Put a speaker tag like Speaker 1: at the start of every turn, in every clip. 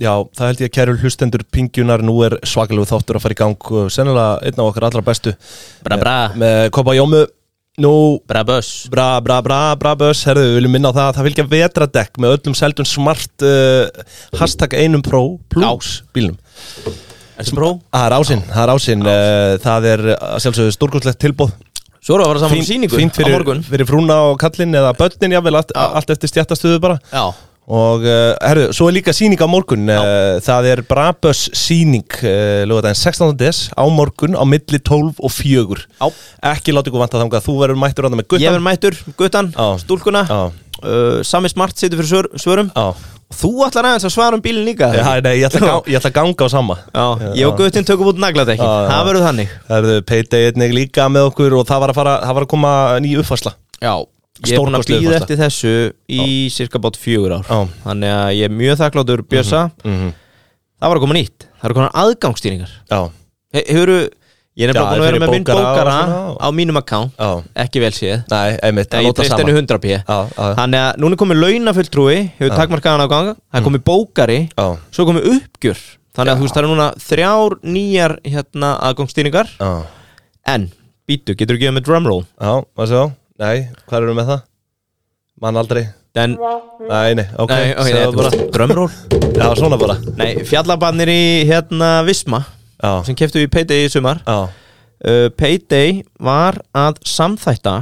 Speaker 1: Já, það held ég að kæru hlustendur pingjunar nú er svakalegu þáttur að fara í gang uh, sennilega einn af okkar allra bestu
Speaker 2: Bra bra,
Speaker 1: með Kopa Jómu Nú,
Speaker 2: bra böss
Speaker 1: bra, bra, bra, bra börs herðu, við viljum minna á það að það fylgja vetradekk með öllum seldum smart uh, hashtag einum pró plus bílnum
Speaker 2: Er sem bró?
Speaker 1: Það er ásinn, það er ásinn uh, það er að sjálfsögðu stórkostlegt tilbóð
Speaker 2: Svo erum við að fara saman fín, síningu
Speaker 1: fínt
Speaker 2: á
Speaker 1: fyrir,
Speaker 2: morgun
Speaker 1: fyrir frúna og kallinn eða börnin jável, allt, allt eftir stjættastöðu bara
Speaker 2: Já,
Speaker 1: og uh, herru, svo er líka síning á morgun uh, það er Brabus síning uh, lögadaginn 16. des á morgun á milli 12 og 4
Speaker 2: Já.
Speaker 1: ekki láti ykkur vanta þangað, þú verður mættur þarna með
Speaker 2: ég
Speaker 1: guttan
Speaker 2: verð mættur, guttan,
Speaker 1: Já.
Speaker 2: stúlkuna
Speaker 1: Já.
Speaker 2: uh, Sami smart situr fyrir svör, svörum
Speaker 1: Já.
Speaker 2: Og Þú ætlar aðeins að svara um bílinn líka
Speaker 1: Já,
Speaker 2: Já,
Speaker 1: nei, ég, ætla að gá, ég ætla að ganga á sama
Speaker 2: ég og guttin tökum út nagladekkin
Speaker 1: Já, já.
Speaker 2: Það verður þannig
Speaker 1: Það eru Payday einnig líka með okkur og það var að, fara, það var að koma ný uppfarsla
Speaker 2: Já Ég er búin að
Speaker 1: Stórkostleg
Speaker 2: býða
Speaker 1: uppfærsla.
Speaker 2: eftir þessu í cirka bát fjögur ár
Speaker 1: Já. Mhm.
Speaker 2: Þannig að ég er mjög þakkláttur Björsa Það var að koma nýtt Það eru konar aðgangsstýringar
Speaker 1: Já,
Speaker 2: He- Hefurðu, ég er
Speaker 1: Já,
Speaker 2: nefnilega búin að vera
Speaker 1: fyrir
Speaker 2: með minn
Speaker 1: bókara og
Speaker 2: bókara
Speaker 1: svona,
Speaker 2: á mínum account
Speaker 1: já,
Speaker 2: Ekki vel séð
Speaker 1: nei, einmitt
Speaker 2: Nei,
Speaker 1: að
Speaker 2: ég
Speaker 1: láta
Speaker 2: treyst
Speaker 1: sama.
Speaker 2: henni 100 pí
Speaker 1: Já, já.
Speaker 2: Þannig að núna er komið launafulltrúi Hefur takmarkaðan á ganga Það
Speaker 1: Mm.
Speaker 2: er komið bókari
Speaker 1: Já,
Speaker 2: Svo er komið uppgjör Þannig að þú veist það eru núna þrjár nýjar hérna aðgangstýringar
Speaker 1: já,
Speaker 2: En, býtu, getur þú gefið með drumroll
Speaker 1: já, hvað svo? Nei, hvað eru með það? Mann aldrei
Speaker 2: Den,
Speaker 1: Nei, nei, ok,
Speaker 2: nei, ok,
Speaker 1: segðu
Speaker 2: þetta
Speaker 1: bara
Speaker 2: var drumroll
Speaker 1: Já, svona bara
Speaker 2: Nei, fjallabannir í hérna Visma
Speaker 1: Já,
Speaker 2: Sem keftu í Payday í sumar
Speaker 1: já,
Speaker 2: uh, Payday var að samþætta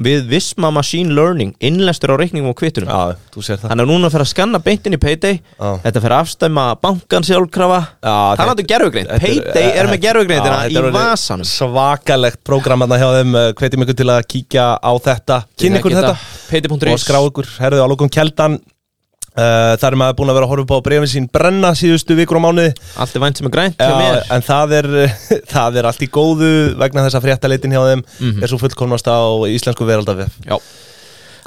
Speaker 2: Við Visma Machine Learning Innlestur á reikningum og kvittunum
Speaker 1: já, þú sér það
Speaker 2: Þannig að núna fer að skanna beint inn í Payday
Speaker 1: Já.
Speaker 2: Þetta fer að afstæma bankan sjálfkrafa
Speaker 1: Já,
Speaker 2: Það er
Speaker 1: þetta-
Speaker 2: náttúr gerfugreind
Speaker 1: Þetta
Speaker 2: um Payday er
Speaker 1: þetta-
Speaker 2: með
Speaker 1: Já, þetta er
Speaker 2: gerfugrindina í
Speaker 1: orðið
Speaker 2: vasanum
Speaker 1: Svakalegt prógram hérna hjá þeim eh, Hvetjum ykkur til að kíkja á þetta Kynni ykkur þetta
Speaker 2: Payday.is
Speaker 1: og skrá ykkur, herðu á lókum keldan uh, þar er maður búin að vera að horfa upp á brefin sín brenna síðustu vikur á mánuði
Speaker 2: Allt er vænt sem er grænt hjá
Speaker 1: Já, e-
Speaker 2: mér
Speaker 1: en það er, það er allt í góðu vegna þess að fréttaleitin hjá þeim
Speaker 2: Mhm.
Speaker 1: er svo fullkomnast á íslensku veraldafið
Speaker 2: Já Það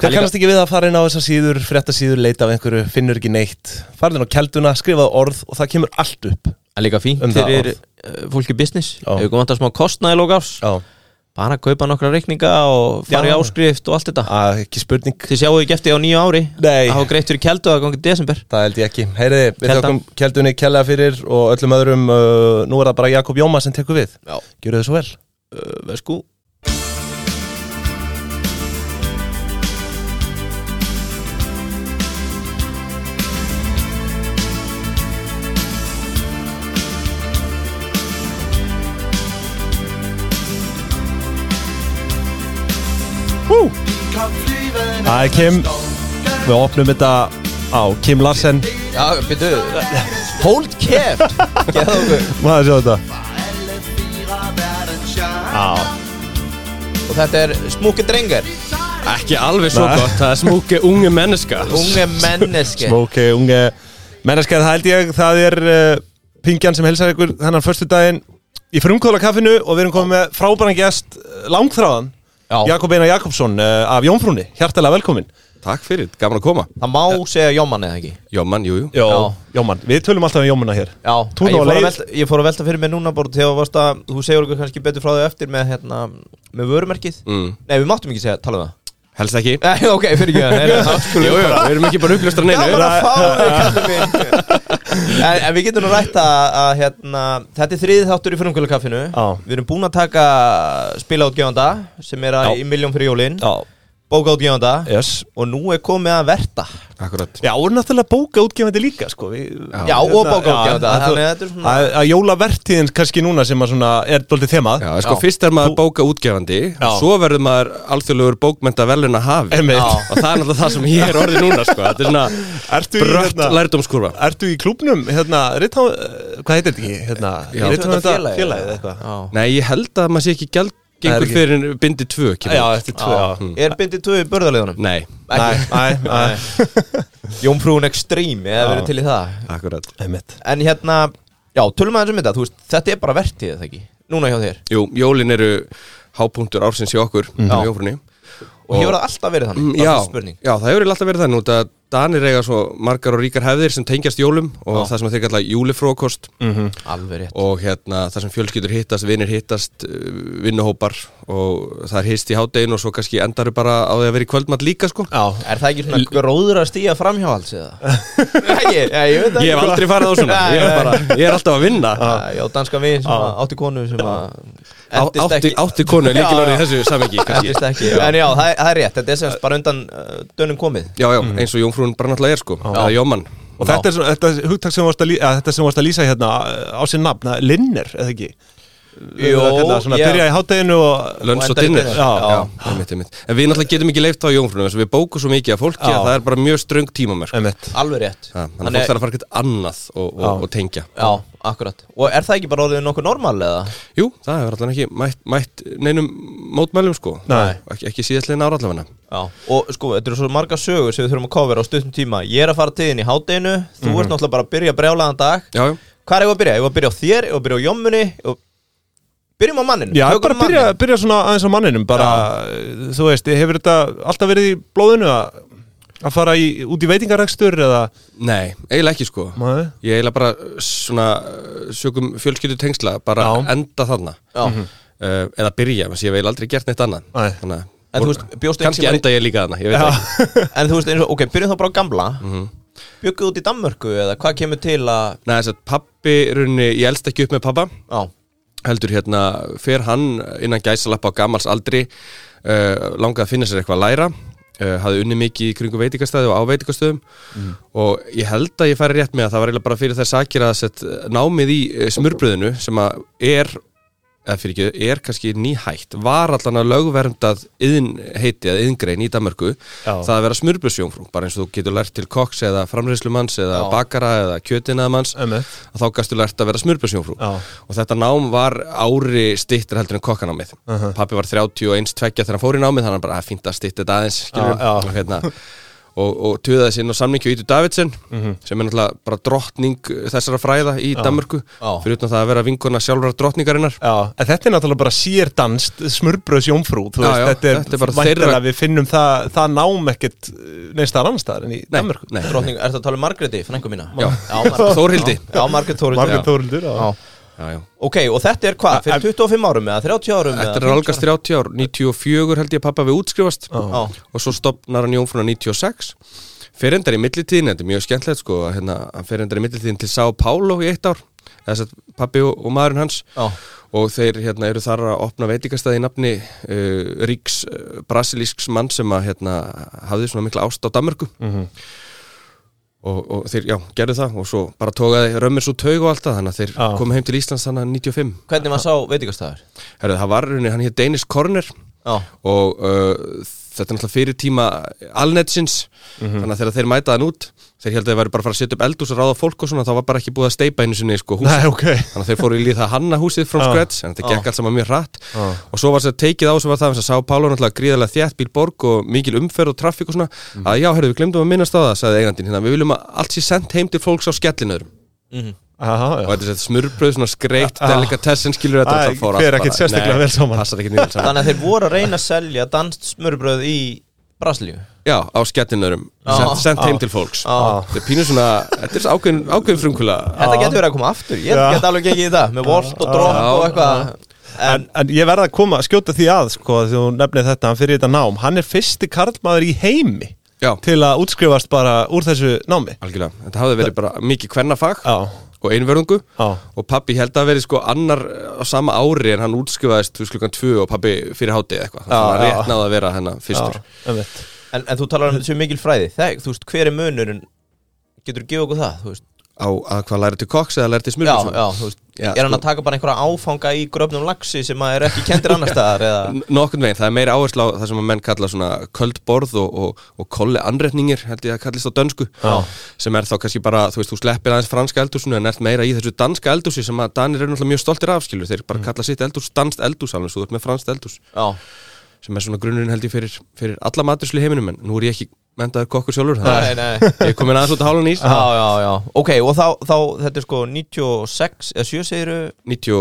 Speaker 1: Hver
Speaker 2: er líka-
Speaker 1: kannast ekki við að fara inn á þessar síður, fréttasíður, leita af einhverju, finnur ekki neitt farið inn á kelduna, skrifað orð og það kemur allt upp
Speaker 2: Það er líka fínt
Speaker 1: Um það
Speaker 2: fyrir
Speaker 1: orð.
Speaker 2: uh, fólki business
Speaker 1: Já.
Speaker 2: Ef við komum að smá kostnaði lók árs
Speaker 1: Já,
Speaker 2: Bara að kaupa nokkra reikninga og fara í
Speaker 1: Já.
Speaker 2: áskrift og allt þetta
Speaker 1: að, Ah, ekki spurning
Speaker 2: Þið sjáu ekki eftir á nýju ári
Speaker 1: Nei.
Speaker 2: Það hafa greitt fyrir keldu að gangi desember
Speaker 1: Það held ég ekki, heyriði, við
Speaker 2: Kelda.
Speaker 1: tökum keldunni kella fyrir og öllum öðrum uh, nú er það bara Jakob Jóma sem tekur við
Speaker 2: Já
Speaker 1: Gjöru þið svo vel
Speaker 2: uh, Sko
Speaker 1: Það er Kim, við opnum þetta á Kim Larsen
Speaker 2: Já, byrju Hold care Geða okkur
Speaker 1: Maður sjá þetta Já,
Speaker 2: Og þetta er smúki drengar
Speaker 3: Ekki alveg svo
Speaker 1: Nei.
Speaker 3: gott, það er smúki unge menneska
Speaker 2: Unge menneski
Speaker 1: smóki, unge Menneskar, það held ég, það er uh, pingjan sem helsar ykkur þennan förstu daginn í frumkóla kaffinu og við erum komið með frábæran gest eh, langþráðan
Speaker 2: Já,
Speaker 1: Jakob Einar Jakobsson uh, af Jónfrúni, hjartalega velkomin
Speaker 3: Takk fyrir, gaman að koma
Speaker 2: það má segja jómann eða ekki
Speaker 3: Jó mann, jú, jú
Speaker 1: Jó, Jómann, við tölum alltaf um Jómanna hér
Speaker 2: Já,
Speaker 1: Þú ná
Speaker 2: ég fór, að
Speaker 1: leið.
Speaker 2: velta, ég fór að velta fyrir mig núna bara þegar þú varst að, þú segur okkur kannski betur frá þau eftir með, hérna, með vörumerkið
Speaker 3: mm.
Speaker 2: Nei, við máttum ekki segja, tala um það
Speaker 3: Helst ekki
Speaker 2: Nei, ok, fyrir ekki það nei, nei,
Speaker 3: Jú, jú, við erum ekki bara upplustra neinu
Speaker 2: Gaman að fá þau, kallum minn en, en við getum nú rætt að, að hérna, þetta er þriðið þáttur í fyrrumkvöldakaffinu
Speaker 1: Já.
Speaker 2: Við erum búin að taka spilaútgefanda sem er að
Speaker 1: Já.
Speaker 2: í miljón fyrir jólin
Speaker 1: Já,
Speaker 2: Bókaútgefanda
Speaker 1: yes
Speaker 2: Og nú er komið að verta
Speaker 3: Akkurat
Speaker 1: Já, og náttúrulega bóka útgefandi líka sko. Við,
Speaker 3: Já.
Speaker 2: Já, og bókaútgefanda
Speaker 1: Já,
Speaker 2: Þannig að
Speaker 1: að
Speaker 2: þetta er
Speaker 1: þú-
Speaker 2: svona
Speaker 1: Að að jólavertíðin kannski núna sem að svona er doldið þemað
Speaker 3: Já, sko,
Speaker 2: Já.
Speaker 3: fyrst er maður bóka útgefandi
Speaker 1: Já.
Speaker 3: Svo verður maður alþjóðlegur bókmenta velun að hafi
Speaker 1: Einmitt.
Speaker 2: Já.
Speaker 3: Og það er náttúrulega það sem ég er orðið núna, sko Þetta er svona
Speaker 1: Ertu í,
Speaker 3: brött
Speaker 1: hérna,
Speaker 3: lærdómskurva
Speaker 1: ertu í klubnum, hérna, rithá, eh, hvað heitir þetta ekki? Hérna,
Speaker 3: Já.
Speaker 1: rithöfundafélagið
Speaker 2: Félagið.
Speaker 1: eða eitthvað
Speaker 2: Já.
Speaker 3: Nei, ég held að maður sé ekki gæld
Speaker 1: Það er
Speaker 3: Gengur
Speaker 1: ekki.
Speaker 3: fyrir en bindi tvö, kemur
Speaker 1: Já, eftir tvö já.
Speaker 2: Mm. Er bindið tvö í börðarleðunum?
Speaker 3: Nei,
Speaker 1: Nei, nei, nei
Speaker 2: Jómfrún Extreme, ég hef verið til í það
Speaker 3: akkurat
Speaker 1: Einmitt.
Speaker 2: En hérna, já, tölum aðeins um þetta þú veist, Þetta er bara vertíð, það ekki? Núna hjá þér
Speaker 1: Mm-hmm.
Speaker 3: Jú, jólin eru hápunktur ársins hjá okkur mm. á jófrunni
Speaker 2: og hefur það alltaf verið þannig, það
Speaker 3: Mm, já,
Speaker 2: er fyrst spurning
Speaker 3: já, það hefur alltaf verið þannig út að Danir eiga svo margar og ríkar hefðir sem tengjast jólum og
Speaker 2: Já.
Speaker 3: það sem þeir kalla júlifrókost
Speaker 2: alveg rétt
Speaker 3: og hérna það sem fjölskyldur hittast, vinnir hittast, uh, vinnuhópar og það er hist í hádegin og svo kannski endar þau bara á því að vera í kvöldmatt líka sko.
Speaker 1: Já,
Speaker 2: er það ekki svona gróður að stíja framhjáhalds eða? Nei, ég, ég veit ekki
Speaker 3: Ég hef
Speaker 2: sko.
Speaker 3: aldrei farið á svona,
Speaker 2: Nei,
Speaker 3: ég er, bara, ég er alltaf að vinna
Speaker 2: Já, danskan vin sem að átti konu sem að
Speaker 3: Á, átti, átti konu er líkilorðið í þessu samengi
Speaker 2: Endist ekki, en já, það, það er rétt, þetta er semst bara undan uh, dönum komið
Speaker 3: Já, já, eins og jómfrún bara náttúrulega er sko eða jómann
Speaker 1: Og þetta er svona, þetta hugtak sem varst að, lí, að, þetta sem varst að lýsa hérna á sér nafn, að linner, eða ekki?
Speaker 2: Jó,
Speaker 1: Það er kallað svona,
Speaker 2: já.
Speaker 1: byrja í hátteginu og...
Speaker 3: Lönns og
Speaker 2: Og endar í
Speaker 3: dinner
Speaker 2: dinner.
Speaker 3: Já,
Speaker 1: Já.
Speaker 3: já, einmitt, einmitt En við náttúrulega getum ekki leift á jómfrúnum þess að við bókum svo mikið af fólki
Speaker 1: Já.
Speaker 3: að það er bara mjög ströng tímamerk
Speaker 1: Emmett.
Speaker 2: Alveg rétt
Speaker 3: Já, Þannig að fólk þarf að fara eitthvað annað og, og,
Speaker 1: Já.
Speaker 3: og tengja
Speaker 2: Já, akkurat Og er það ekki bara orðið nokkuð normal eða?
Speaker 3: Jú, það hefur allan ekki mætt, mætt neinum mótmælum sko
Speaker 1: Nei.
Speaker 3: Ekki, ekki síðastlegin ára allavega
Speaker 2: Já, og sko, þetta eru svo marga sögur sem við þurfum að kofera á stuttum tíma Ég er að fara til þín í hátdeinu, þú ert náttúrulega bara að byrja brjálaðan dag
Speaker 3: Mhm. Já, já
Speaker 2: Hvað er ég að byrja? Ég var að byrja á þér, ég var að byrja á jommunni og... Byrjum á manninu
Speaker 1: Já,
Speaker 2: tökum
Speaker 1: bara
Speaker 2: manninn.
Speaker 1: byrja, byrja svona aðeins á manninum, bara, eh, þú veist, hefur þetta alltaf verið í blóðinu að, að fara í, út í veitingarekstur eða...
Speaker 3: Nei, eiginlega ekki sko
Speaker 1: Nei.
Speaker 3: Ég eiginlega bara uh, svona uh, sögum fjölskyldu tengsla bara
Speaker 1: Já.
Speaker 3: enda þarna
Speaker 2: Já.
Speaker 3: uh, eða byrja, þess að ég hef eiginlega aldrei gert neitt annað
Speaker 1: Nei.
Speaker 3: Þannig að-
Speaker 2: En þú veist, bjóstu ekki
Speaker 3: kannski
Speaker 2: sem-
Speaker 3: enda ég líka þarna, ég veit það ekki
Speaker 2: En þú veist eins og, ok, byrjum þá bara á gamla mm
Speaker 3: Mhm.
Speaker 2: Bjögguð út í Danmörku eða hvað kemur til að
Speaker 3: Nei, þess að pappi, runni, ég elst ekki upp með pappa
Speaker 2: Já,
Speaker 3: heldur hérna, fer hann innan gæsalappa á gamals aldri uh, langaði að finna sér eitthvað að læra uh, hafði unni mikið í kringu veitingastæði og á veitingastöðum og ég held að ég færi rétt með að það var eiginlega bara fyrir þess sakir að sett, námið í uh, smurbröðinu sem að er eða fyrir ekki, er kannski nýhætt var allan að lögverndað yðin heiti eða yðingrein í Danmörku
Speaker 1: Já.
Speaker 3: það að vera smurbröðsjónfrú, bara eins og þú getur lært til koks eða framreyslumanns eða
Speaker 2: Já.
Speaker 3: bakara eða kjötinaðmanns
Speaker 1: Emmett.
Speaker 3: að þá gastu lært að vera smurbröðsjónfrú
Speaker 1: Já.
Speaker 3: og þetta nám var ári stittir heldur en kokkanámið pappi var 31 tveggja þegar hann fór í námið þannig að hann bara að fínt að stitti þetta aðeins
Speaker 1: Já,
Speaker 3: skilur,
Speaker 1: já.
Speaker 3: Og, hérna, og, og tuðaði sér inn á samningi Ítu Davidsen
Speaker 1: Mhm.
Speaker 3: sem er náttúrulega bara drottning þessara fræða í Danmörku
Speaker 2: Já.
Speaker 3: fyrir utan það að vera vinkona sjálfra drottningarinnar
Speaker 1: Já, en þetta er náttúrulega bara sérdanst smurbröðs jómfrú, þú
Speaker 3: Já,
Speaker 1: veist,
Speaker 3: já,
Speaker 1: þetta er,
Speaker 3: þetta er bara
Speaker 1: væntanlega
Speaker 3: þeirra-
Speaker 1: við finnum það, það nám ekkert eh, neins þar annars staðar en í Danmörku.
Speaker 3: nei, nei.
Speaker 2: drottning, ertu að tala um Margréti, frængu mína?
Speaker 3: Já.
Speaker 2: Margrét-
Speaker 3: Þórhildi.
Speaker 2: Já, já, Margrét Þórhildi
Speaker 1: Margrét
Speaker 2: já.
Speaker 1: Þórhildur, já.
Speaker 3: Já, já.
Speaker 2: Ok, og þetta er hvað, fyrir 25 árum eða 30 árum
Speaker 3: Þetta er
Speaker 2: eða
Speaker 3: algast 30 ár, 94 held ég að pappa við útskrifast
Speaker 2: Já.
Speaker 3: og svo stopnar hann Jónfrúna 96 fer endar í millitíðin, þetta er mjög skemmtilegt sko, að hérna, hann fer endar í millitíðin til São Paulo í eitt ár, þess að pappi og, og maðurinn hans
Speaker 2: Já.
Speaker 3: og þeir hérna, eru þar að opna veitingastæði í nafni uh, ríks uh, brasilísks mann sem að hérna, hafði svona mikla ást á Danmörku
Speaker 2: Mhm.
Speaker 3: og, og þeir, já, gerðu það og svo bara tókaði römmir svo taug og allt það þannig að þeir
Speaker 1: Já.
Speaker 3: komu heim til Íslands þannig að 95
Speaker 2: Hvernig maður sá veitingastæður?
Speaker 3: Herðu, það var runni, hann hér Danish Corner
Speaker 2: Já,
Speaker 3: og uh, þetta er náttúrulega fyrir tíma alnetsins,
Speaker 1: Mhm.
Speaker 3: þannig að þegar þeir mæta hann út þeir heldur að þeir væri bara að fara að setja upp eldús og ráða fólk og svona, þá var bara ekki búið að steipa einu sinni sko, hús,
Speaker 1: Nei, ok.
Speaker 3: þannig að þeir fóru í líð það hanna húsið
Speaker 1: Já.
Speaker 3: from scratch, en þetta gekk allt saman mjög hratt
Speaker 1: Já.
Speaker 3: og svo var þess að teikið á sem var það þess að Sá Pálo náttúrulega gríðarlega þjætt bílborg og mikil umferð og traffík og svona
Speaker 1: Mhm.
Speaker 3: að já, herru, við glemdum að minnast á það, sagði eigandinn hérna, við viljum að allt sé sendt heim til fólks á skellinöðrum
Speaker 1: Aha, já.
Speaker 3: og þetta er þetta smurbröð, svona skreitt, delikatessen skilur þetta
Speaker 1: Æ,
Speaker 3: náttúrulega fór
Speaker 1: fer
Speaker 3: allt
Speaker 1: ekkit
Speaker 3: bara-
Speaker 1: sérstaklega
Speaker 3: Nei,
Speaker 1: vel saman.
Speaker 3: passar ekkit vel saman.
Speaker 2: þannig að þeir voru að reyna að selja danst smörbröð í Brasilíu
Speaker 3: Já, á skettinörum
Speaker 2: Já.
Speaker 3: Sent, sent heim til fólks
Speaker 2: Já.
Speaker 3: Þetta er pínu svona, þetta er ákveðin, ákveðin frumkula
Speaker 2: Þetta getur verið að koma aftur, ég
Speaker 1: Já.
Speaker 2: get alveg gengið í það Með volt og drop
Speaker 3: Já.
Speaker 2: og eitthvað
Speaker 1: En,
Speaker 2: En,
Speaker 1: en ég verða að koma að skjóta því að sko, því þú nefnir þetta, hann fyrir þetta nám hann er fyrsti karlmaður í heimi
Speaker 3: Já,
Speaker 1: til að útskrifast bara úr þessu námi
Speaker 3: algjörlega, þetta hafði verið bara mikið kvennafag
Speaker 1: Já,
Speaker 3: og einverðungu
Speaker 1: Já.
Speaker 3: og pappi held að verið sko annar á sama ári en hann útskrifaðist þú klukkan tvö og pappi fyrir hátið eitthvað þannig að hann
Speaker 1: já.
Speaker 3: rétt náði að vera hennar
Speaker 1: já,
Speaker 3: fyrstur
Speaker 1: einmitt.
Speaker 2: en, en þú talar um þessu mikil fræði Þegar, þú veist, hver er munurinn Getur þú gefið okkur það, þú veist
Speaker 3: á að hvað læra til koks eða læra til
Speaker 2: já,
Speaker 3: smurbröð
Speaker 2: já, þú veist,
Speaker 3: Já,
Speaker 2: er hann
Speaker 3: sko.
Speaker 2: að taka bara einhverja áfanga í gröfnum laxi sem að er ekki kendir annar staðar eða
Speaker 3: N- Nokkurn veginn, það er meira áherslu á það sem að menn kalla svona köldborð og, og, og kolle anretningir, held ég að kallist á dönsku
Speaker 1: Já.
Speaker 3: sem er þá kannski bara, þú veist, þú sleppir aðeins franska eldúsinu en ert meira í þessu danska eldúsi sem
Speaker 2: Mm.
Speaker 3: að Danir eru náttúrulega mjög stoltir af, skilur, þeir bara kalla sitt eldús, danst eldús alveg, svo þú ert með franskt eldús
Speaker 2: já,
Speaker 3: sem er svona grunnurinn held ég fyrir, fyrir alla maturslu í heiminum en nú er ég ekki mentaður kokkur sjálfur það
Speaker 2: Nei,
Speaker 3: er,
Speaker 2: nei
Speaker 3: ég er komin aðeins út að hálun ís
Speaker 2: Já, já, já Ok, og þá, þá þetta er sko 96 eða 7 segiru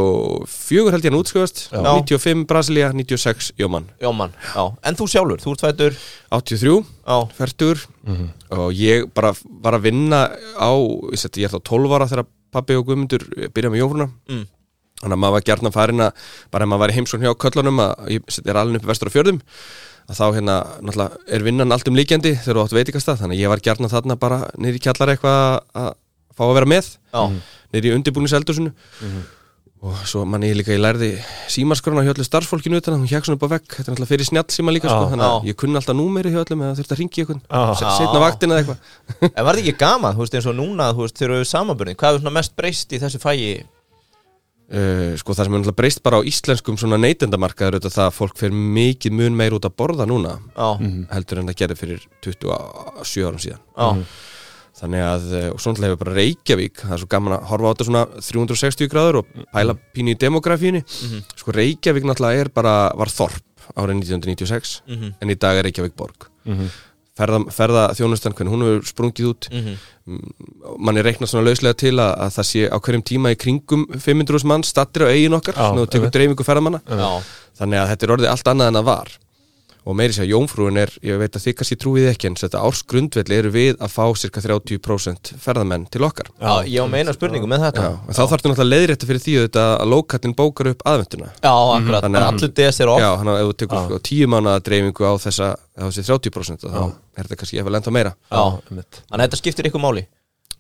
Speaker 3: 94 held ég hann útskjöfast 95 Brasilia, 96 Jómann
Speaker 2: Jómann Já, en þú sjálfur, þú ert fættur
Speaker 3: 83
Speaker 2: Já,
Speaker 3: færtur
Speaker 2: Mhm.
Speaker 3: og ég bara var að vinna á, ég, seti, ég er þá 12 ára þegar pabbi og Guðmundur byrjaði með jófruna
Speaker 2: Mm.
Speaker 3: þannig að maður var gert að farin að bara ef maður var í heimsókn hjá köllunum að ég seti, er alveg upp í vestur á fjörðum að þá hérna, náttúrulega er vinnan allt um líkjandi þegar þú átt veitingastað, þannig að ég var gert að þarna bara niður í kjallar eitthvað að fá að vera með,
Speaker 2: já
Speaker 3: niður í undirbúiniseldusinu og svo manni ég líka, ég lærði símaskrona hjá öllu starfsfólkinu utan að hún hjekk svona upp á vegg, þetta er náttúrulega fyrir snjall síma líka, sko,
Speaker 1: Já,
Speaker 3: þannig að
Speaker 2: já.
Speaker 3: ég kunni alltaf númeri hjá öllum eða þurfti að ringi ykkur
Speaker 1: Já.
Speaker 3: Se- setna vaktina eða eitthvað
Speaker 2: En var þetta ekki gaman, þú veist, eins og núna, þú veist, þegar við samanbyrðin Hvað er svona mest breyst í þessu fægi?
Speaker 3: uh, sko það sem er náttúrulega breyst bara á íslenskum svona neytendamarkaður auðvitað það að fólk fer mikið mun meir út að borða núna
Speaker 2: Já,
Speaker 3: heldur en það gerði fyrir 27 árum síðan
Speaker 2: já,
Speaker 3: þannig að, eh, og svona hefur bara Reykjavík það er svo gaman að horfa á þetta svona 360 gráður og
Speaker 2: Mm.
Speaker 3: pæla pínu í demografíunni
Speaker 2: Mhm.
Speaker 3: sko Reykjavík náttúrulega er bara var þorp árið 1996
Speaker 2: Mhm.
Speaker 3: en í dag er Reykjavík borg
Speaker 1: Mhm.
Speaker 3: ferða, ferða þjónustan hvernig hún hefur sprungið út
Speaker 2: mhm,
Speaker 3: mann er reiknað svona lauslega til að, að það sé á hverjum tíma í kringum 500 mann stattir á eigin okkar,
Speaker 1: Já,
Speaker 3: þannig að þú tekur
Speaker 1: einmitt.
Speaker 3: dreifingu ferðamanna
Speaker 2: já
Speaker 3: þannig að þetta er orðið allt annað en það var og meiri sér að jómfrúin er, ég veit að þið kannski trúið ekki en þetta ársgrundvelli eru við að fá cirka 30% ferðamenn til okkar
Speaker 2: Já, ég á meina spurningu með þetta
Speaker 3: Já, en þá þarftu náttúrulega leiðrétta fyrir því auðvitað að lókattin bókar upp aðventuna
Speaker 2: Já, akkurat,
Speaker 3: Mhm, Þannig að-
Speaker 2: allir DS er off
Speaker 3: Já, þannig að ef þú tekur sko, tíu mánaða dreifingu á þessa, á þessi 30% þá er þetta kannski eftir lenda meira
Speaker 2: Já,
Speaker 1: einmitt.
Speaker 2: þannig að þetta skiptir ykkur máli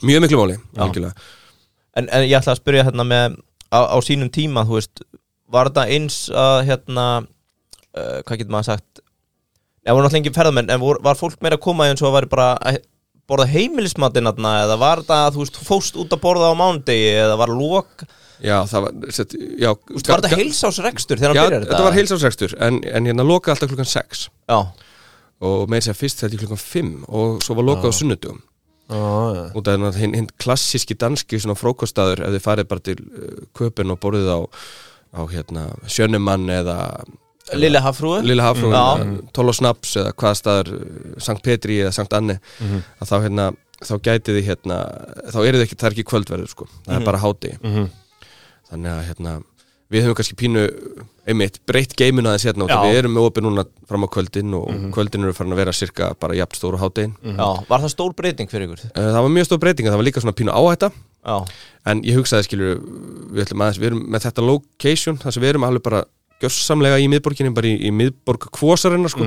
Speaker 3: Mjög miklu máli, algjörlega
Speaker 2: en, en ég ætla að spyrja hérna með á, á sínum tíma, þú veist var þetta eins að hérna uh, hvað getur maður sagt Nei, það voru náttúrulega engin ferðamenn, en vor, var fólk meira að koma eins og að væri bara að borða heimilismatinn hérna, eða var þetta, þú veist, þú fóst út að borða á mándegi, eða var lók
Speaker 3: Já, það var, set, já,
Speaker 2: var þetta heilsásrekstur þegar
Speaker 3: Já,
Speaker 2: hann byrjar
Speaker 3: þetta var heilsámsrekstur en, en hérna lokaði alltaf klukkan 6
Speaker 2: Já,
Speaker 3: og með þess að segja fyrst þetta klukkan 5 og svo var lokað á sunnudum
Speaker 1: Já, já.
Speaker 3: út af hérna hinn hin klassíski danski svona frókostaður ef þið farið bara til uh, köpun og borðið á, á hérna, sjönumann eða
Speaker 2: Lille Hafrúi Já.
Speaker 3: Lilla Hafrún, uh, Tólo Snaps eða hvaða staður, uh, Sankt Petri eða Sankt Anni
Speaker 2: Mhm.
Speaker 3: að þá hérna þá gætið þið hérna, þá eru þið ekki, það er ekki kvöldverður sko, það er bara háti
Speaker 1: Mhm.
Speaker 3: þannig að hérna við höfum kannski pínu, einmitt, breytt geiminu aðeins hérna, út af
Speaker 2: Já. Mhm.
Speaker 3: við erum með opið núna fram á kvöldin og kvöldin eru farin að vera cirka bara jafn stóru hátegin mm.
Speaker 2: Já, var það stór breyting fyrir ykkur?
Speaker 3: Eh, það var mjög stór breyting, það var líka svona pínu áhætta
Speaker 2: Já,
Speaker 3: en ég hugsaði skilur við ætlum aðeins, við erum með þetta location þar sem við erum alveg bara gjörsamlega í miðborginni, bara í, í miðborg kvosarinnar sko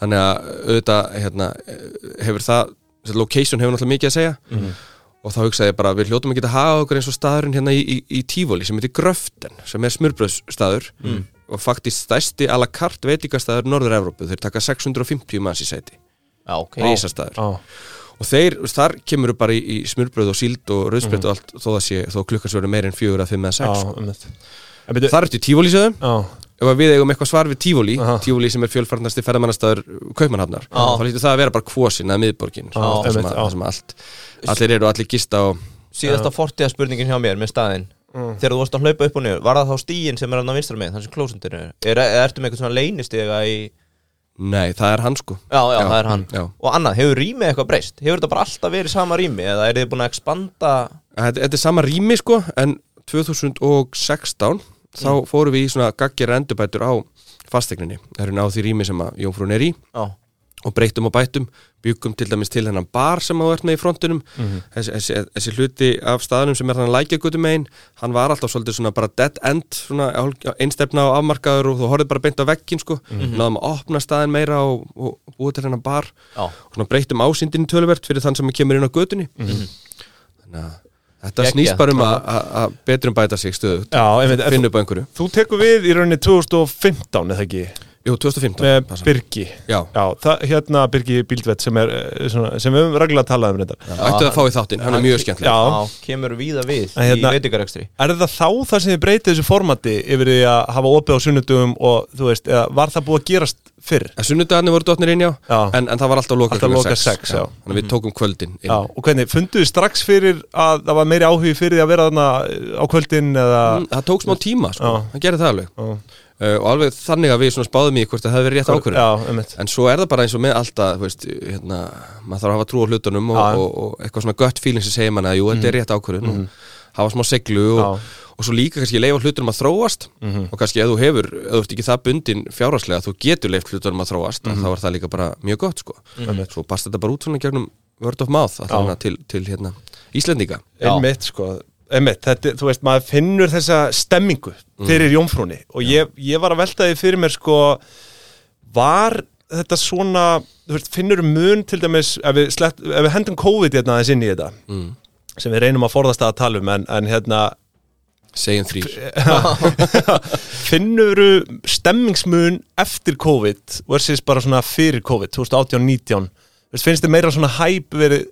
Speaker 3: þannig að auðvitað hérna, hefur það, þessi location hefur náttúrulega mikið að segja og þá hugsaði ég bara við hljótum ekki að haga okkur eins og staðurinn hérna í, í, í Tífóli sem heitir Gröften sem er smurbröðsstaður og faktist stærsti a la carte veitingastaður Norður-Evrópu, þeir taka 650 manns í sæti,
Speaker 2: já, ok
Speaker 3: reisastaður
Speaker 1: Já.
Speaker 3: og þeir, þú veist, þar kemur þú bara í, í smurbröð og síld og rauðsbröð og allt þó það sé, þó klukkan svo eru meir en fjögur að fimm eða
Speaker 1: Mhm. Já,
Speaker 3: sex sko.
Speaker 1: einmitt. En byrju-
Speaker 3: þar ertu í tífóli sögum,
Speaker 1: Já,
Speaker 3: ef að við eigum eitthvað svar við tífóli
Speaker 1: Aha.
Speaker 3: tífóli sem er fjölfarnasti ferðamannastæður kaupmannhafnar,
Speaker 2: Já.
Speaker 3: þá lítur það að vera bara kvosin eða miðborgin,
Speaker 1: Já,
Speaker 3: það sem,
Speaker 1: einmitt,
Speaker 3: að-
Speaker 1: já.
Speaker 3: þar sem allt allir eru og allir gista og
Speaker 2: síðasta fortíða spurningin hjá mér með staðinn þegar þú varst að hlaupa upp og niður var það þá stíin sem er hann á vinstra með þannig sem klósundir er, er, er ertu með eitthvað svona leynistega í já,
Speaker 3: nei, það er hann sko
Speaker 2: já, það er hann
Speaker 3: já.
Speaker 2: og annað, hefur rýmið eitthvað breyst? hefur þetta bara alltaf verið sama rými eða er þið búin að expanda
Speaker 3: Þetta, þetta er sama rými sko en 2016 þá
Speaker 1: Mm.
Speaker 3: fórum við í svona gaggir endurbætur á fastegninni, það eru náð því rými sem að Jónfrún er í
Speaker 2: já,
Speaker 3: og breytum og bætum, byggum til dæmis til hennan bar sem þú ert með í frontunum
Speaker 1: Mhm.
Speaker 3: þessi, þessi, þessi hluti af staðanum sem er þannig lækjagutum einn, hann var alltaf svolítið svona bara dead end, svona hál- einstefna og afmarkaður og þú horfið bara beint á veggin sko,
Speaker 1: Mhm.
Speaker 3: náðum að opna staðin meira og, og búið til hennan bar
Speaker 2: já,
Speaker 3: og svona breytum ásýndin tölvert fyrir þann sem kemur inn á götunni
Speaker 1: Mhm.
Speaker 3: þannig að þetta
Speaker 2: Geggjað.
Speaker 3: snýst bara um að- að að betrum bæta sig stöðu,
Speaker 1: já einmitt. En
Speaker 3: finna upp á einhverju
Speaker 1: Þú tekur við í rauninni 2015 eða ekki
Speaker 3: Jú, 2015
Speaker 1: með
Speaker 3: passa.
Speaker 1: Eh, Birgi
Speaker 3: Já,
Speaker 1: Já, það, hérna Birgi Bíldvett sem, er, eh, svona, sem við höfum reglulega talað um reyndar
Speaker 3: ættu að fá í þáttinn, hann er mjög skemmtileg
Speaker 1: Já.
Speaker 2: kemur víða við
Speaker 1: En hérna-
Speaker 2: í veitingarekstri
Speaker 1: Er það þá það sem þið breytið þessu formati yfir því að hafa opið á sunnudum og þú veist, eða var það búið að gerast fyrr?
Speaker 3: En sunnudagarnir voru dotnir inn já,
Speaker 1: Já.
Speaker 3: En, en það var alltaf lokað
Speaker 1: Alltaf
Speaker 3: klukkan
Speaker 1: lokað
Speaker 3: sex,
Speaker 1: sex, já. Mhm.
Speaker 3: Þannig að við tókum kvöldin inn
Speaker 1: Já, og hvernig, funduðu þið strax fyrir að það var meiri áhugi fyrir því að vera þarna eh, á kvöldin eða
Speaker 3: Mm, Það Mm, tók smá tíma, sko,
Speaker 1: Já.
Speaker 3: það gerði það alveg
Speaker 1: Já.
Speaker 3: uh, og alveg þannig að við svona spáðum í hvort það hefði verið rétt ákvörðun
Speaker 1: Já, um
Speaker 3: En svo er það bara eins og með alltaf, þú veist, hérna, maður þarf að hafa trú á hlutunum og,
Speaker 1: Já, Mhm. já.
Speaker 3: og, og eitthvað svona gött feeling sem segir manna að jú, þetta er rétt ákvörðun og hafa smá seglu og, og svo líka kannski leifa hlutunum að þróast
Speaker 1: Mhm.
Speaker 3: og kannski ef þú hefur, ef þú ert ekki það bundin fjárhagslega, þú getur leift hlutunum að þróast mm þá er það líka bara mjög gott, sko.
Speaker 1: Mhm. Einmitt.
Speaker 3: Svo basta þetta bara út svona gegnum word of mouth,
Speaker 1: Já.
Speaker 3: alltaf til, til hérna, Íslendinga.
Speaker 2: Já.
Speaker 1: einmitt sko einmitt, þetta, þú veist, maður finnur þessa stemmingu fyrir jómfrúni og ég, ég var að velta því fyrir mér sko var þetta svona þú veist, finnur mun til dæmis ef við, slett, ef við hendum COVID hérna aðeins inn í þetta
Speaker 3: Mm.
Speaker 1: sem við reynum að forðast að tala um en, en hérna,
Speaker 3: Segjum þrýr.
Speaker 1: finnur stemmingsmun eftir COVID versus bara svona fyrir COVID 2018-19, finnst þið meira svona hæp verið,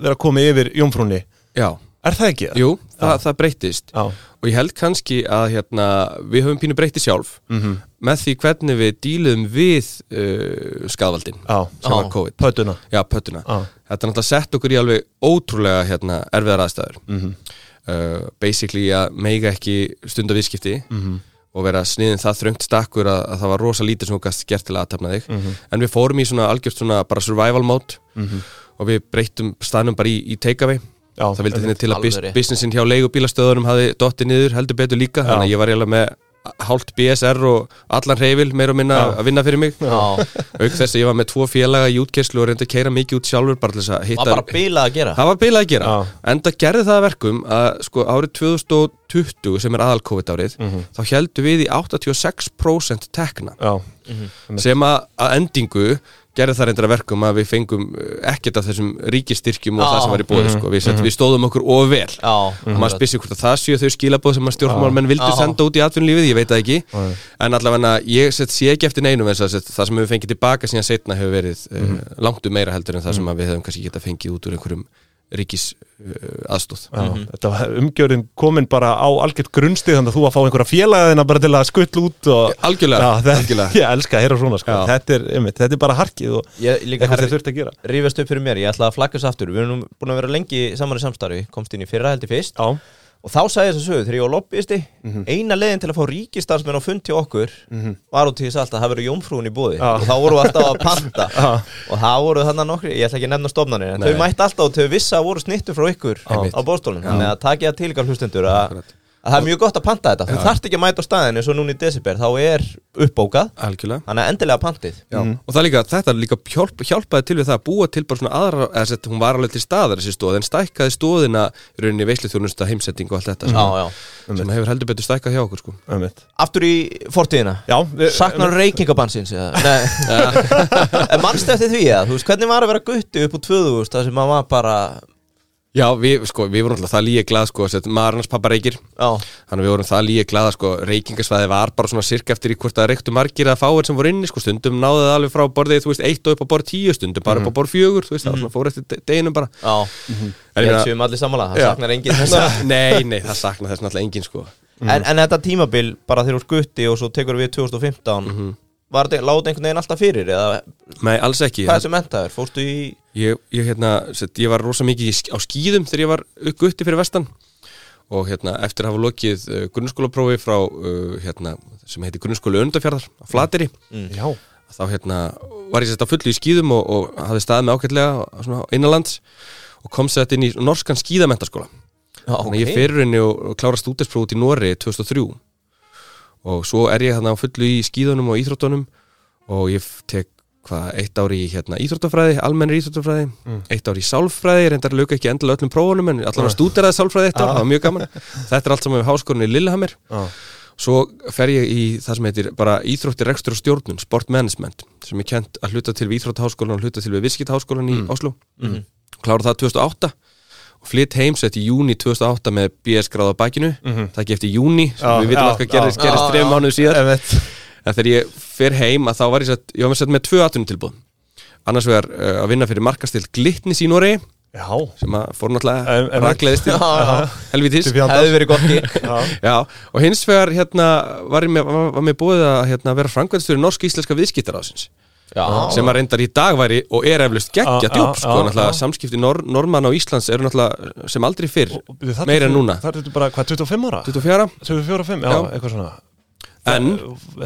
Speaker 1: verið að koma yfir jómfrúni,
Speaker 3: Já,
Speaker 1: er það ekki?
Speaker 3: jú, það, það breyttist.
Speaker 1: Já,
Speaker 3: og ég held kannski að hérna, við höfum pínu breytti sjálf
Speaker 1: Mhm.
Speaker 3: með því hvernig við díluðum við uh, skadvaldin
Speaker 1: já,
Speaker 3: sem
Speaker 2: Já.
Speaker 3: var COVID
Speaker 1: pötuna
Speaker 3: Já, pöttuna.
Speaker 1: Já.
Speaker 3: Þetta er náttúrulega sett okkur í alveg ótrúlega hérna, erfiðar aðstæður
Speaker 1: Mhm.
Speaker 3: -hmm. uh, basically að meiga ekki stunda viðskipti
Speaker 1: Mhm.
Speaker 3: -hmm. og vera sniðin það þröngt stakkur að, að það var rosa lítið sem þú gast gert til að aðtapna þig
Speaker 1: Mhm.
Speaker 3: -hmm. en við fórum í svona algjörst svona bara survival mode -hmm. og við breyttum staðnum bara í, í takeaway
Speaker 1: Já,
Speaker 3: það vildi þinni til að
Speaker 2: alveg
Speaker 3: bus-
Speaker 2: rétt.
Speaker 3: businessin hjá leigubílastöðunum hafi dottið niður heldur betur líka þannig að ég var eiginlega með hálft BSR og allan reyfil meira og minna að vinna fyrir mig
Speaker 2: Já.
Speaker 3: auk þess að ég var með tvo félaga í útkerslu og reyndi að keira mikið út sjálfur bara til þess að hitta
Speaker 2: var bara bilað að gera
Speaker 3: það var bilað að gera
Speaker 1: Já.
Speaker 3: enda gerði það að verkum að sko árið 2020 sem er aðal COVID árið
Speaker 2: Mhm.
Speaker 3: þá heldum við í 86% tekna
Speaker 1: Já,
Speaker 3: sem að, að endingu gerði það reyndar að verkum að við fengum eh, ekkert af þessum ríkistyrkjum og
Speaker 2: Já. Mhm.
Speaker 3: það sem var í bóði sko. við, sett, við stóðum okkur of vel
Speaker 2: Já,
Speaker 3: og maður spyrir sig hvort að það séu þau skilabóð sem að stjórnmálmenn vildu
Speaker 2: Já.
Speaker 3: senda út í atvinnulífið, ég veit það ekki en allavega ég sett, sé ekki eftir neinum þess að sett, það sem við fengið tilbaka síðan setna hefur verið mm.
Speaker 2: Mhm.
Speaker 3: langt um meira heldur en það sem að við hefum kannski getað fengið út úr einhverjum ríkis uh, aðstóð
Speaker 1: já, þetta var umgjörðin komin bara á algjört grunnstig þannig að þú að fá einhverja félagðina bara til að skull út og
Speaker 3: algjörlega,
Speaker 1: Já, það,
Speaker 3: algjörlega.
Speaker 1: ég elska að heyra svona sko.
Speaker 3: Já.
Speaker 1: þetta, er, einmitt, þetta er bara harkið og
Speaker 2: ég líka
Speaker 1: eitthvað sem
Speaker 2: herri,
Speaker 1: þurft að gera
Speaker 2: rífast upp fyrir mér, ég ætla að flagga þessu aftur Við erum nú búin að vera lengi saman í samstarfi Komst inn í fyrra heldur fyrst
Speaker 1: Já,
Speaker 2: Og þá sagði þess að sögu, þegar ég var lobbyisti
Speaker 1: Mhm.
Speaker 2: Eina leiðin til að fá ríkistarsmenn á fund til okkur Var út í þess alltaf að það verið jómfrúin í búði
Speaker 1: Já.
Speaker 2: Og þá voru við alltaf að panta
Speaker 1: Já.
Speaker 2: Og þá voru þannig nokkri, ég ætla ekki að nefna stofnanir En þau mætti alltaf og þau vissi að voru snittu frá ykkur
Speaker 3: Einmitt.
Speaker 2: Á bóðstólun, þannig að takja til ykkar hlustendur að, að það er mjög gott að panta þetta Þú þarft ekki að mæta á staðinu, svo núna í desiber Þá er uppbókað,
Speaker 3: algjörlega
Speaker 2: þannig að endilega pantið
Speaker 3: Já. og það líka, þetta líka hjálp, hjálpaði til við það að búa til bara svona aðra eða sett, hún var alveg til staðar þessi stóð en stækkaði stóðina í rauninni veisluþjónusta heimsetting og allt þetta sem,
Speaker 2: Já, já
Speaker 3: sem hefur heldur betur stækkað hjá okkur sko.
Speaker 1: einmitt
Speaker 2: Aftur í fortíðina
Speaker 1: Já, við-
Speaker 2: Saknar reykingabansins En mannstu eftir því að Þú veist hvernig var að vera gutti upp úr 2000 Það sem maður var bara
Speaker 3: Já, við, sko, við vorum alltaf það líka glað sko, sett, maður hans pappa reykir
Speaker 2: Já,
Speaker 3: Þannig að við vorum það líka glaða sko, reykingasvæði var bara svona sirka eftir í hvort að reyktu margir að fáir sem voru inni, sko, stundum náðu það alveg frá borðið, þú veist, eitt og upp á borð tíu, stundum bara upp á borð fjögur, þú veist, það svona fór eftir de- deginum bara.
Speaker 2: já Ég
Speaker 3: En ég
Speaker 2: held
Speaker 3: meina-
Speaker 2: séum allir sammála Það
Speaker 3: Já.
Speaker 2: saknar enginn þess að
Speaker 3: Nei, nei, það sakna þess náttúrulega engin, sko.
Speaker 2: en, en þetta tímabil bara þegar þú ert gutti og svo tekur við 2015 mm -hmm. Var þetta láta einhvern veginn alltaf fyrir Eða
Speaker 3: Nei, alls ekki.
Speaker 2: hvað er sem mentaður Fórstu í
Speaker 3: Ég, ég, hérna, sett, ég var rosa mikið í sk- á skýðum þegar ég var gutti fyrir vestan og hérna, eftir að hafa lokið uh, grunnskólaprófi frá, uh, hérna, sem heiti grunnskóla undafjarðar, á Flateri,
Speaker 1: Já,
Speaker 3: þá hérna var ég sett að fullu í skýðum og, og hafði staðið með ágætlega á- svona innanlands og komst þetta inn í norskan skýðamentaskóla
Speaker 2: Já,
Speaker 3: þannig að ég fyrir henni og, og klára stúdinspróf út í Nóri 2003 og svo er ég hérna á fullu í skýðunum og íþróttunum og ég f- tek hvað, eitt ár í hérna, íþróttafræði, almennir íþróttafræði eitt ár í sálfræði, ég reyndar að lauka ekki endilega öllum prófunum en allan að stúderaði sálfræði eitt ár, það var mjög gaman þetta er allt saman við háskórinu í Lillehammer
Speaker 1: já,
Speaker 3: Svo fer ég í það sem heitir bara íþrótti rekstur og stjórnun, sport management sem er kent að hluta til við íþróttaháskólan og hluta til við viskitaháskólan í
Speaker 1: Mm.
Speaker 3: Oslo
Speaker 1: Mm-hmm.
Speaker 3: klára það 2008 og flytt heimsett í júni 2008 með BS gráð á bakinu, það ekki eftir júni
Speaker 1: Mm-hmm.
Speaker 3: sem
Speaker 1: Já,
Speaker 3: við vitum
Speaker 1: já,
Speaker 3: allt hvað gerist,
Speaker 1: já,
Speaker 3: gerist
Speaker 2: já,
Speaker 3: þreim
Speaker 2: já.
Speaker 3: mánuðu síðar
Speaker 1: einmitt
Speaker 3: en þegar ég fer heim að þá var ég sett, ég var með sett með tvö atvinnum tilbúð annars vegar uh, að vinna fyrir markastill glitnis í Noregi
Speaker 1: Já,
Speaker 3: sem að fór
Speaker 1: Em-
Speaker 3: náttúrulega
Speaker 1: em-
Speaker 3: rakleðist til
Speaker 2: já.
Speaker 3: helvitis
Speaker 1: til fjandans.
Speaker 2: Hefði verið gott gig.
Speaker 1: Já,
Speaker 3: Já, og hins vegar hérna var, ég með, var, var mér búið að hérna, vera framkvæmstur norsk-íslenska viðskiptarásins
Speaker 2: Já,
Speaker 3: sem að reyndar í dag væri og er eflust geggja
Speaker 1: Já,
Speaker 3: djúb,
Speaker 1: já,
Speaker 3: sko,
Speaker 1: já,
Speaker 3: náttúrulega
Speaker 1: já.
Speaker 3: samskipti nor normann á Íslands eru náttúrulega sem aldrei fyrr,
Speaker 1: og- og- þarna
Speaker 3: meira en
Speaker 1: ertu-
Speaker 3: núna
Speaker 1: Þar er þetta bara, hvað, 25 ára?
Speaker 3: 24,
Speaker 1: 24 og 5, já,
Speaker 3: Já.
Speaker 1: eitthvað svona
Speaker 3: En,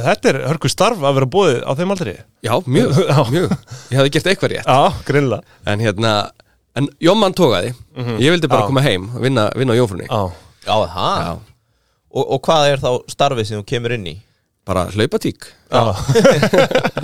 Speaker 1: Þetta er hörku starf að vera búið á þeim aldrei
Speaker 3: já, mjög, mjög Ég hefði gert eitthvað rétt
Speaker 1: Já, grinnlega
Speaker 3: En hérna, en Jómann tókaði Ég vildi
Speaker 1: Mhm.
Speaker 3: bara
Speaker 1: Já.
Speaker 3: koma heim, og vinna, vinna á jófrunni
Speaker 1: Já,
Speaker 2: Já, það og, og hvað er þá starfið sem þú kemur inn í?
Speaker 3: Bara hlaupa tík
Speaker 1: já,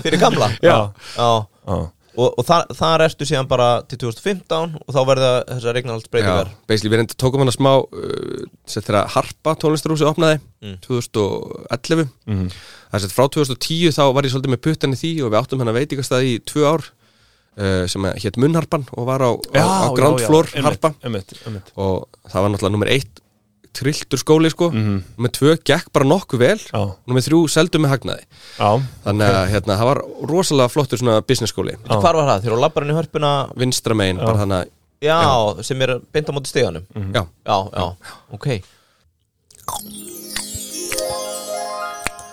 Speaker 2: Fyrir gamla?
Speaker 1: já,
Speaker 2: Já
Speaker 1: já.
Speaker 2: Og, og þar, þar ertu síðan bara til 2015 og þá verða þessar regnaldsbreytingar
Speaker 3: basically við reynda tókum hann að smá uh, sem þegar Harpa tónlistarhúsið opnaði
Speaker 1: Mm.
Speaker 3: 2011
Speaker 1: Mhm.
Speaker 3: mm. þess að frá 2010 þá var ég svolítið með puttan í því og við áttum hann að veitingastæði í tvö ár uh, sem hétt Munnharpan og var á, á, á ground floor Harpa
Speaker 1: einmitt, einmitt.
Speaker 3: og það var náttúrulega nummer eitt trilltur skóli sko, nummer tvö gekk bara nokkuð vel,
Speaker 1: Mhm. Já.
Speaker 3: nummer þrjú seldu með hagnaði,
Speaker 1: Já,
Speaker 3: þannig að hérna, það var rosalega flottur svona business skóli
Speaker 1: Já.
Speaker 2: Hvar var það? Þegar þú labbar hann í hörpuna
Speaker 3: vinstra megin, bara þannig að
Speaker 2: Já, sem er beint á móti steganum
Speaker 1: Mhm.
Speaker 3: já,
Speaker 2: Já, Mhm. já, ok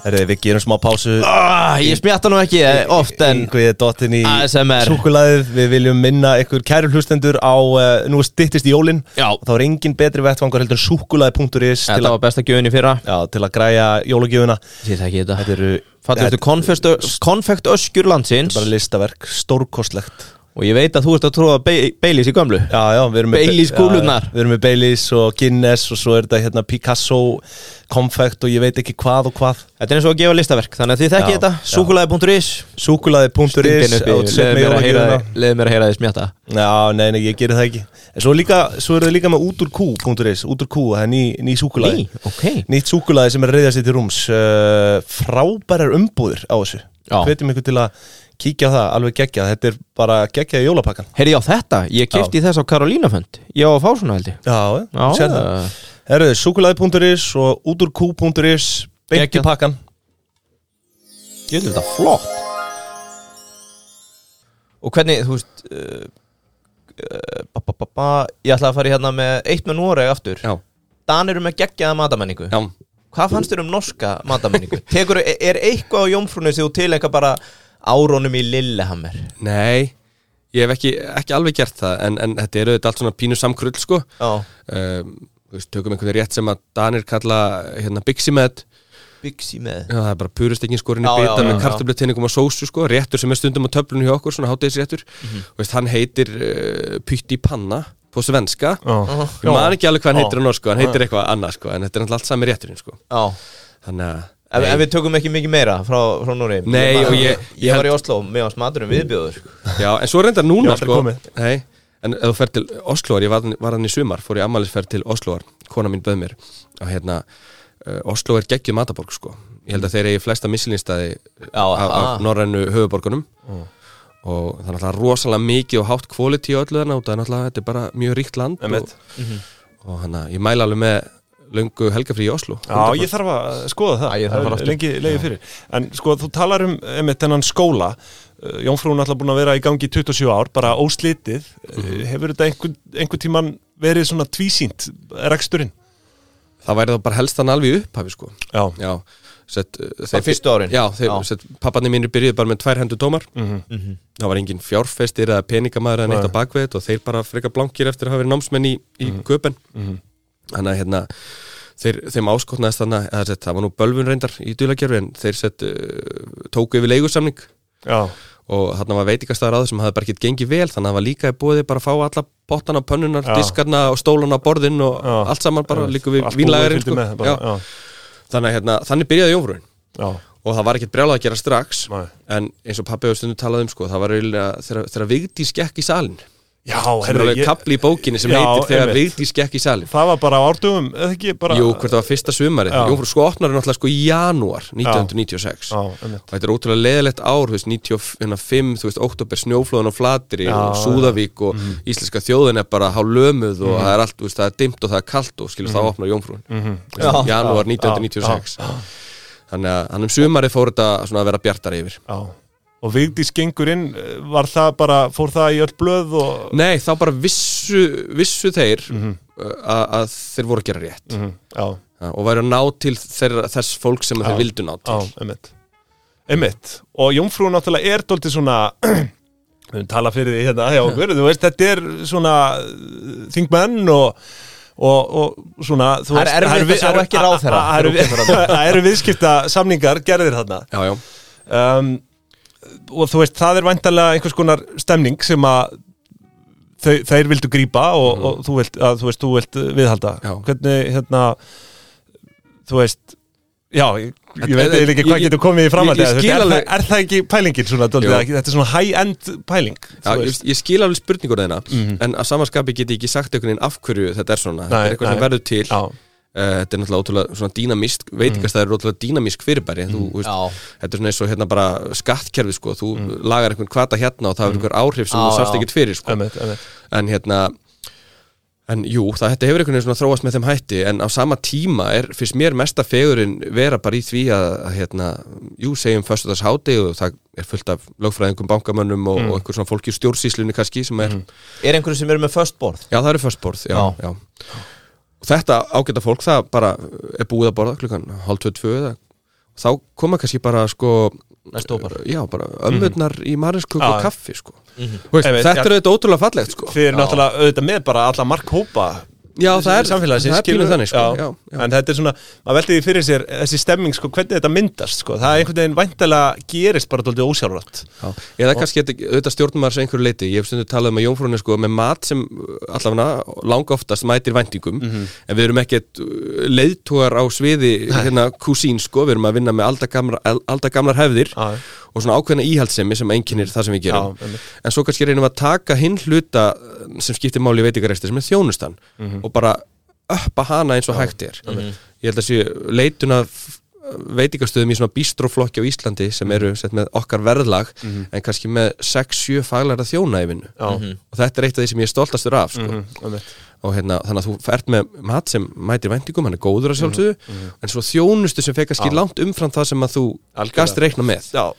Speaker 4: Herri, við gerum smá pásu
Speaker 2: ah, Ég smjatta nú ekki eh, oft en
Speaker 4: Yngvið er dottinn í
Speaker 2: ASMR.
Speaker 4: súkulaðið Við viljum minna ykkur kæru hlustendur á uh, Nú styttist í jólin
Speaker 2: Já,
Speaker 4: Þá er engin betri vettvangur heldur en súkulaði.is til,
Speaker 2: þetta
Speaker 4: að-
Speaker 2: var besta gjöðin í fyrra
Speaker 4: já, til að græja jólugjöfuna
Speaker 2: Ég þekki þetta
Speaker 4: Þetta eru
Speaker 2: Fallegustu konfektu- konfektöskjur landsins
Speaker 4: bara listaverk, stórkostlegt
Speaker 2: og ég veit að þú ert að tróða Be- Baileys í gömlu
Speaker 4: Já, já, við erum með
Speaker 2: Baileys kúlurnar.
Speaker 4: Já, Við erum með Baileys og Guinness og svo er þetta hérna Picasso konfekt og ég veit ekki hvað og hvað
Speaker 2: Þetta er eins og að gefa listaverk, þannig að þið þekki
Speaker 4: Já,
Speaker 2: þetta
Speaker 4: já.
Speaker 2: súkulaði.is
Speaker 4: Súkulaði.is
Speaker 2: Leðu mér að heyra þig- leyfðu mér að heyra þið smjatta
Speaker 4: Já, nei, nei, ég gerir það ekki En svo, líka, svo er það líka með úturkú.is Úturkú, það er ný, ný súkulaði
Speaker 2: Ný, ok.
Speaker 4: Nýtt súkulaði sem er reyðað sér til rúms uh, Frábærar umbúðir á þessu
Speaker 2: Já.
Speaker 4: Hvetjum ykkur til að kíkja á það, alveg geggjað Þetta er bara geggjað í jólapakkan
Speaker 2: Heyrði ég á þetta, ég kefti þess á Karolínafönd Ég á að fá svona held ég
Speaker 4: Já, já, sér það
Speaker 2: eh,
Speaker 4: Herðu, súkulaði.is og úturkú.is Beint
Speaker 2: Geggjað.
Speaker 4: í pakkan
Speaker 2: Ég held þetta flott Og hvernig, þú veist uh, uh, ba, ba, ba, ba, Ég ætla að fara í hérna með Eitt með Noreg aftur
Speaker 3: já,
Speaker 2: Dan eru með geggjaða matamenningu
Speaker 3: já.
Speaker 2: Hvað fannst þér um norska matamenningu? Tekur, er eitthvað á jómfrúnu sem þú tilengja bara Árónum í Lillehammer
Speaker 3: Nei, ég hef ekki, ekki alveg gert það en, en þetta eru þetta allt svona pínu samkrull sko
Speaker 2: Já,
Speaker 3: um, þú veist, tökum einhvern rétt sem að Danir kalla hérna Bixi Med
Speaker 2: byggsi með
Speaker 3: Já, það er bara purustekkin skorinn í
Speaker 2: Já, já,
Speaker 3: bita
Speaker 2: já,
Speaker 3: með
Speaker 2: já.
Speaker 3: kartöflutinningum og sósu sko, réttur sem er stundum á töflunum hjá okkur, svona hátegisréttur
Speaker 2: Mhm.
Speaker 3: Þú veist, hann heitir uh, Pytti Panna på svenska
Speaker 1: já.
Speaker 3: Ég man ekki alveg hvað hann
Speaker 1: Já.
Speaker 3: heitir á norsku, hann heitir eitthvað annað sko, en þetta er náttúrulega allt sami rétturinn sko
Speaker 2: Já
Speaker 3: Þannig að
Speaker 2: En, en við tökum ekki mikið meira frá, frá Núri
Speaker 3: Nei, og ég-
Speaker 2: ég,
Speaker 3: ég
Speaker 2: var í Oslo með hans maturum viðbjóður
Speaker 3: Já, en svo reyndar
Speaker 1: Ég
Speaker 3: núna
Speaker 1: hef aldrei
Speaker 3: sko,
Speaker 1: komið.
Speaker 3: Nei, en ef þú fer til Osloar Ég var, var hann í sumar, fór ég ammælisferð til Osloar Kona mín bauð mér og hérna, uh, Oslo er geggjum mataborg sko. Ég held að þeir eigi flesta mislinstæði
Speaker 2: Já,
Speaker 3: Af
Speaker 2: aha.
Speaker 3: norrænu höfuborgunum Og það er náttúrulega rosalega mikið og hátt quality á öllu þarna og það er náttúrulega, þetta er bara mjög ríkt land og,
Speaker 1: Einmitt.
Speaker 3: og hann að ég mæla alveg með löngu helgafrí í Oslo
Speaker 1: Já, ég þarf að skoða það,
Speaker 2: Já, ég þarf að fara
Speaker 1: það er lengi leiði fyrir En sko, þú talar um einmitt þennan skóla Uh, Jónfrúin er alltaf búin að vera í gangi í 27 ár, bara óslitið
Speaker 2: Mhm.
Speaker 1: Uh, Hefur þetta einhver, einhver tíman verið svona tvísýnt, reksturinn?
Speaker 3: Það væri þá bara helst hann alveg í upphafi sko.
Speaker 1: Já,
Speaker 3: Já, set, eh, þeir,
Speaker 2: fyrstu árin?
Speaker 3: Já, þeir,
Speaker 2: Já.
Speaker 3: Set, papparnir mínir byrjuðu bara með tvær hendur dómar
Speaker 1: Mhm.
Speaker 2: Mhm.
Speaker 3: Það var engin fjárfestir eða peningamæður eða neitt á bakveit og þeir bara frekar blankir eftir að hafa verið námsmenn í, í
Speaker 1: Mhm.
Speaker 3: köpen Þannig að hérna Þeir, þeim áskotnaðist þannig að set, það var nú bölvun reyndar í dulagerfi en þeir set, uh, tóku yfir leigusamning
Speaker 1: já,
Speaker 3: og þarna var veitingastæðar áður sem hafði bara gett gengið vel þannig að það var líka í bóði bara að fá alla pottana, pönnunar,
Speaker 1: Já.
Speaker 3: diskarna og stólana, borðin og
Speaker 1: Já.
Speaker 3: allt saman bara líka við
Speaker 1: Allt búið
Speaker 3: vínlagarinn
Speaker 1: fylgdi
Speaker 3: sko.
Speaker 1: með, bara,
Speaker 3: Já. Þannig að hérna, þannig byrjaði jómfrúin
Speaker 1: Já,
Speaker 3: og það var ekkert brjálað að gera strax
Speaker 1: Nei.
Speaker 3: en eins og pappi hefur stundum talað um sko, það var eiginlega þegar, þegar Vigdís gekk í salin sem
Speaker 1: já, já
Speaker 3: er
Speaker 1: herru,
Speaker 3: alveg
Speaker 1: ég,
Speaker 3: kapli í bókinni sem
Speaker 1: Já,
Speaker 3: heitir þegar
Speaker 1: einmitt.
Speaker 3: Vigdís gekk í salin
Speaker 1: það var bara á árdugum, eða ekki bara
Speaker 3: Jú, hvort það var fyrsta sumari
Speaker 1: Já.
Speaker 3: Jómfrú sko opnar er náttúrulega sko í janúar 1996
Speaker 1: Já, einmitt
Speaker 3: og þetta er ótrúlega leðilegt ár þú veist, 95, þú veist, oktober, snjóflóðan og flatri og
Speaker 1: já. mhm.
Speaker 3: Súðavík og íslenska þjóðin er bara há lömuð og það er allt, þú veist, það er dimmt og það er kalt og skilur
Speaker 1: Mhm.
Speaker 3: það opnar jómfrún mm
Speaker 2: Já.
Speaker 3: -hmm. janúar 1996 þannig að hann um sumarið fór þetta svona að vera bjartar yfir
Speaker 1: Já, og Vigdís gengur inn, eh, var það bara, fór það í öll blöð og
Speaker 3: Nei, þá bara vissu, vissu þeir mm að þeir voru að gera rétt
Speaker 1: Mhm, Já,
Speaker 3: mm. og væri að ná til þeirra, þess fólk sem þeir vildu ná til
Speaker 1: Já, einmitt Einmitt, og jómfrú náttúrulega er dóltið svona við höfum talað fyrir því hérna hjá okkur, þú veist, þetta er svona uh, eh, þingmenn og og, og svona þú
Speaker 2: Það er erfitt
Speaker 1: það eru
Speaker 2: að
Speaker 1: við-
Speaker 2: sjá
Speaker 1: það eru-
Speaker 2: ekki ráðherra
Speaker 1: það eru
Speaker 2: þegar þú
Speaker 1: við- það eru viðskipta samningar gerðir þarna
Speaker 3: já, já,
Speaker 1: um, og þú veist, það er væntanlega einhvers konar stemning sem að þau, þeir vildu grípa og, og þú, vilt, að, þú veist, þú vilt viðhalda
Speaker 3: Mhm. Já.
Speaker 1: hvernig, hérna þú veist Já, ég, ég
Speaker 3: Þetta-
Speaker 1: veit eiginlega ekki hvað
Speaker 3: ég-
Speaker 1: getur komið í framhaldi
Speaker 3: ég- ég
Speaker 1: þú veist,
Speaker 3: skil
Speaker 1: er,
Speaker 3: alveg-
Speaker 1: það, er það ekki pælingin svona, dálítið,
Speaker 3: Jú.
Speaker 1: ekki, þetta er svona high-end pæling
Speaker 3: já
Speaker 1: þú
Speaker 3: ég,
Speaker 1: veist.
Speaker 3: ég skil alveg spurningur þeirna en að samanskapi get ég ekki sagt einhvern veginn af hverju þetta er svona, þetta
Speaker 1: Nei,
Speaker 3: er eitthvað sem
Speaker 1: nei.
Speaker 3: verður til
Speaker 1: Já,
Speaker 3: Uh, þetta er náttúrulega ótrúlega svona dýnamísk veitingastæður er ótrúlega dýnamísk fyrirbæri þú, þú veist,
Speaker 2: Já.
Speaker 3: þetta er svona eins og hérna bara skattkerfi sko, þú lagar einhvern kvata hérna og það er einhver áhrif sem
Speaker 2: Já,
Speaker 3: þú sást
Speaker 2: já.
Speaker 3: ekkert fyrir sko.
Speaker 1: emmitt, emmitt
Speaker 3: en hérna en jú, það þetta hefur einhvern veginn svona þróast með þeim hætti en á sama tíma er, finnst mér mesta fegurinn vera bara í því að, að hérna, jú, segjum föstudags háti og það er fullt af lögfræðingum bankamönnum
Speaker 1: Mm.
Speaker 3: og, og einhver svona fólki í stjórnsýslunni kannski sem er
Speaker 2: Er einhverju sem eru með föst borð?
Speaker 3: Já, það eru föstborð, já,
Speaker 2: Já.
Speaker 3: já. Og þetta ágæta fólk, það bara er búið að borða klukkan hálf tvö, tvö eða þá koma kannski bara sko
Speaker 2: Næst ópar.
Speaker 3: Já, bara ömmurnar í
Speaker 1: Mhm.
Speaker 3: marinskuk
Speaker 1: Já, já.
Speaker 3: og
Speaker 1: Mhm.
Speaker 3: kaffi sko. Þú veist,
Speaker 1: Einmitt,
Speaker 3: Þetta
Speaker 1: já.
Speaker 3: er auðvitað ótrúlega fallegt sko.
Speaker 1: Þið eru náttúrulega auðvitað með bara alla markhópa
Speaker 3: Já, það er
Speaker 1: samfélagsins
Speaker 3: það er
Speaker 1: skilur-
Speaker 3: pínu þannig sko. já. Já,
Speaker 1: en þetta er svona, maður veldi því fyrir sér þessi stemming, sko, hvernig þetta myndast sko. það er einhvern veginn væntalega gerist bara dóldi ósjálfrátt
Speaker 3: já. Eða kannski þetta- auðvitað stjórnum maður sem einhverju leiti Ég hef stundu talað um að jómfrúni sko, með mat sem uh, allavega langa oftast mætir væntingum en við erum ekkert uh, leiðtúar á sviði hérna kúsín sko, við erum að vinna með aldagamlar, aldagamlar hefðir
Speaker 1: Já.
Speaker 3: og svona ákveðna íhaldsemi sem enginnir það sem við gerum
Speaker 1: Já, einmitt.
Speaker 3: en svo kannski reynum við að taka hinn hluta eh, sem skiptir máli í veitingarekstri sem er þjónustan
Speaker 1: Mhm.
Speaker 3: og bara uppa hana eins og hægt er Mhm. ég held að séu leituna veitingastöðum í svona bístróflokki á Íslandi sem
Speaker 1: Mhm.
Speaker 3: eru sett með okkar verðlag en kannski með 6-7 faglæra þjóna í vinnu
Speaker 1: Já. Mhm.
Speaker 3: og þetta er eitt af því sem ég er stoltastur af sko.
Speaker 1: Einmitt.
Speaker 3: og hérna, þannig að þú fært með mat sem mætir væntingum, hann er góður
Speaker 1: Mhm.
Speaker 3: að sjálfsögðu en svo þjónustu sem fekk kannski langt umfram það sem að þú
Speaker 1: Algjörlega.
Speaker 3: gast reikna með
Speaker 1: Já,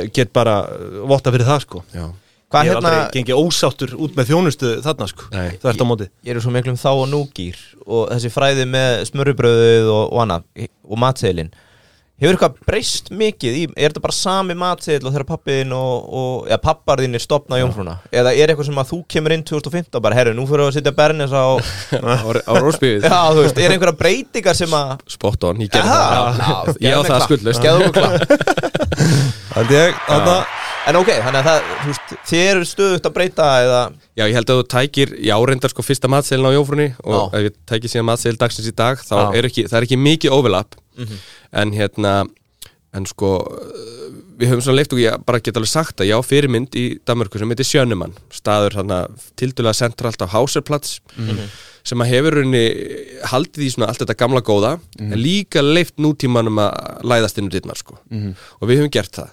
Speaker 1: ég get bara uh, votta fyrir það sko
Speaker 3: Já.
Speaker 2: Hvað
Speaker 1: Ég hef
Speaker 2: hérna,
Speaker 1: aldrei gengið ósáttur út með þjónustu þarna sko
Speaker 3: Nei.
Speaker 1: Það ert á móti
Speaker 2: ég eru svo miklum þá og núgýr og þessi fræði með smörubröðuð og, og annað og matseðilinn Hefur eitthvað breyst mikið í, er þetta bara sami matseðil og þegar pappiðin og, og ja, pappar þín er stopnað jómfrúna? Eða er eitthvað sem að þú kemur inn 2015 og bara, herru, nú fyrir við að sitja bernis á,
Speaker 3: á, á rósbygðu
Speaker 2: já, þú veist, er einhverja breytingar sem að
Speaker 3: spot on,
Speaker 2: hérna.
Speaker 3: ég gerði
Speaker 2: Aha, já,
Speaker 3: það ég á það skuldlaust
Speaker 2: Skeðum og klap hérna
Speaker 1: Þannig ég, þarna
Speaker 2: En ok, þannig að það, þú veist, þið eru stöðugt að breyta eða
Speaker 3: já, ég held að þú tækir, já, reyndar sko fyrsta matseilin á jófrunni og
Speaker 2: Já.
Speaker 3: ef ég tækir síðan matseil dagsins í dag, þá
Speaker 1: Já.
Speaker 3: er ekki, það er ekki mikið overlap
Speaker 2: Mhm.
Speaker 3: en hérna en sko, uh, við höfum svona leift og ég bara get alveg sagt að ég á fyrirmynd í Danmörku sem heitir Sjönumann staður þarna tildulega sentralt á Háserplats sem að hefur runni haldið í svona allt þetta gamla góða en líka leift nútímanum að læðast inn úr dittnar sko og við höfum gert það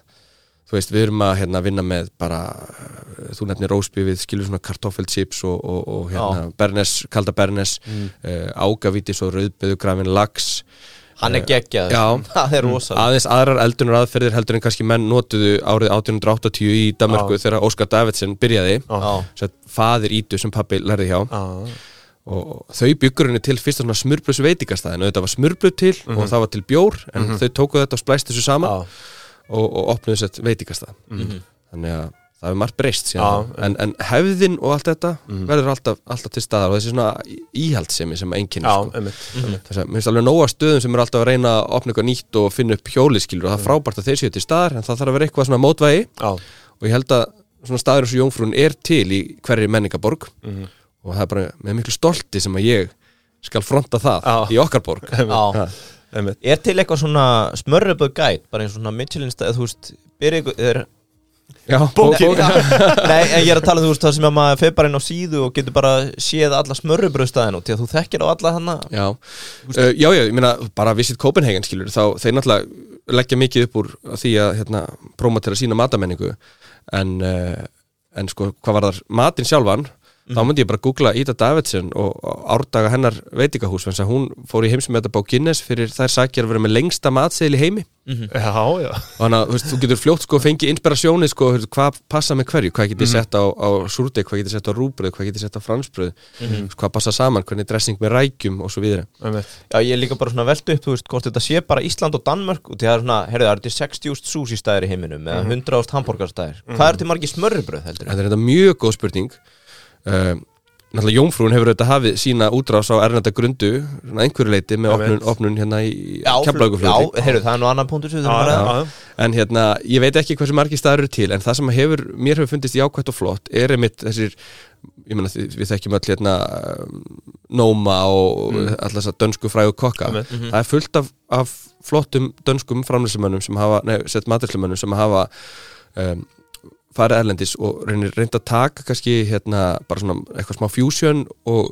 Speaker 3: þú veist, við erum að hérna, vinna með bara, eh, þú nefnir rósbí við skilur svona kartoffelchips og, og, og hérna, bernes, kalda bernes mm. ágavítis og rauðbeðugrafin lax
Speaker 2: hann er geggjað
Speaker 3: Já.
Speaker 2: Það er rosa
Speaker 3: aðeins aðrar eldunar aðferðir heldur en kannski menn notuðu árið 1880 í Danmarku þegar Óskar Davidsen byrjaði
Speaker 2: Já.
Speaker 3: Sett, faðir Ítu sem pappi lærði hjá
Speaker 1: Já.
Speaker 3: og þau byggur henni til fyrsta svona smurblöðs veitingastæðin auðvitað var smurblöð til og það var til bjór en þau tóku þetta og splæst þessu
Speaker 1: Mhm.
Speaker 3: saman
Speaker 1: Já. Mhm.
Speaker 3: og, og opnuðu þess að veitingastæð þannig að það er margt breyst síðan
Speaker 1: Já, Mhm.
Speaker 3: þá. en, en hefðin og allt þetta verður alltaf, alltaf til staðar og þessi svona í- íhaldssemi sem einkennir
Speaker 1: Já, um
Speaker 3: sko.
Speaker 1: einmitt
Speaker 3: þess að mér finnst alveg nóga stöðum sem eru alltaf að reyna að opna eitthvað nýtt og finna upp hjóliskilur og það er frábært að þeir séu til staðar en það þarf að vera eitthvað svona mótvægi
Speaker 1: Já, um
Speaker 3: og ég held að svona staður eins og Jónfrún er til í hverri menningaborg og það er bara með miklu stolti sem að ég skal fronta það
Speaker 1: Já.
Speaker 3: í okkar borg
Speaker 2: Já.
Speaker 1: einmitt
Speaker 2: Er til eitthvað svona smörröpuð gæt bara eins og svona Michelin stæð, þú veist byrja ykkur er,
Speaker 3: Já,
Speaker 2: Nei, Nei, en ég er að tala um, þú veist það sem að maður fer bara inn á síðu og getur bara séð alla smörrubröðstæðin og því að þú þekkir á alla hana
Speaker 3: Já, uh, já, já, ég meina bara visit Copenhagen skilur þá þeir náttúrulega leggja mikið upp úr því að hérna, próma til að sína matamenningu en, uh, en sko hvað var þar matinn sjálfan þá myndi ég bara googla Ida Davidsen og árdaga hennar veitingahús þannig að hún fór í heimsmetabá Guinness fyrir þær sakir að vera með lengsta matseðil í heimi
Speaker 1: Já, um já
Speaker 3: og þannig að þú veist, þú getur fljótt sko fengið inspirasjónið sko, þú veist, hvað passa með hverju hvað getur sett á, á súrdeg, hvað getur sett á rúbröð hvað getur sett á fransbröð hvað passa saman, hvernig dressing með rækjum og svo viðri
Speaker 1: Einmitt
Speaker 2: Já, ég er líka bara svona veldu upp, þú veist, hvort þetta sé bara Ísland og Danmörk og því það er svona, heyrðu, það eru til 60.000 súsístæðir í heiminum eða
Speaker 3: Mhm. hérna
Speaker 2: 100.000 hambúrgarstæðir Hvað eru til margir smörrubröð heldur?
Speaker 3: Þetta er þetta mjög góð spurning um, náttúrulega Jónfrún hefur auðvitað hafið sína útrás á Ernanda Grundu svona einhverju leiti með opnun, opnun hérna í kemlaugufljóti
Speaker 2: Já, heyrðu, það er nú annan punktur sem við þurfum að ræða.
Speaker 1: já,
Speaker 3: En hérna, ég veit ekki hversu margir staðar eru til en það sem hefur, mér hefur fundist jákvætt og flott er einmitt þessir ég meina þið- við þekkjum öll hérna um, Nóma og mm. alltaf þess að dönsku frægu kokka það er fullt af, af flottum dönskum framlýsumönnum sem hafa, nei, sett matrislemönnum sem hafa um, farið erlendis og reynir reynd að taka kannski hérna bara svona eitthvað smá fusion og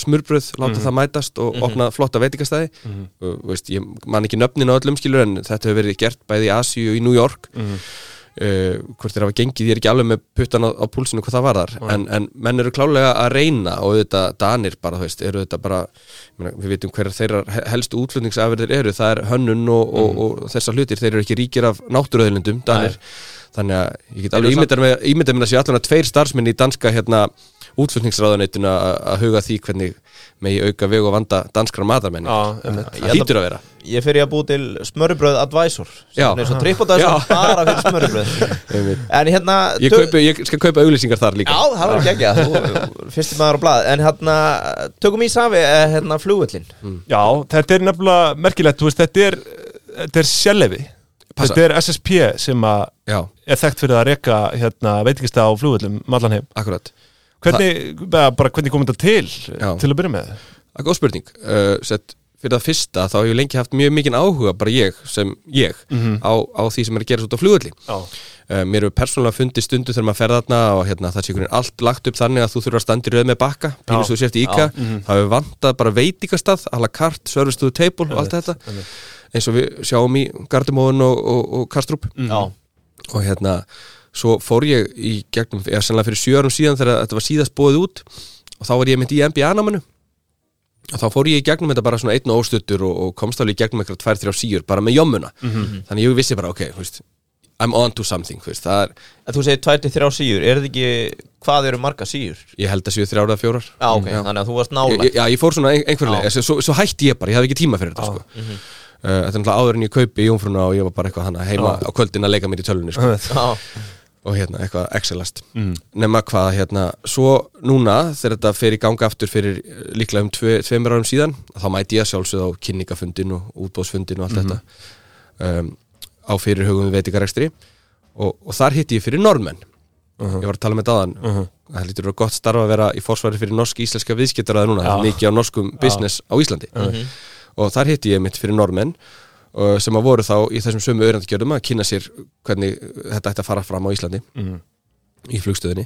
Speaker 3: smurbröð láta það mætast og opna flotta veitingastæði og, veist, ég man ekki nöfnin á öllum skilur en þetta hefur verið gert bæði í Asíu og í New York uh, hvort þeir hafa gengið, ég er ekki alveg með puttan á, á púlsinu hvað það var þar en, en menn eru klálega að reyna og þetta danir bara, þú veist, eru þetta bara ég meina, við vitum hverjar þeirra he- helstu útlutningsafirðir eru, það er hönnun og, og, og þessar hlutir, þeir eru ekki ríkir af náttúröðlundum, danir þannig að ég get alveg ímyndað mér ímyndað mér að sé allan að tveir starfsmenn í danska hérna útflutningsráðuneytinu að að huga að því hvernig megi auka veg og vanda danskra matarmenni
Speaker 1: já, um já,
Speaker 2: Ég
Speaker 3: það
Speaker 2: held að-
Speaker 3: hýtur að vera
Speaker 2: Ég fer ég að búi til smörbröð advisor
Speaker 3: Já.
Speaker 2: sem er svo trippodvisor bara fyrir smörbröð En hérna
Speaker 3: ég,
Speaker 2: tö-
Speaker 3: kaupi, ég skal kaupa auglýsingar þar líka
Speaker 2: Já, það var ekki ekki Fyrsti maður á blað En hérna, tökum í safi eh, hérna, flugvöllin
Speaker 3: Mm.
Speaker 1: já, þetta er nefnilega merkilegt, þú veist, þetta er þetta er sjælefi,
Speaker 3: Passa.
Speaker 1: þetta er SSP sem að
Speaker 3: Já,
Speaker 1: er þekkt fyrir að reka hérna, veitingasta á flugvöllum um allan heim
Speaker 3: akkurat
Speaker 1: hvernig, eða bara, hvernig kom þetta til
Speaker 3: Já.
Speaker 1: til að byrja með
Speaker 3: Það er góð spurning uh, sett, Fyrir það fyrsta þá hef ég lengi haft mjög mikinn áhuga bara ég sem ég á, á því sem er að gera svo út á flugulli
Speaker 1: já,
Speaker 3: uh, Mér hefur persónulega fundið stundu þegar maður ferða þarna og hérna, það sé einhvern veginn allt lagt upp þannig að þú þurfur að standa í röð með bakka pínus þú séft í IKA, það hefur vantað bara veitingastað, alla kart, service to the table og allt þetta, eins og við sjáum í Gardumóðun og, og, og Kastrup
Speaker 2: Já,
Speaker 3: og hérna svo fór ég í gegnum, eða sannlega fyrir sjö árum síðan þegar þetta var síðast bóðið út og þá var ég mynd í NBA námanu og þá fór ég í gegnum þetta bara svona einn og óstuttur og, og komst alveg í gegnum eitthvað tvær, þrjá síur bara með jommuna, þannig ég vissi bara ok, þú veist, I'm on to something þú veist, það er,
Speaker 2: en þú segir 23 síur Er þetta ekki, hvað eru marga síur?
Speaker 3: ég held að séu þrjár eða fjórar
Speaker 2: Já, ok, þannig að þú varst nála
Speaker 3: Mm, Ég- ég- Já, ég fór svona ein- einhverlega, svo, svo hætti ég bara, ég hafði ekki tíma fyrir þetta sko. uh, Þetta er náttúrulega áður en ég kaupi í Jónfruna og ég var bara eitthvað hana heima á kvöldin að leika mér í tölunni sko.
Speaker 2: Já,
Speaker 3: og hérna eitthvað excelast mm. nema hvað hérna svo núna þegar þetta fer í ganga aftur fyrir eh, líklega um tve, tveimur árum síðan þá mæti ég að sjálfsögð á kynningafundin og útbóðsfundin og allt þetta um, á fyrir hugum veitingarekstri og, og þar hitti ég fyrir normenn ég var að tala með daðan það lítur að vera gott starfa að vera í forsvari fyrir norsk-íslenska viðskiptaraða núna það er mikið á norskum business á Íslandi og þar hitti ég mitt fyrir normenn og sem að voru þá í þessum sömu öyrandgjörðum að kynna sér hvernig þetta ætti að fara fram á Íslandi í flugstöðinni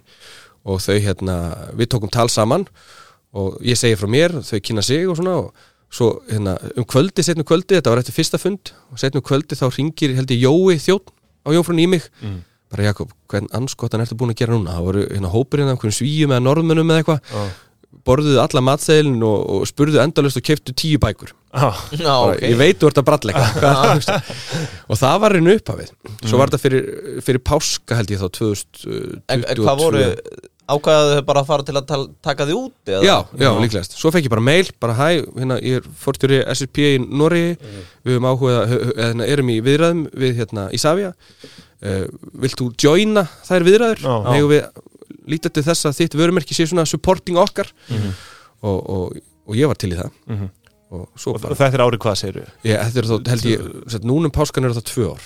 Speaker 3: og þau hérna, við tókum tal saman og ég segi frá mér, þau kynna sig og svona og svo hérna, um kvöldi, setnum kvöldi, þetta var eftir fyrsta fund og setnum kvöldi þá ringir held ég Jói þjótt á Jónfrún í mig bara Jakob, hvern anskotan ertu búin að gera núna það voru hérna hópur hérna, einhverjum svíum eða norðmönnum eða eitthvað, borðuðu alla matseðilin og, og spurðu endalust og keftu tíu bækur
Speaker 2: já,
Speaker 3: bara,
Speaker 2: Ah, ok
Speaker 3: ég veit þú ert að bralla eitthvað og það var einu upphafið
Speaker 2: Mm.
Speaker 3: svo var þetta fyrir, fyrir páska held ég þá 2022
Speaker 2: En en hvað voru, ákvæðaðu þau bara að fara til að tal- taka þig út? eða?
Speaker 3: Já, já, líklegast. Svo fekk ég bara mail, bara hæ, hérna, ég er forstjóri SSP í Noregi,
Speaker 1: Mhm.
Speaker 3: við höfum áhuga, hérna, erum í viðræðum við hérna Isavia, uh, vilt þú joina þær viðræður?
Speaker 1: Já.
Speaker 3: Megum við líta til þess að þitt vörumerki sé svona supporting okkar
Speaker 1: Mhm.
Speaker 3: og, og, og ég var til í það og svo
Speaker 1: og
Speaker 3: bara,
Speaker 1: þetta er árið hvað segir við
Speaker 3: ég, þetta er þá, held ég, sett, núna um páskan eru það tvö ár,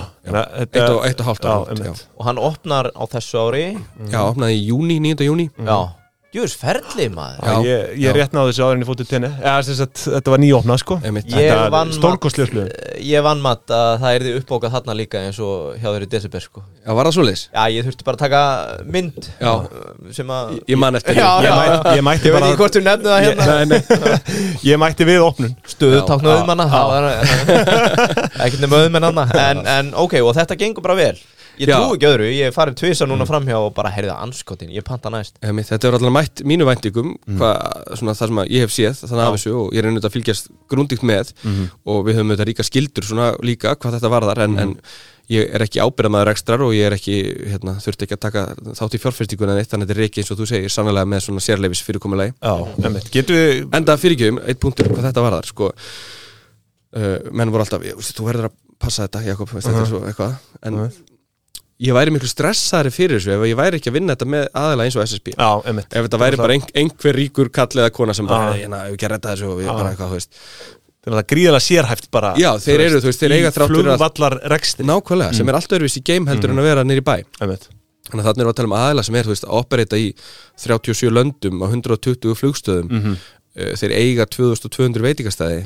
Speaker 3: eitt og, eitt og hálft ár,
Speaker 1: já,
Speaker 3: já,
Speaker 1: einmitt.
Speaker 2: Og hann opnar á þessu ári
Speaker 3: já, opnaði í júni, 9. júni,
Speaker 1: Mhm.
Speaker 2: Já, djúrs ferli maður
Speaker 3: Já,
Speaker 1: ég, ég
Speaker 3: já.
Speaker 1: rétt náði þessu áður en ég fótið tenni eða, sem sagt, þetta var nýjófna sko
Speaker 3: einmitt,
Speaker 2: Ég
Speaker 1: Þetta er
Speaker 2: vann mat-
Speaker 1: stórkostleg upplifun.
Speaker 2: Ég vann mat að það erði uppbókað þarna líka eins og hjá þeirri Decibel sko
Speaker 3: já, var það svoleiðis?
Speaker 2: Já, ég þurfti bara að taka mynd
Speaker 3: Já.
Speaker 2: uh, sem að
Speaker 3: Ég man eftir því.
Speaker 1: Ég mætti- ég mætti
Speaker 2: Ég veit
Speaker 1: bara-
Speaker 2: ekki hvort þú nefnir það hérna
Speaker 1: Nei, nei. ég mætti við opnun
Speaker 2: Stöðutáknu auðmanna það var- Ekkert nefnum auðmenn annað en, en ok, og þetta gengur bara vel Ég
Speaker 3: Já. Mm.
Speaker 2: trú ekki öðru, ég er farin tvisa núna framhjá og bara heyrði að anskotin, ég panta næst
Speaker 3: Emi, þetta er allavega mætt mínu væntingum hvað, svona, það sem að ég hef séð þannig af þessu og ég er einhvern að fylgjast grundíkt með og við höfum auðvitað ríka skildur svona líka hvað þetta varðar en, en ég er ekki ábyrðamaður ekstrar og ég er ekki hérna, þurfti ekki að taka þátt í fjárfyrstinguna neitt þannig að þetta er ekki eins og þú segir sannlega með svona sérleifis fyrirkomulegi
Speaker 1: getur við
Speaker 3: enda fyrirgjöfum, eitt punktur hvað þetta varðar sko, uh, menn voru alltaf, ég, veist, þú verður að passa þetta Jakob, veist, þetta er svo eitthvað en ég væri miklu stressaðari fyrir þessu ef ég væri ekki að vinna þetta með aðalega eins og SSB
Speaker 1: Já, emitt
Speaker 3: ef þetta væri bara ein, einhver ríkur kall eða kona sem bara, hérna, ef ekki að redda þessu og við bara eitthvað, þú veist
Speaker 1: Þannig að það gríðala sérhæft bara
Speaker 3: Já, þeir eru, þú veist, þeir eiga þrátt fyrir að-
Speaker 1: Flugvallar reksti
Speaker 3: nákvæmlega, sem er alltaf öðruvísi í game heldur en að vera nýri bæ þannig að þarna erum við að tala um aðila sem er, þú veist, að operita í 37 löndum á 120 flugstöðum Eh, þeir eiga 2200 veitingastæði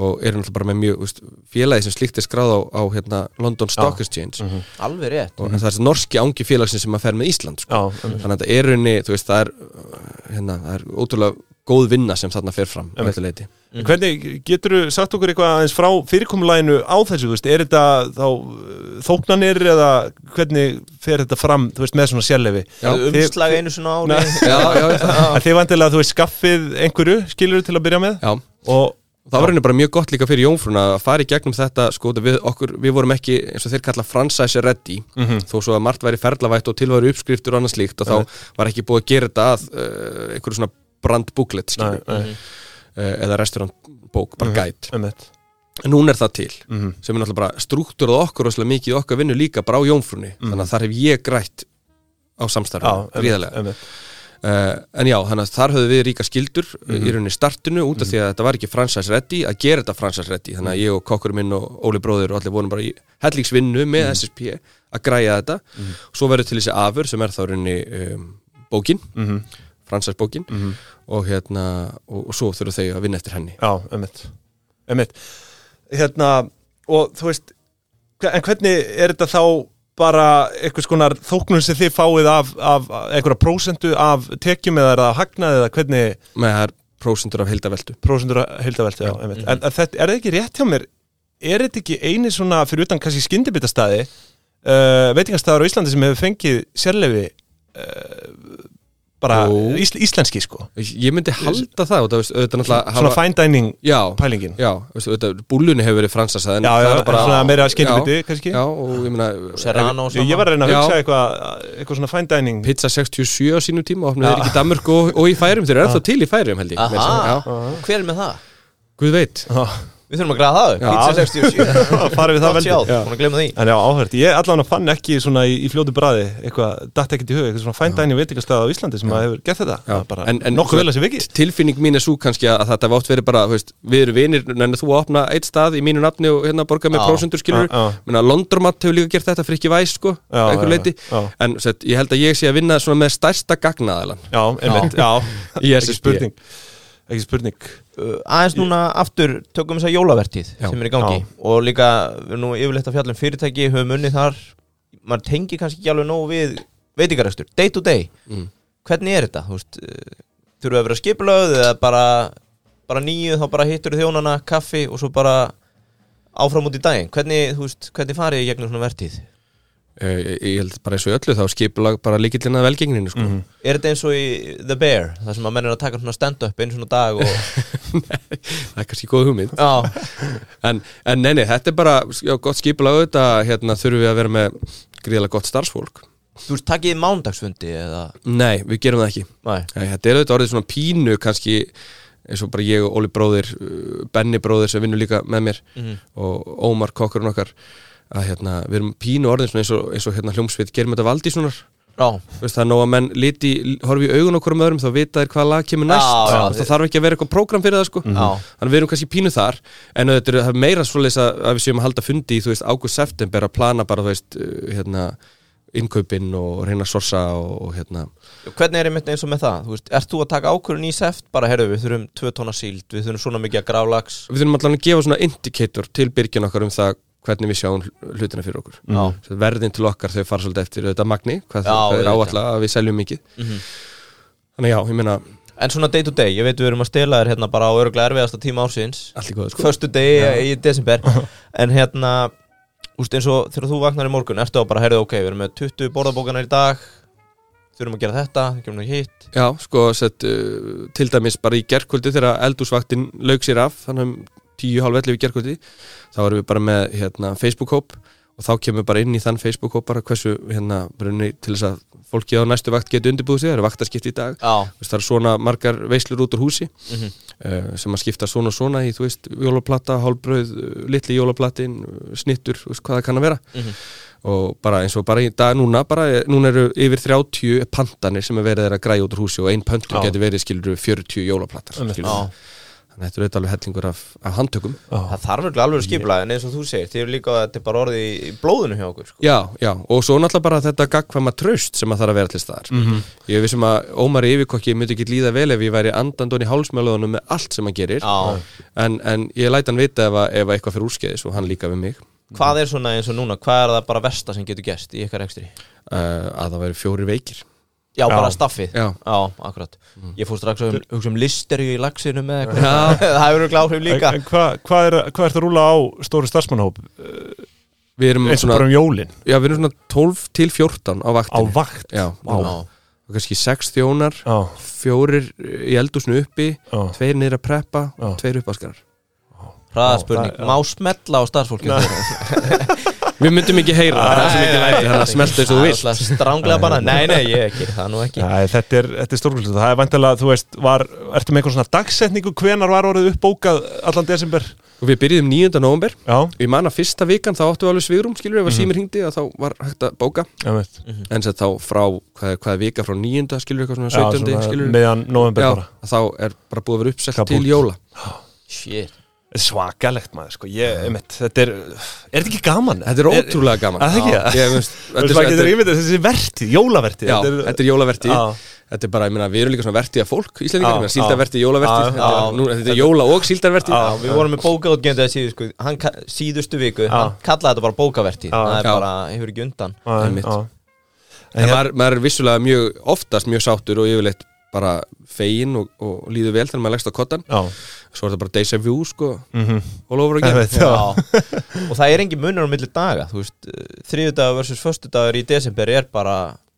Speaker 3: og eru náttúrulega bara með mjög, þú veist, félagi sem slíkt er skráð á, á hérna, London Stock Exchange
Speaker 2: Alveg rétt
Speaker 3: og það er þessi norski ángi félagsin sem að fer með Ísland sko.
Speaker 1: Já,
Speaker 3: þannig að þetta er raunni, þú veist, það er uh, hérna, það er ótrúlega góð vinna sem þarna fer fram að þetta leiti.
Speaker 1: En Mhm. Hvernig, getur þú sagt okkur eitthvað aðeins frá fyrirkomulæginu á þessu, þú veist, er þetta þá uh, þóknanir eða hvernig fer þetta fram, þú veist, með svona sérlefi?
Speaker 3: Já.
Speaker 1: Þið-
Speaker 2: Umslag einu svona ári
Speaker 3: Já, já, já,
Speaker 1: að Þið vantilega, þú veist, skaffið einhverju, skilur til að byrja með?
Speaker 3: já.
Speaker 1: Og,
Speaker 3: Það var henni bara mjög gott líka fyrir Jónfrúna að fara í gegnum þetta, sko, þetta við, okkur, við vorum ekki, eins og þeir kalla franchise ready,
Speaker 1: Mhm.
Speaker 3: þó svo að margt væri ferlavætt og tilværi uppskriftur og annað slíkt og þá var ekki búið að gera þetta að uh, einhverju svona brand booklet, skilur,
Speaker 1: nei, Mhm.
Speaker 3: uh, eða restaurantbók, bara guide.
Speaker 1: emitt,
Speaker 3: En núna er það til,
Speaker 1: Mhm.
Speaker 3: sem er náttúrulega bara struktúrað okkur og svolítið mikið í okkar vinnu líka bara á Jónfrúni, þannig að þar hef ég grætt
Speaker 1: Mhm.
Speaker 3: á
Speaker 1: já,
Speaker 3: samstarfum, gríðarlega.
Speaker 1: emitt, emitt,
Speaker 3: Uh, en já, þannig að þar höfðu við ríka skildur
Speaker 1: Mhm.
Speaker 3: í rauninni startinu út af því að þetta var ekki franchise ready að gera þetta franchise ready þannig
Speaker 1: Mhm.
Speaker 3: að ég og kokkurinn minn og Óli bróður og allir vorum bara í hellingsvinnu með
Speaker 1: Mhm.
Speaker 3: SSP að græja þetta svo verður til þessi afur sem er þá í rauninni um, bókin, mm
Speaker 1: Mhm.
Speaker 3: -hmm. franchise bókin og hérna og, og svo þurfa þau að vinna eftir henni
Speaker 1: já, emitt, emitt, hérna, og þú veist, hve- en hvernig er þetta þá bara einhvers konar þóknun sem þið fáið af, af einhverja prósentu af tekjum eða er það hagnaði eða hvernig
Speaker 3: með það er prósendur af heildaveltu
Speaker 1: prósendur að heildavelti já,
Speaker 3: mhm.
Speaker 1: einmitt. en að þetta, er það ekki rétt hjá mér er þetta ekki eini svona fyrir utan kannski skyndibitastæði uh, veitingastæðar á Íslandi sem hefur fengið sérlefi uh, bara
Speaker 3: Jú.
Speaker 1: ísl, íslenski sko
Speaker 3: ég myndi halda það og það veist, auðvitað náttúrulega
Speaker 1: svona fine dining
Speaker 3: já,
Speaker 1: pælingin já,
Speaker 3: já, veistu, auðvitað, búlunni hefur verið fransasað
Speaker 1: já,
Speaker 3: en það er bara-
Speaker 1: svona meira
Speaker 3: Já,
Speaker 1: skyndibiti kannski
Speaker 3: já, og ég meina
Speaker 2: Serrano og
Speaker 1: Ég, ég
Speaker 2: svona
Speaker 1: var að reyna að
Speaker 3: Já.
Speaker 1: hugsa eitthvað eitthvað svona fine dining
Speaker 3: Pizza 67 á sínum tíma opnum þeir ekki í Danmörk og, og í færum, þeir eru ennþá til í færum held ég meira að segja,
Speaker 2: Aha,
Speaker 3: já.
Speaker 2: hver er með það?
Speaker 3: Guð veit
Speaker 2: Við þurfum að græða það upp,
Speaker 1: Já.
Speaker 2: Pizza 67
Speaker 1: Farið við það
Speaker 2: Gott
Speaker 1: veldi.
Speaker 2: sjáð,
Speaker 1: Já.
Speaker 2: búin að glemma því
Speaker 1: En já, áhört, ég allan að fann ekki svona í, í fljótu bræði eitthvað, datt ekkert í hug, eitthvað svona fine dining veitingastæða á Íslandi sem að hefur gett þetta
Speaker 3: Já.
Speaker 1: Það er bara nokkuð vel að sér vikið
Speaker 3: tilfinning mín er svo kannski að þetta var oft verið bara þú veist, við erum vinir, en þú að opna eitt stað í mínu nafni og hérna borga með
Speaker 2: Já.
Speaker 3: prósendur
Speaker 1: Já,
Speaker 3: skilur
Speaker 1: já.
Speaker 3: menna Londromat hefur líka gert þetta fyrir ekki væs sko,
Speaker 1: Já,
Speaker 3: að einhverju
Speaker 1: já,
Speaker 3: leiti
Speaker 1: já.
Speaker 3: en sett, ég held að ég sé að vinna svona með stærsta gagnaðalan
Speaker 1: Já, einmitt, já,
Speaker 3: Í
Speaker 1: ekki
Speaker 3: SSB.
Speaker 1: spurning Ekki spurning
Speaker 2: uh, aðeins núna aftur tökum þess að jólavertíð
Speaker 3: Já.
Speaker 2: sem er í gangi
Speaker 1: Já.
Speaker 2: og líka við erum nú yfirleitt að fjalla um fyrirtæki höfum unni þar, maður tengi kannski ekki alveg nógu við veitingarekstur, day to day hvernig er þetta? Þú veist, uh, þurfa að vera skipulöð eða bara, bara nýju þá bara hittur þjónana, kaffi og svo bara áfram út í daginn hvernig, þú veist, hvernig farið ég gegnum svona vertíð?
Speaker 3: Eh, ég, ég held bara eins og í öllu þá skipulag bara líkillina velgengninu sko.
Speaker 1: Mhm.
Speaker 2: Er þetta eins og í The Bear þar sem að menn er að taka svona stand-up einu svona dag og,
Speaker 3: það er kannski góð hugmynd
Speaker 2: já,
Speaker 3: En, en neini, þetta er bara já, gott skipulega auðvitað, hérna þurfum við að vera með gríðlega gott starfsfólk.
Speaker 2: þú veist, takið þið mándagsfundi eða,
Speaker 3: Nei, við gerum það ekki.
Speaker 2: næ,
Speaker 3: Nei, þetta er auðvitað orðið svona pínu kannski eins og bara ég og Óli bróðir, uh, Benni bróðir sem vinnur líka með mér og Ómar kokkurinn okkar að hérna, við erum pínu orðin svona eins og, eins og hérna hljómsveit gerum þetta valdi svona
Speaker 2: já
Speaker 3: Veist, það er nóg að menn liti, horfi í augun okkur um öðrum þá vita þér hvað lag kemur næst
Speaker 2: Já, Mhm. já.
Speaker 3: það þarf ekki að vera eitthvað prógram fyrir það sko
Speaker 2: Já.
Speaker 3: þannig að við erum kannski pínu þar en auðvitað er það er meira svoleiðis að, að við séum að halda fundi í þú veist águst-september að plana bara þú veist uh, hérna innkaupin og reyna að sorsa og, og hérna
Speaker 2: Hvernig er einmitt eins og með það? Þú veist, ert þú að taka ákvörðun í seft? Bara, herru, við þurfum tvö tóna síld, við þurfum svona mikið að grálags
Speaker 3: við þurfum allan að gefa svona indikator til byrgin okkar um það hvernig við sjáum hl- hlutina fyrir okkur
Speaker 2: Já.
Speaker 3: Svo verðin til okkar þau fara svolítið eftir auðvitað magni
Speaker 2: Já,
Speaker 3: hvað, hvað
Speaker 2: auðvitað.
Speaker 3: er
Speaker 2: Mhm.
Speaker 3: áallega að við seljum mikið þannig já, ég meina
Speaker 2: En svona day to day, ég veit við erum að stela þér hérna bara á örglega erfiðasta tíma ársins
Speaker 3: allt í góðu sko
Speaker 2: Föstu degi í desember En hérna, þú veist, eins og þegar þú vaknar í morgun Ertu að bara, herru, ok, við erum með 20 borðabókanar í dag Þurfum að gera þetta, gerum við hitt
Speaker 3: Já, sko, sett, uh, til dæmis bara í gerkvöldi þegar eldúsvaktin lauk sér af, þannig um tíu hálf ellefu í gerkvöldi, þá erum við bara með hérna, Facebook-hóp og þá kemur bara inn í þann Facebook-hóp bara hversu hérna, brunni til þess að fólki á næstu vakt getur undirbúið sig, það eru vaktaskipti í dag
Speaker 2: Já,
Speaker 3: Þú veist, það eru svona margar veislur út úr húsi
Speaker 2: Mhm.
Speaker 3: uh, sem að skipta svona og svona í, þú veist, jólaplata, hálbröð, litli jólaplatin, snittur, þú veist, hvað það kann að vera
Speaker 2: Mhm.
Speaker 3: og bara eins og bara í dag núna bara, eh, núna eru yfir 30 pantanir sem er verið þeirra að græja út úr húsi og ein pöntun getur verið skilur 40 jólaplatar skilur.
Speaker 2: Já.
Speaker 3: þannig að þetta eru auðvitað alveg hellingur af, af handtökum
Speaker 2: Það þarf ekki alveg að skipla en eins og þú segir, þið eru líka að þetta er bara orðið í, í blóðinu hjá okkur sko.
Speaker 3: Já, já, og svo náttúrulega bara þetta gagkvæma traust sem að það er að vera til staðar
Speaker 1: Mhm.
Speaker 3: Ég er vissum að Ómari Yfirkokki myndi ekki líða vel ef ég væri andandun í hálsmjölaðunum með allt sem hann gerir
Speaker 2: Já.
Speaker 3: en, en ég læt hann vita ef, að- ef að eitthvað fyrir úrskeiðis og hann líka við mig
Speaker 2: Hvað er svona eins og núna, hvað er það bara versta sem getur gest í ykkar ekstri?
Speaker 3: uh, að það væri fjóri veikir
Speaker 2: Já, bara staffið
Speaker 3: Já.
Speaker 2: akkurat Ég fór strax að um, hugsa um listerju í laxinu með eitthvað Það hefur ekki áhrif líka
Speaker 1: En, en hvað hva er, hva er það að rúla á stóru starfsmannhóp
Speaker 3: Við erum
Speaker 1: eins og
Speaker 3: svona,
Speaker 1: bara um jólin
Speaker 3: já, við erum svona 12 til 14 á
Speaker 1: á
Speaker 3: vaktinni
Speaker 1: vakt
Speaker 3: Já,
Speaker 1: Vá.
Speaker 2: Já.
Speaker 3: og kannski 6 þjónar
Speaker 1: Já,
Speaker 3: fjórir í eldúsnu uppi
Speaker 1: já.
Speaker 3: tveir niður að preppa,
Speaker 1: Já.
Speaker 3: tveir uppaskarar
Speaker 2: Hraða spurning, má smetla á starfsfólki
Speaker 3: Við myndum ekki heyra, það er svo mikið læti þannig að smelta eins og þú vilt
Speaker 2: Stranglega bara, nei, nei, ég ekki, það nú ekki
Speaker 1: Æ, þetta er, þetta er stórkvöldslega, það er vantilega, þú veist, var, ertu með eitthvað svona dagsetningu, hvenar var orðið uppbókað allan desember?
Speaker 3: Og við byrjum 9. november
Speaker 1: Já,
Speaker 3: Ég man að fyrsta vikan þá áttum við alveg svigrum skilur ef að símir hringdi að þá var hægt að bóka
Speaker 1: ég veit.
Speaker 3: en þess þá frá, hvað er, hvað er vika frá 9. skilur eitthvað svona 17. skilur
Speaker 1: meðan november
Speaker 3: já,
Speaker 1: bara.
Speaker 3: þá er bara búið að vera uppselt
Speaker 1: Kabúl.
Speaker 3: til jóla
Speaker 2: Shit
Speaker 1: Svakalegt maður, sko, ég, ég veit, þetta er, er þetta ekki gaman?
Speaker 3: Þetta er ótrúlega gaman
Speaker 1: Er það ekki?
Speaker 3: Já, ég veist,
Speaker 1: Þetta er, þetta er, þetta er þessi vertið, jólavertið.
Speaker 3: Já, þetta er jólavertið
Speaker 1: Já.
Speaker 3: Þetta er bara, ég meina, við erum líka svona vertið að fólk
Speaker 1: Já,
Speaker 3: Íslendingar,
Speaker 1: já.
Speaker 3: síldarvertið,
Speaker 1: Já,
Speaker 3: jólavertið
Speaker 1: já.
Speaker 3: Þetta er- nú- Þetta er jóla og síldarvertið
Speaker 2: Já, við vorum með bókaútgjöndið að síðu sko, hann, ka- síðustu viku, hann kallaði þetta bara bókavertíð
Speaker 1: Já.
Speaker 2: það er
Speaker 3: Já.
Speaker 2: bara, hefur ekki undan
Speaker 3: einmitt.
Speaker 1: já,
Speaker 3: En maður, maður er vissulega mjög, oftast mjög sáttur og yfirleitt bara fegin og, og líður vel þegar maður leggst á kottan
Speaker 1: já,
Speaker 3: Svo er þetta bara deja vu, sko
Speaker 1: mhm,
Speaker 3: all over
Speaker 1: ég
Speaker 3: again
Speaker 1: veit, já.
Speaker 2: og það er engin munur á milli daga þú veist, þriðudagur versus föstudagur í desember er bara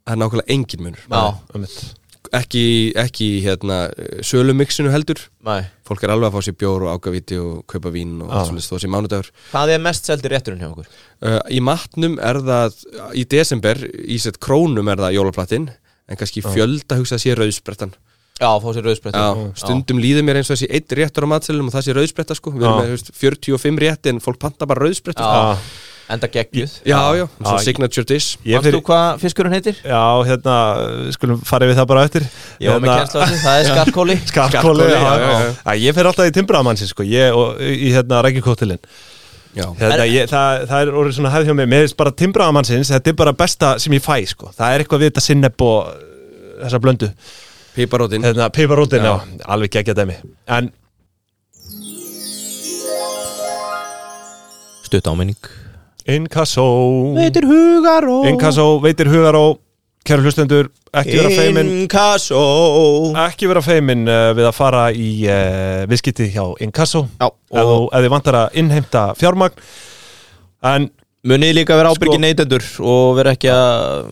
Speaker 3: Það er nákvæmlega engin munur
Speaker 2: já,
Speaker 1: einmitt.
Speaker 3: Ekki, ekki hérna, sölumixinu heldur
Speaker 2: nei.
Speaker 3: Fólk er alveg að fá sér bjór og ágavíti og kaupa vín og allt svolítið stóð sér mánudagur
Speaker 2: hvað er mest seldi rétturinn hjá okkur
Speaker 3: uh, Í matnum er það, í desember, í sett krónum er það jólaplatinn En kannski fjölda hugsa að sé rauðsprettan
Speaker 2: já, fá sér rauðspretta
Speaker 3: Já, stundum líður mér eins og þessi eitt réttur á matselum og það sé rauðspretta sko Við
Speaker 1: Já.
Speaker 3: erum með þú veist, 45 rétti en fólk panta bara rauðspretta sko.
Speaker 1: Já.
Speaker 2: enda geggjuð
Speaker 3: Já, já, svo
Speaker 1: Já,
Speaker 3: signature dish
Speaker 1: Ég
Speaker 2: Manstu
Speaker 1: fyrir-
Speaker 2: hvað fiskurinn heitir?
Speaker 1: Já, hérna, við skulum fara við það bara eftir.
Speaker 2: Ég var með kennsla á þessu, það er skarkóli
Speaker 1: Skarkóli, Hérna- já,
Speaker 3: já,
Speaker 1: já,
Speaker 3: já,
Speaker 1: já. Ég fer alltaf í timbramannsins, sko, ég og í hérna rækjukóttilinn.
Speaker 3: Já,
Speaker 1: Þetta, ég, það, það er orðið svona hefð hjá mér Mér finnst bara timbraðamannsins, þetta er bara besta sem ég fæ sko. Það er eitthvað við þetta sinnepp og uh, þessa blöndu,
Speaker 3: piparótin
Speaker 1: hérna piparútin já. alveg geggja dæmi En
Speaker 2: Stutt áminning
Speaker 1: Inkasso
Speaker 2: Veitir hugaró
Speaker 1: Inkasso veitir hugar á Kæru hlustendur, ekki vera feimin
Speaker 2: Inkasso
Speaker 1: ekki vera feimin uh, við að fara í uh, viðskiti hjá Inkasso
Speaker 2: Já,
Speaker 1: ef þú- ef þið vantar að innheimta fjármagn en
Speaker 2: Munið líka vera ábyrgi
Speaker 1: Sko-
Speaker 2: neytendur og vera ekki að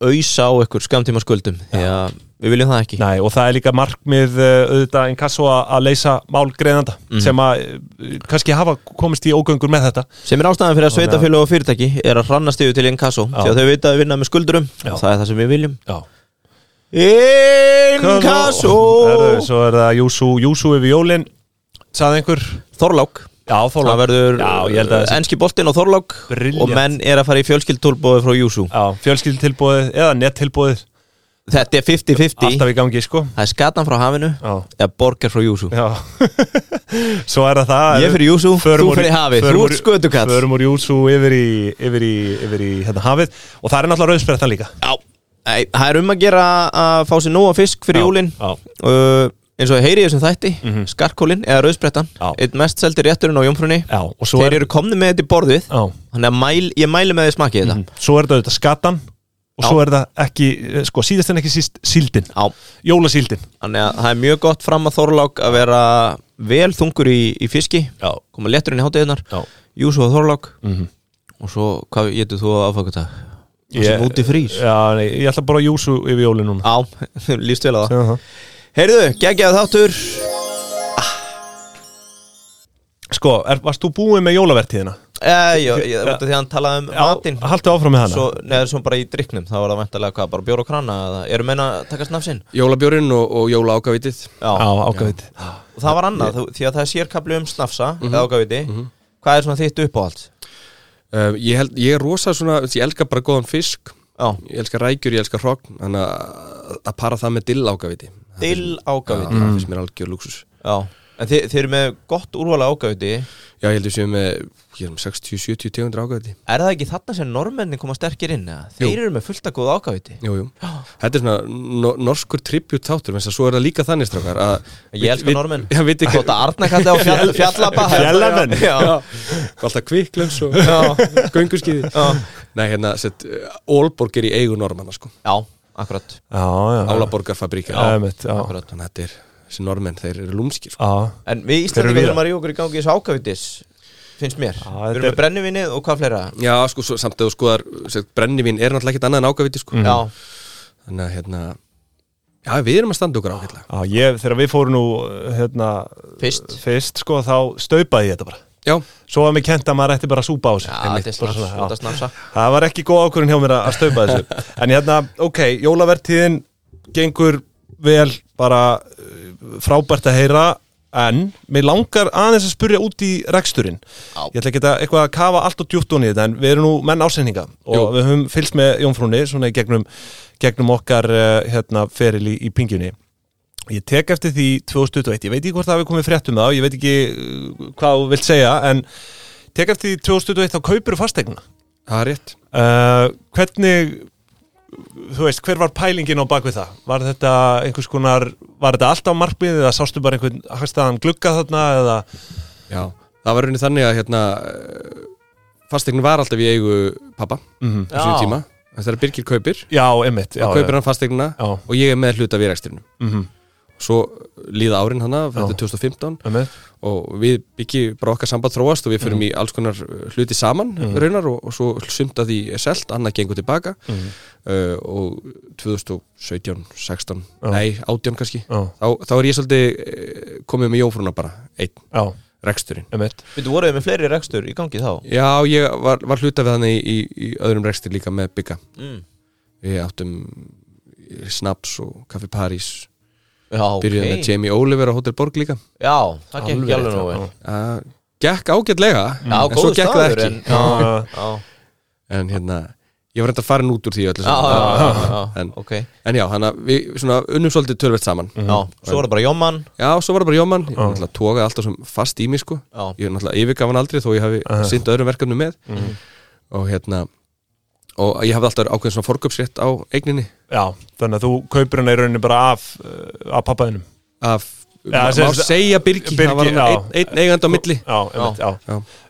Speaker 2: auðsa á ykkur skamtíma skuldum því að við viljum það ekki
Speaker 1: Nei, og það er líka markmið uh, auðvitað inkasso að að leysa mál greiðanda sem að uh, kannski hafa komist í ógöngur með þetta
Speaker 2: sem er ástæðan fyrir að sveitafélög og fyrirtæki er að hrannast yfir til inkasso því að þau vita að vinna með skuldurum og það er það sem við viljum
Speaker 1: Já.
Speaker 2: Inkasso
Speaker 1: Herðu, Svo er það Júsú, Júsú yfir jólin sagði einhver
Speaker 2: Þorlák
Speaker 1: Já, Þorlák.
Speaker 2: Það verður
Speaker 1: Já, ég held að þessi-
Speaker 2: enski boltinn og Þorlák
Speaker 1: Brilliant.
Speaker 2: og menn er að fara í fjölskyldtúlbóði frá Júsú
Speaker 1: Já, fjölskyldutilbúið eða nettilbúið
Speaker 2: Þetta er 50-50
Speaker 1: alltaf í gangi sko
Speaker 2: Það er skatan frá hafinu
Speaker 1: Já.
Speaker 2: eða borgar frá Júsú
Speaker 1: Já Svo er það það
Speaker 2: Ég fyrir Júsú,
Speaker 1: Förum
Speaker 2: þú
Speaker 1: úr-
Speaker 2: fyrir hafið,
Speaker 1: förum
Speaker 2: þú
Speaker 1: úr-
Speaker 2: ert skötukall
Speaker 1: Förum úr Júsú yfir í, yfir í, yfir í hérna, hafið og það er náttúrulega rauðsperðan líka
Speaker 2: Já, Nei, það er um að gera að fá sér nóga fisk fyrir
Speaker 1: Já,
Speaker 2: jólin
Speaker 1: já. Mhm.
Speaker 2: uh, eins og ég heyri í þessum þætti mm skarkólin eða rauðsprettan
Speaker 1: Já.
Speaker 2: eitt mest seldi rétturinn á jómfrunni
Speaker 1: Já, og svo
Speaker 2: þeir
Speaker 1: er,
Speaker 2: eru komni með þetta í borðið
Speaker 1: Já. Mhm.
Speaker 2: þannig að mæl, ég mæli með því smakið þetta
Speaker 1: svo er það auðvitað skatan og
Speaker 2: Já.
Speaker 1: svo er það ekki, eh, sko síðast en ekki síst síldin,
Speaker 2: Já,
Speaker 1: jólasíldin
Speaker 2: þannig að það er mjög gott fram að Þorlák að vera vel þungur í, í fiski
Speaker 1: Já.
Speaker 2: koma létturinn í hátíðunar
Speaker 1: Já.
Speaker 2: Júsu og Þorlák -hmm. og svo hvað getur þú að áfaka þetta? Það sem úti frýs
Speaker 1: Já, nei, ég ætla bara að júsu yfir jólin núna
Speaker 2: Já, líst vel á það
Speaker 1: Jaha.
Speaker 2: Heyrðu, geggjað þáttur
Speaker 1: Sko, er, varst þú búin með jólavertíðina?
Speaker 2: Eh, já, ég, út af því að hann talaði um matinn
Speaker 1: Haltu áfram með hana
Speaker 2: svo, neða, svo bara í dryknum, þá var það vantarlega hvað, bara bjór og krana eða, eru menna að taka snafsinn?
Speaker 3: Jólabjórin og, og jólaágavítið
Speaker 2: Já,
Speaker 1: Já, ágæðið
Speaker 2: og Mhm. það var annað, þú, því að það er sérkabli um snafsa eða ágaviti, hvað er svona þitt uppáhald?
Speaker 3: Uh, ég, held, ég er rosa svona, ég elska bara góðan fisk
Speaker 2: Já,
Speaker 3: Ég elska rækjur, ég elska hrogn Þannig að að para það með dill ágaviti
Speaker 2: dill ágafið
Speaker 3: Það finnst mér algjör lúksus
Speaker 2: Já, en þið, þið eru með gott úrvala ágafið Er
Speaker 3: Já, ég heldur séu með, ég er um 60-70 tegundur ágaviti
Speaker 2: það ekki þarna sem normenni koma sterkir inn? eða? Þeir
Speaker 3: Jú.
Speaker 2: eru með fullt að góð ágafið
Speaker 3: Jú, jú Þetta er svona no, norskur tribut þáttur Menns að svo er það líka þannig strákar að
Speaker 2: Ég elska
Speaker 3: við-
Speaker 2: normenn.
Speaker 3: Já, veit ekki
Speaker 2: Þótt að Arna kalli á fjall, fjallaba
Speaker 1: Fjallamenn.
Speaker 2: Já,
Speaker 3: Alltaf kviklöms og
Speaker 2: já,
Speaker 3: gönguskiði
Speaker 2: já,
Speaker 3: Nei, hérna, sett Ólborg er í eigu normanna, sko
Speaker 2: já akkurat
Speaker 1: já,
Speaker 3: Álaborgarfabrík
Speaker 1: Já, einmitt, já.
Speaker 3: Akkurat. Þannig að þetta er, þessi normenn, þeir eru lúmskir, sko
Speaker 1: já
Speaker 2: En við
Speaker 1: Þeir eru
Speaker 2: Íslandingar
Speaker 1: víða.
Speaker 2: þurfum að ríða okkur í gangi í þessu ágavitis finnst mér
Speaker 1: þetta
Speaker 2: Við erum
Speaker 1: er-
Speaker 2: með brennivinnið og hvað fleira
Speaker 3: Já, sko, svo, samt eða skoðar sett, brennivín er náttúrulega ekkert annað en ágaviti,
Speaker 1: Mhm.
Speaker 3: sko
Speaker 2: Já,
Speaker 3: Þannig að, hérna Já, við erum að standa okkur ágætlega
Speaker 1: Já, ég, þegar við fórum nú hérna,
Speaker 2: Fyrst.
Speaker 1: fyrst, sko, þá staupaði ég þetta bara
Speaker 3: Já,
Speaker 1: Svo var mér kent að maður ætti bara að súpa á sig
Speaker 2: já
Speaker 1: Einmitt,
Speaker 2: þetta er
Speaker 1: bara
Speaker 2: snafs,
Speaker 1: svona, já.
Speaker 2: þetta er snafsa
Speaker 1: Það var ekki góð ákvörðin hjá mér að að staupa þessu En hérna, ok, jólavertíðin gengur vel bara uh, frábært að heyra En mér langar aðeins að spurja út í reksturinn
Speaker 2: Já.
Speaker 1: Ég ætla ekki að eitthvað að kafa allt og djúpt onni í þetta En við erum nú menn ásendinga Og
Speaker 3: Jú.
Speaker 1: við höfum fylgst með Jónfrúni Svona í gegnum, gegnum okkar uh, hérna, feril í, í pingjunni Ég tek eftir því 2021, ég veit ekki hvort það hafi komið frétt um það, ég veit ekki uh, hvað þú vilt segja, en tek eftir því 2021 þá kaupur fastegna.
Speaker 3: það er rétt
Speaker 1: Uh, hvernig þú veist, hver var pælingin á bakvið það? Var þetta einhvers konar var þetta alltaf markmið eða sástu bara einhvern hagstæðan glugga þarna eða
Speaker 3: Já, það var rauninni þannig að, hérna eh, Fasteignin var alltaf í eigu pappa
Speaker 1: Mhm.
Speaker 3: á sínum
Speaker 2: Já.
Speaker 3: tíma En þegar Birgir kaupir,
Speaker 1: já, einmitt já,
Speaker 3: þá kaupir hann fasteignina
Speaker 1: Já.
Speaker 3: og ég er með hluta við rekstrinum
Speaker 1: mm -hmm.
Speaker 3: Svo líða árin hana, þetta er 2015 og við byggjum bara okkar samband þróast og við förum
Speaker 2: Mhm.
Speaker 3: í alls konar uh, hluti saman raunar og, og svo sumt að því er selt, annað gengur tilbaka
Speaker 2: Mhm.
Speaker 3: uh, og 2017, 16, nei 18 kannski,
Speaker 1: Já.
Speaker 3: þá, þá er ég svolítið eh, komið með jófruna bara, einn,
Speaker 1: já,
Speaker 3: reksturinn.
Speaker 1: einmitt
Speaker 2: Við voruð með fleiri rekstur í gangi þá
Speaker 3: Já, ég var, var hluta við þannig í, í, í öðrum rekstur líka með bygga.
Speaker 2: mm.
Speaker 3: Við áttum eh, Snaps og Café París,
Speaker 2: Já, ok
Speaker 3: byrjuðum með Jamie Oliver á Hotel Borg líka.
Speaker 2: Já, það gekk ekki alveg nú vel
Speaker 3: Uh, gekk ágætlega,
Speaker 2: Já,
Speaker 3: en svo
Speaker 2: góður
Speaker 3: gekk það
Speaker 2: staður
Speaker 3: ekki.
Speaker 2: en, já, já,
Speaker 3: en hérna ég var reynda að fara út úr því öllu
Speaker 2: já,
Speaker 3: saman.
Speaker 1: Ah.
Speaker 2: já, já, já,
Speaker 3: En-
Speaker 2: ok Já,
Speaker 3: en já, hann að við svona unnum svolítið tölvett saman
Speaker 1: Mm.
Speaker 2: Mhm. svo var það bara jómann
Speaker 3: já, svo var það bara jómann,
Speaker 1: Ah.
Speaker 3: ég náttúrulega tókaði alltaf sem fast í mig sko,
Speaker 2: Já.
Speaker 3: ég náttúrulega yfirgaf hann aldrei þó ég hafi
Speaker 1: Ah.
Speaker 3: uh. sýnt öðrum verkefnum með
Speaker 1: Mm.
Speaker 3: og hérna og ég hafði alltaf ákveðin svona forgöpsrétt á eigninni
Speaker 1: já, þannig að þú kaupir hana í rauninni bara af, uh, af pappaðinum
Speaker 3: af,
Speaker 1: Já,
Speaker 3: má,
Speaker 1: sem
Speaker 3: má
Speaker 1: sagt-
Speaker 3: segja Birgi,
Speaker 1: Birgi,
Speaker 3: það var
Speaker 1: já. Sko,
Speaker 3: einn ein eigandi á milli
Speaker 1: já, einmitt, já,
Speaker 3: Já.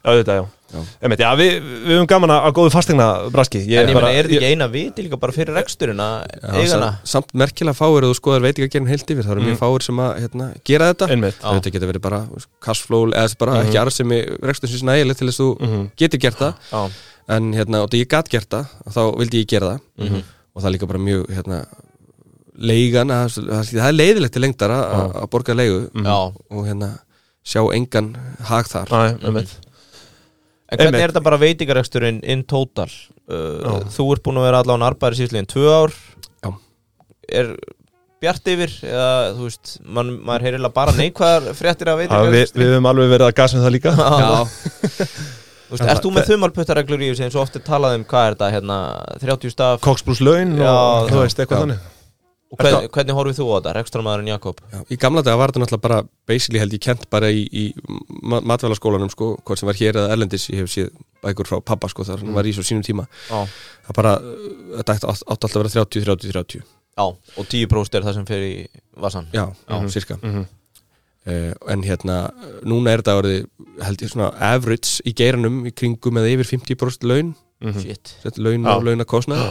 Speaker 1: já, þetta, já,
Speaker 3: Já.
Speaker 1: einmitt, já, við, við höfum gaman að að góðu fastegna braski
Speaker 2: En ég meina,
Speaker 1: bara-
Speaker 2: er þetta ekki eina viti líka bara fyrir reksturinn að eigana Mm.
Speaker 3: sa- samt merkilega fáir að þú skoðar veit ekki að gera heilt yfir, það eru mjög fáir sem að hérna, gera þetta
Speaker 1: Einmitt.
Speaker 3: Já. þetta geta verið bara cashflow eða bara
Speaker 2: Mhm.
Speaker 3: ekki aðra sem rekstur sér nægilegt til þess að þú getur gert það
Speaker 2: Já,
Speaker 3: en hérna, og þegar ég gat gert það þá vildi ég gera það
Speaker 2: Mhm.
Speaker 3: og það er líka bara mjög hérna, leigan, að, það það er leiðilegt til lengdar að- að að borga leigu
Speaker 2: já
Speaker 3: og hérna, sjá engan hag þar
Speaker 1: Æ, einmitt
Speaker 2: En hvernig
Speaker 1: Einmitt.
Speaker 2: er þetta bara veitingareksturinn in total? Uh, þú ert búin að vera allan arbæri síðsliðin tvö ár
Speaker 3: Já.
Speaker 2: Er bjart yfir? Eða, þú veist, man, maður heyrilega bara neikvæðar fréttir af
Speaker 1: Já, við,
Speaker 2: veitingareksturinn
Speaker 1: við höfum alveg verið að gasa um það líka
Speaker 2: Já.
Speaker 3: Já,
Speaker 2: Þú veist, Ert þú með þumalputtareglur í þessu eins og oft er talað um hvað er þetta hérna 30 staf
Speaker 1: Koksbrús laun og
Speaker 2: Já,
Speaker 1: þú
Speaker 2: já,
Speaker 1: veist eitthvað
Speaker 3: já.
Speaker 1: þannig
Speaker 2: og hvern, hvernig horfið þú á þetta? Rekstramæðurinn Jakob
Speaker 3: já, í gamla daga var þetta náttúrulega bara basically held ég kent bara í, í ma- matvælaskólanum sko, hvort sem var hér eða erlendis ég hef séð bækur frá pappa sko, þar mm. var í svo sínum tíma
Speaker 2: Já,
Speaker 3: það bara, uh, þetta átti átti alltaf að vera 30, 30, 30
Speaker 2: já og 10% er það sem fer í vasan
Speaker 3: já, cirka uh, en hérna, núna er þetta orðið held ég svona average í geiranum í kringum eða yfir 50% laun
Speaker 2: Shit
Speaker 3: sett laun
Speaker 1: Já.
Speaker 3: og launakostnað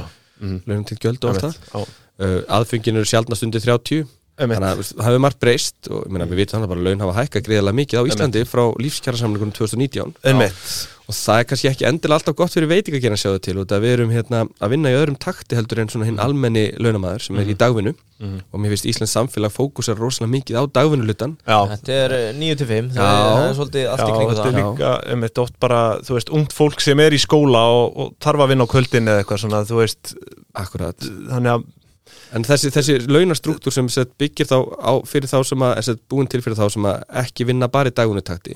Speaker 3: laun til gjöld og allt það uh, aðfengin eru sjaldnast undir 30
Speaker 1: Einmitt.
Speaker 3: þannig að veist, það hefur margt breyst og ég meina, við vitum þannig bara að laun hafa hækkað greiðlega mikið á Íslandi frá lífskjærasamlingunum 2019
Speaker 1: Einmitt
Speaker 3: og það er kannski ekki endilega alltaf gott fyrir veitingagerðin að sjá það til og það við erum hérna, að vinna í öðrum takti heldur en svona hinn almenni launamaður sem er í dagvinnu og mér finnst Íslands samfélag fókusar rosalega mikið á dagvinnulutan
Speaker 1: Já,
Speaker 2: Þetta er eh, 9-5 það,
Speaker 3: Já.
Speaker 2: er- það er svolítið allt
Speaker 1: já
Speaker 2: í kringu
Speaker 1: þetta er
Speaker 2: það
Speaker 1: líka einmitt oft bara, þú veist, ungt fólk sem er í skóla og, og tarfa að vinna á kvöldin eða eitthvað svona, þú veist
Speaker 3: akkurat
Speaker 1: þannig að
Speaker 3: En þessi, þessi launastruktúr sem set, byggir þá á, fyrir þá sem að, set, búin til fyrir þá sem að ekki vinna bara í dagunutakti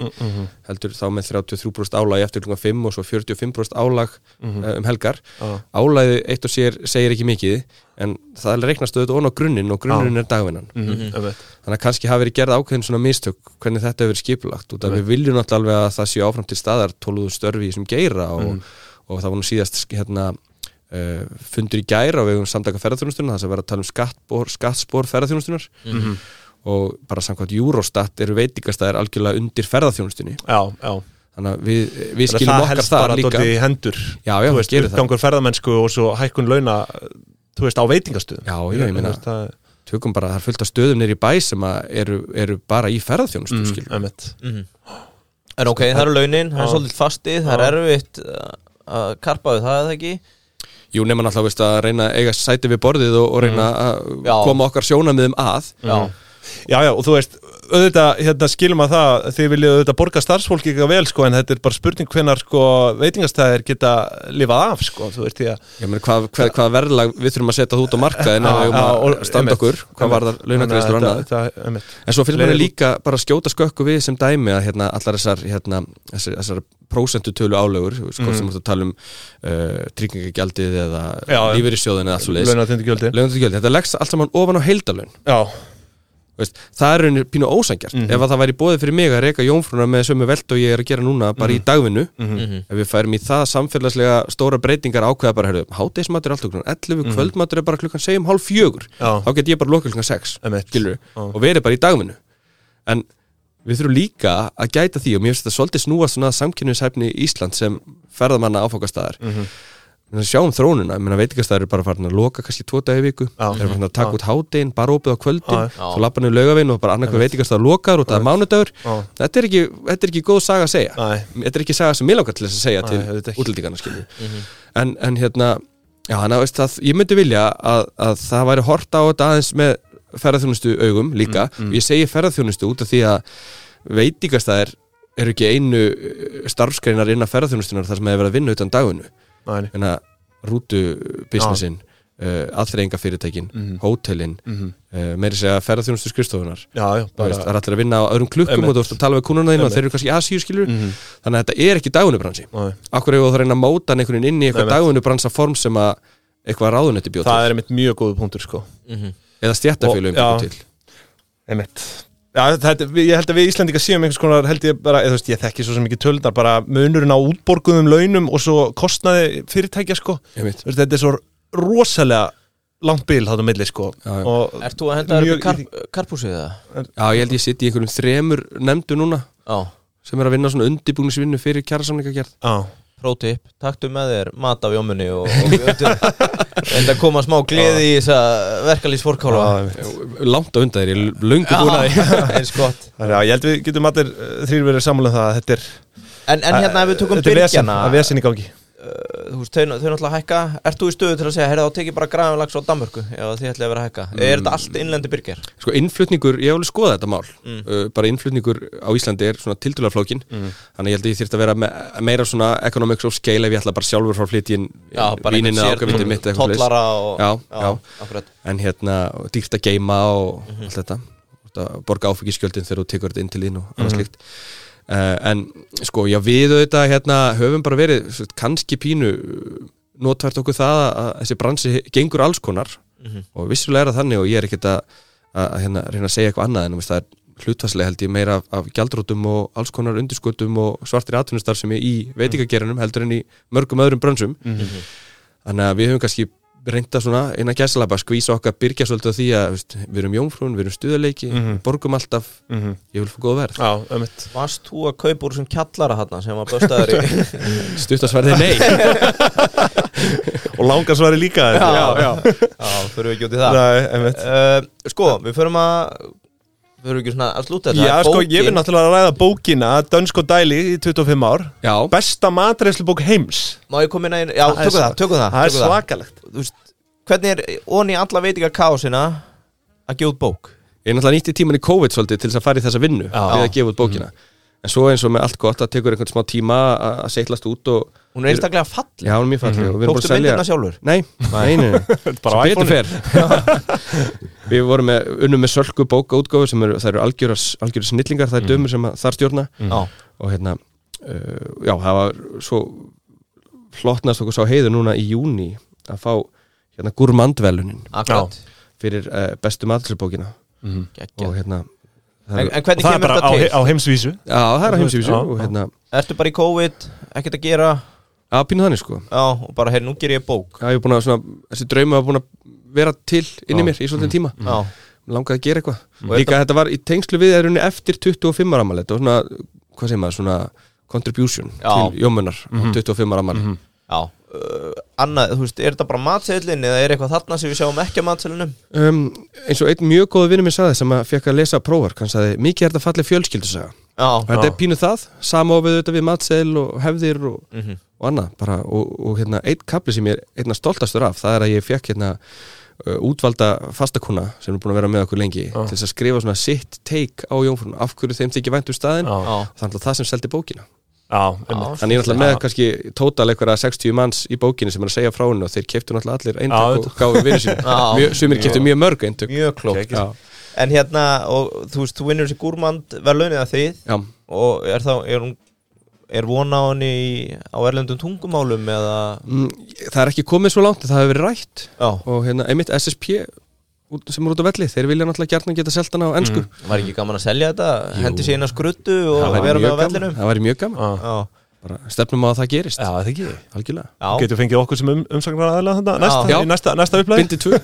Speaker 3: heldur þá með 33% álagi eftir klukkan 5 og svo 45% álag eh, um helgar.
Speaker 1: Já.
Speaker 3: Álagið eitt og sér segir ekki mikið en það reiknast auðvitað ofan á grunninn og grunninn er dagvinnan. Þannig að kannski hafi verið gerð ákveðin svona mistök hvernig þetta hefur verið skipulagt út af við viljum náttúrulega alveg að það séu áfram til staðar tóluðu störfi í þessum geira og,
Speaker 1: Mm.
Speaker 3: og það var nú síðast sk- hérna Uh, fundur í gær á vegum samtaka ferðarþjónustunar það sem verið að tala um skattbor, skattspor ferðarþjónustunar
Speaker 1: Mhm.
Speaker 3: og bara samkvæmt Eurostat eru veitingastæðir algjörlega undir ferðarþjónustunni
Speaker 1: já, já
Speaker 3: þannig að við, við
Speaker 1: Þannig að
Speaker 3: skilum
Speaker 1: það
Speaker 3: okkar
Speaker 1: helst
Speaker 3: þar
Speaker 1: bara
Speaker 3: líka
Speaker 1: dálítið í hendur
Speaker 3: Já, já,
Speaker 1: þú
Speaker 3: það
Speaker 1: veist,
Speaker 3: gerir það
Speaker 1: uppgangur ferðamennsku og svo hækkun launa þú veist, á veitingastöðum
Speaker 3: Já, já, ég meina,
Speaker 1: Þú veist, það er-
Speaker 3: tökum bara, það er fullt af stöðum nýri bæ sem að eru, eru bara í ferðarþjónustu
Speaker 1: Mhm.
Speaker 3: mm. skilur,
Speaker 1: einmitt.
Speaker 2: En ok, það eru launin, það er
Speaker 1: Já.
Speaker 2: svolítið fastið, það er erfitt uh, að karpaðu það eða ekki
Speaker 3: jú nema náttúrulega veist, að reyna að eiga sæti við borðið og, og reyna að
Speaker 2: Já.
Speaker 3: koma okkar sjónamiðum að Mm.
Speaker 1: Mm.
Speaker 2: Já,
Speaker 1: já, já, og þú veist, auðvitað hérna, skilum að það, þið viljið auðvitað borga starfsfólki eitthvað vel, sko, en þetta er bara spurning hvenar, sko, veitingastæðir geta lifað af, sko, þú veist, því að
Speaker 3: Ég meina, hvað, hvað, hvað verðlag við þurfum að setja það út á markaðin
Speaker 1: Já, já,
Speaker 3: að
Speaker 1: og-
Speaker 3: standa
Speaker 1: einmitt,
Speaker 3: okkur, hvað
Speaker 1: einmitt.
Speaker 3: var það launagreistur
Speaker 1: Þannig
Speaker 3: annað
Speaker 1: að þetta- þetta- einmitt.
Speaker 3: En svo finnst mér
Speaker 1: Fleiri-
Speaker 3: líka bara að skjóta skökku við sem dæmi að hérna, allar þessar, hérna, þessar, þessar prósentutölu álögur, sko, sem voru að tala um uh, tryggingagjaldið
Speaker 1: Mm. Já,
Speaker 3: eða
Speaker 1: já.
Speaker 3: lífeyrissjóðin eða alls og leiðis.
Speaker 1: Launatengdugjöldin.
Speaker 3: Launatugjöld, þetta leggst allt saman ofan á heildalun.
Speaker 1: Já,
Speaker 3: Veist, það er rauninni pínu ósangjart.
Speaker 1: Mhm.
Speaker 3: Ef að það væri bóðið fyrir mig að reyka jónfruna með sömu velt og ég er að gera núna bara
Speaker 1: Mhm.
Speaker 3: í dagvinnu, ef við færum í það samfélagslega stóra breytingar ákveða bara, herðu, hátegismatur er alltaf klukkan 11, kvöldmatur er bara klukkan 7, hálf 4
Speaker 1: Mhm. já,
Speaker 3: þá get ég bara lokað klukkan 6
Speaker 1: Einmitt.
Speaker 3: skilur,
Speaker 1: Já.
Speaker 3: og verið bara í dagvinnu en við þurfum líka að gæta því og mér finnst þetta svolítið snúast um svona samkynningshæfni í Ísland sem ferðamanna áfokastæðar mm
Speaker 1: Mhm.
Speaker 3: -hmm. sjáum þrónuna, ég meina veitingastæðar eru bara farin að loka kannski tvo dagi í viku,
Speaker 1: Já.
Speaker 3: þeir eru farin að taka út hádegin, bara opið á
Speaker 1: Já.
Speaker 3: kvöldin, svo lappa niður laugavinn og bara annarkvæð veitingastæðar lokar og það er mánudagur
Speaker 1: Já.
Speaker 3: þetta er, ekki, þetta er ekki góð saga að segja
Speaker 1: næ,
Speaker 3: þetta er ekki saga sem ég langar til þess að segja
Speaker 1: Nei, auðvitað ekki.
Speaker 3: til
Speaker 1: Mhm.
Speaker 3: útlendingarna skilju en, en hérna já, hana, veist, það, ég myndi vilja að, að það væri horta á þetta aðeins með ferðarþjónustu augum líka
Speaker 1: Mm,
Speaker 3: ég segi ferðarþjónustu út af því að veitingastæðir eru ekki einu uh, starfsgreinar innan ferðarþjónustunar þar sem hefur verið að vinna utan Hérna, daginu
Speaker 1: næ,
Speaker 3: en að rútubisnessin uh, aðþreyinga fyrirtækin,
Speaker 1: Mhm.
Speaker 3: hótelin uh, meiri segja ferðarþjónustu skrifstofunar
Speaker 1: já, já,
Speaker 3: Þú veist,
Speaker 1: bara,
Speaker 3: það er allir að vinna á öðrum klukkum
Speaker 1: Einmitt. Mhm.
Speaker 3: og þú ert að tala við kúnuna þínu og þeir eru kannski asíu skilur þannig að þetta er ekki dagunubransi
Speaker 1: næ.
Speaker 3: Akkur hefur þú að reyna að móta hann einhvern veginn inn í eitthvað
Speaker 1: Einmitt.
Speaker 3: dagunubransa form sem að eitthvað ráðunetti bjóð
Speaker 1: það er einmitt mjög góðu punktur, sko.
Speaker 3: til eða stjættafélum
Speaker 1: Og-
Speaker 3: bjóð
Speaker 1: já.
Speaker 3: til
Speaker 1: Einmitt. Já, þetta, við- ég held að við Íslandika séum einhvers konar, held ég bara, eða þú veist, ég þekki svo sem ekki tölunar, bara munurinn á útborguðum launum og svo kostnaði fyrirtækja, sko.
Speaker 3: Einmitt.
Speaker 1: Þú veist, þetta er svo rosalega langt bil þáttum milli, sko.
Speaker 3: Já, já.
Speaker 1: Og,
Speaker 2: ert þú að henda þér upp í
Speaker 1: Mjög
Speaker 2: karp, karpúsið það?
Speaker 3: Já, ég held ég sitt í einhverjum þremur nefndu núna
Speaker 2: Já,
Speaker 3: sem er að vinna svona undibúgnisvinnu fyrir kjærasamningagerð
Speaker 1: já,
Speaker 2: prótip, taktu með þér mat af jómunni og, og enda að koma smá gleði í þess að verkalýs fórkála
Speaker 3: Langt á undan þér, ég er löngu búin að
Speaker 2: eins gott
Speaker 1: Þannig að ég held við getum allir uh, þrýr verið samlega það að þetta er,
Speaker 2: En, en hérna ef við tökum
Speaker 1: þetta er vesen,
Speaker 2: byrgjana eh,
Speaker 1: að vesen í gangi.
Speaker 2: þú veist, þau, þau náttúrulega hækka Ert þú í stöðu til að segja, heyrðu þá tekið bara græðan lags á Danmörku Já, þið ætlaði að vera að hækka Er þetta allt innlendi byrgjar?
Speaker 3: Sko innflutningur, ég hef alveg skoðað þetta mál uh, bara innflutningur á Íslandi er svona tildulega flókin þannig ég held að ég þyrfti að vera me meira svona economics of scale ef ég ætla bara sjálfur frá flytjinn vínin eða ákavitið mitt eða eitthvað
Speaker 2: Tollara og
Speaker 3: Já, já.
Speaker 2: akkurat
Speaker 3: en hérna, dýrt að geima og allt þetta, þetta borga áfengiskjöldin þegar þú tekur þetta inn til þín og annars slíkt uh, en sko, já við auðvitað hérna, höfum bara verið svo, kannski pínu uh, notvært okkur það að að þessi bransi gengur alls konar og vissulega er það þannig og ég er ekkert að, að, að hérna, reyna að segja eitthvað annað en þú veist, það er hlutfarslega held ég meira af, af gjaldrótum og alls konar undirskotum og svartir atvinnustar sem er í veitingagerinum heldur en í mörgum öðrum brönsum Þannig að við höfum kannski reynda svona innan gæsalaba að skvísa okkar byrgja svolítið á því að veist, við erum jómfrún, við erum stuðarleiki, borgum alltaf,
Speaker 1: Mhm.
Speaker 3: ég vil fá góð verð.
Speaker 1: Já, einmitt.
Speaker 2: Varst þú að kaupa úr sem kjallara hann sem að böstaður í
Speaker 3: Stuttasverðið nei.
Speaker 1: Og langarsvari líka. þetta.
Speaker 2: já Já, þurfum við ekki út í það
Speaker 1: Nei, einmitt.
Speaker 2: uh, Sko, við förum að Við förum ekki svona að slúta þetta
Speaker 1: Já,
Speaker 2: Það er
Speaker 1: sko, ég vil
Speaker 2: bókin.
Speaker 1: náttúrulega ræða bókina, Dönsk og Dæli í 25 ár.
Speaker 3: Já,
Speaker 1: Besta matreifslubók heims.
Speaker 2: Má ég koma inn að Já,
Speaker 1: Það er
Speaker 2: tökum það,
Speaker 1: sva-
Speaker 2: tökum það
Speaker 1: Það er
Speaker 2: tökum
Speaker 1: svakalegt.
Speaker 2: Þú veist, Hvernig er, onni alla veitingar kásina Að gefa út bók
Speaker 3: ég náttúrulega nýtti tíman í COVID svolítið til þess að fara í þessa vinnu
Speaker 2: Já.
Speaker 3: við að gefa út bókina. en svo eins og með allt gott að tekur einhvern smá tíma að að seitlast út og
Speaker 2: Hún er einstaklega fall
Speaker 3: já, hún er mjög falleg og við erum búin
Speaker 2: Tókstu
Speaker 3: að selja
Speaker 2: myndina sjálfur
Speaker 3: Nei, nei, nei, nei.
Speaker 1: bara
Speaker 3: sem betur
Speaker 1: iPhone-ið.
Speaker 3: fer Við vorum með, unnum með sölku bóka útgáfu sem eru, það eru algjöra, algjöra snillingar það er dömur sem að, þar stjórna
Speaker 2: Já,
Speaker 3: og hérna, uh, já, það var svo flottnast okkur sá heiður núna í júni að fá hérna gurmandvelunin
Speaker 2: akkurat
Speaker 3: fyrir uh, bestu matlisleibókina og
Speaker 2: Geggjað.
Speaker 3: hérna
Speaker 2: En,
Speaker 3: það eru-
Speaker 1: Og
Speaker 2: en Mhm. hvernig
Speaker 1: það er
Speaker 2: kemur
Speaker 1: bara á,
Speaker 2: þetta til?
Speaker 1: á heimsvísu
Speaker 3: Já, það er að
Speaker 1: Já,
Speaker 3: heimsýfisju
Speaker 1: já.
Speaker 3: og hérna,
Speaker 2: Ertu bara í COVID, ekkert að gera
Speaker 3: að pínu þannig sko
Speaker 2: Já, og bara, heyrðu, nú ger ég bók
Speaker 3: Já, ég er búin að svona, þessi drauma var búin að vera til inni í mér í svolítið tíma
Speaker 2: Já,
Speaker 3: langaði að gera eitthvað
Speaker 2: Og
Speaker 3: líka þetta var í tengslu við er unni eftir 25 ára ammali þetta var svona, hvað segir maður, svona contribution
Speaker 2: Já. Mhm.
Speaker 3: til jómunar á 25 ára ammali
Speaker 2: já uh, Annað, þú veist, er þetta bara matseðlinn eða er eitthvað þarna sem við sjáum ekki að matseðlinnum?
Speaker 3: um, eins og einn mjög góð vinnum minn sagði sem að fekk að lesa prófar, hann sagði, mikið er þetta fallið fjölskyldusaga
Speaker 2: Já,
Speaker 3: þetta
Speaker 1: Já.
Speaker 3: er pínu það, sama og við þetta við matseðil og hefðir og,
Speaker 2: Mhm.
Speaker 3: og annað bara, og, og hérna, einn kapli sem ég er einna stoltastur af, það er að ég fekk hérna uh, útvalda fastakuna sem er búin að vera með okkur lengi til þess að skrifa svona sitt take á jómfrún af hverju þeim þykir vænt um staðin
Speaker 1: Já.
Speaker 2: já,
Speaker 3: það er alltaf það sem seldi bókina
Speaker 1: Já,
Speaker 2: já
Speaker 1: einmitt.
Speaker 3: Þannig ég er náttúrulega með kannski tótal einhverja 60 manns í bókinni sem er að segja frá henni og þeir keftu náttúrulega allir
Speaker 1: Já,
Speaker 3: eintak og gáðu vinnu sín
Speaker 2: Já.
Speaker 3: mjög, Sumir keftu mjög mörg eintak
Speaker 2: Mjög klókt
Speaker 3: Já,
Speaker 2: En hérna, og þú veist, þú vinnur þessi gúrmand verðlaunið að þið
Speaker 3: já.
Speaker 2: og er þá, er hún er vona á henni í- á erlendum tungumálum eða
Speaker 3: Mm, Það er ekki komið svo langt en það hefur verið rætt
Speaker 2: Já,
Speaker 3: og hérna einmitt SSP út- sem eru út á velli, þeir vilja náttúrulega gjarnan geta selta hana á ennsku
Speaker 2: var ekki gaman að selja þetta, hendi sér inn að skruttu Mm. og
Speaker 3: væri
Speaker 2: vera með
Speaker 3: mjög
Speaker 2: á vellinum
Speaker 3: gaman, það væri mjög gaman
Speaker 1: Já.
Speaker 2: Já,
Speaker 3: Bara Stefnum á að það gerist,
Speaker 1: Já, það er ekki
Speaker 3: algjörlega
Speaker 2: já.
Speaker 1: Getur fengið okkur sem um, umsagnar aðlega þetta næsta,
Speaker 3: Já.
Speaker 1: í næsta, næsta upplæg
Speaker 3: Bindi 2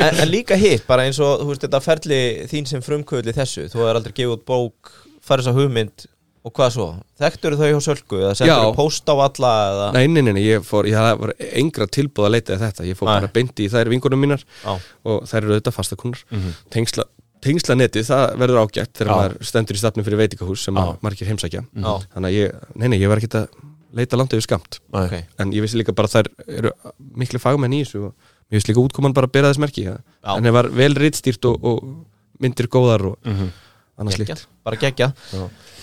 Speaker 2: en, en líka hitt, bara eins og þú veist þetta ferli þín sem frumkvöðli þessu þú er aldrei gefið út bók, farið þess að hugmynd og hvað svo, þekktur þau hjá Sölku eða sendur
Speaker 3: Já.
Speaker 2: þau post á alla eða
Speaker 3: Nei, nei, nei, nei, ég fór, ég það var engra tilbúð að leita að þetta, ég fór
Speaker 2: Nei.
Speaker 3: bara beindi í þær vingunum mínar
Speaker 2: Já.
Speaker 3: og þær eru auðvitað fastakunnar tengsla, tengsla netið, það verður ágætt þegar
Speaker 1: Mhm. Já.
Speaker 3: maður stendur í stafnum fyrir veitingahús sem
Speaker 1: Já. Mhm.
Speaker 3: að margir heimsækja
Speaker 2: Já.
Speaker 3: þannig að ég, nei, nei, ég var ekkert að leita langt yfir skamt,
Speaker 2: Ok.
Speaker 3: en ég vissi líka bara að þær eru miklu fagmenn í þessu og mér vissi líka útkoman bara að bera þess merki ja.
Speaker 2: Já.
Speaker 3: en það var vel rittstýrt og, og myndir góðar og
Speaker 1: Mhm.
Speaker 3: annars
Speaker 2: Geggjað,
Speaker 3: líkt
Speaker 2: bara geggja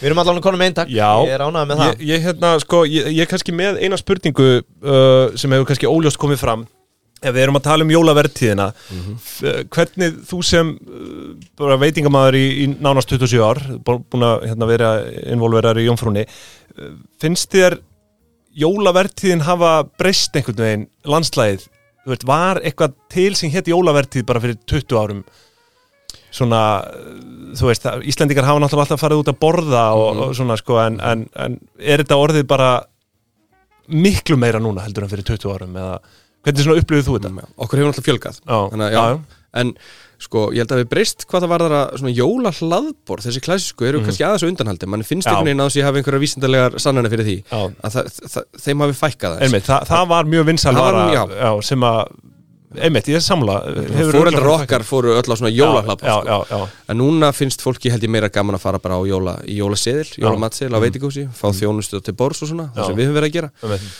Speaker 2: Við erum allan konum með eintak,
Speaker 1: Já.
Speaker 2: ég er ánægð með það
Speaker 1: ég, ég, hérna, sko, ég, ég er kannski með eina spurningu uh, sem hefur kannski óljóst komið fram ef við erum að tala um jólavertíðina mm
Speaker 2: Mhm.
Speaker 1: hvernig þú sem uh, bara veitingamæður í, í nánast 27 ár, bú- búin að hérna, vera involverar í Jónfrúni uh, finnst þér jólavertíðin hafa breyst einhvern veginn landslæðið, þú veist, var eitthvað til sem hétt jólavertíð bara fyrir 20 árum svona þú veist, það- Íslendingar hafa náttúrulega alltaf farið út að borða og,
Speaker 3: Mhm.
Speaker 1: og svona sko en, en, en er þetta orðið bara miklu meira núna heldur en fyrir 20 árum eða hvernig svona upplifið þú þetta?
Speaker 3: okkur hefur náttúrulega fjölgað
Speaker 1: Já,
Speaker 3: Mm, Þannig, að-
Speaker 1: já,
Speaker 3: já. en sko, ég held að við breyst hvað það var þar að svona jóla hlaðbor þessi klassísku eru kannski aðeins á undanhaldi mann finnst
Speaker 1: Mhm. Já.
Speaker 3: einhvern veginn að þess að ég hafi einhverja vísindalegar sannana fyrir því
Speaker 1: Já.
Speaker 3: að það, það, þeim hafi fækkað aðeins.
Speaker 1: Einmitt, það, það var mjög vinsal
Speaker 3: Það var-
Speaker 1: vara
Speaker 3: já.
Speaker 1: sem að einmitt, ég er samla
Speaker 3: fóreldrar okkar fóru öll á svona jóla hlaðbor
Speaker 1: já,
Speaker 3: sko.
Speaker 1: já, já,
Speaker 3: en núna finnst fólki held ég meira gaman að fara bara á jóla, í jólaseðil, jólamatseðil á veitingúsi, fá þjónustu til bors og svona það
Speaker 1: Mhm. Já.
Speaker 3: sem við höfum verið að gera
Speaker 1: einmitt,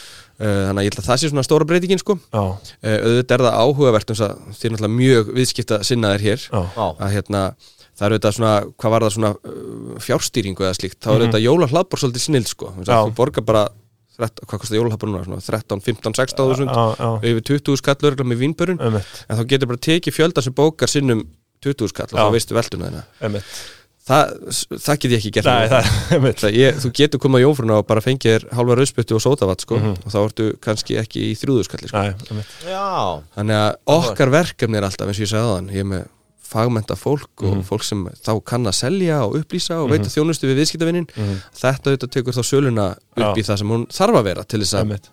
Speaker 3: Uh, þannig að ég held að það sé svona stóra breytingin sko.
Speaker 1: já,
Speaker 3: uh, auðvitað er það áhugavert um þess að þið er náttúrulega mjög viðskipta sinnaðir hér
Speaker 1: já,
Speaker 2: Já,
Speaker 3: að hérna það eru þetta svona, hvað var það svona uh, fjárstýringu eða slíkt, þá eru þetta jóla hlaðbór svolítið snill sko, Þú veist
Speaker 1: Mhm. Já.
Speaker 3: að þú borgar bara 13, hvað kostar jóla hlaðbór núna, svona 13, 15, 16 þúsund,
Speaker 1: já, já,
Speaker 3: yfir 20 skall örgulega með vínbörun,
Speaker 1: einmitt,
Speaker 3: en þá getur bara tekið fjölda sem bókar sinnum 20 skall og
Speaker 1: Já.
Speaker 3: þá veistu velduna þina
Speaker 1: einmitt.
Speaker 3: það, það get ég ekki gert
Speaker 1: Nei,
Speaker 3: núna.
Speaker 1: það, einmitt.
Speaker 3: Það ég, þú getur komað í jófruna og bara fengið þér halva rauðspöttu og sótavatt sko,
Speaker 1: Mhm.
Speaker 3: og þá ertu kannski ekki í þrjúðuskall sko.
Speaker 1: Nei, einmitt.
Speaker 2: já,
Speaker 3: Þannig að okkar verkefni er alltaf eins og ég sagði þann, ég er með fagmenta fólk
Speaker 1: Mhm.
Speaker 3: og fólk sem þá kann að selja og upplýsa og veita þjónustu við viðskiptavinnin þetta auðvitað tekur þá söluna upp
Speaker 1: Mhm. Já.
Speaker 3: í það sem hún þarf að vera til þess að
Speaker 1: einmitt.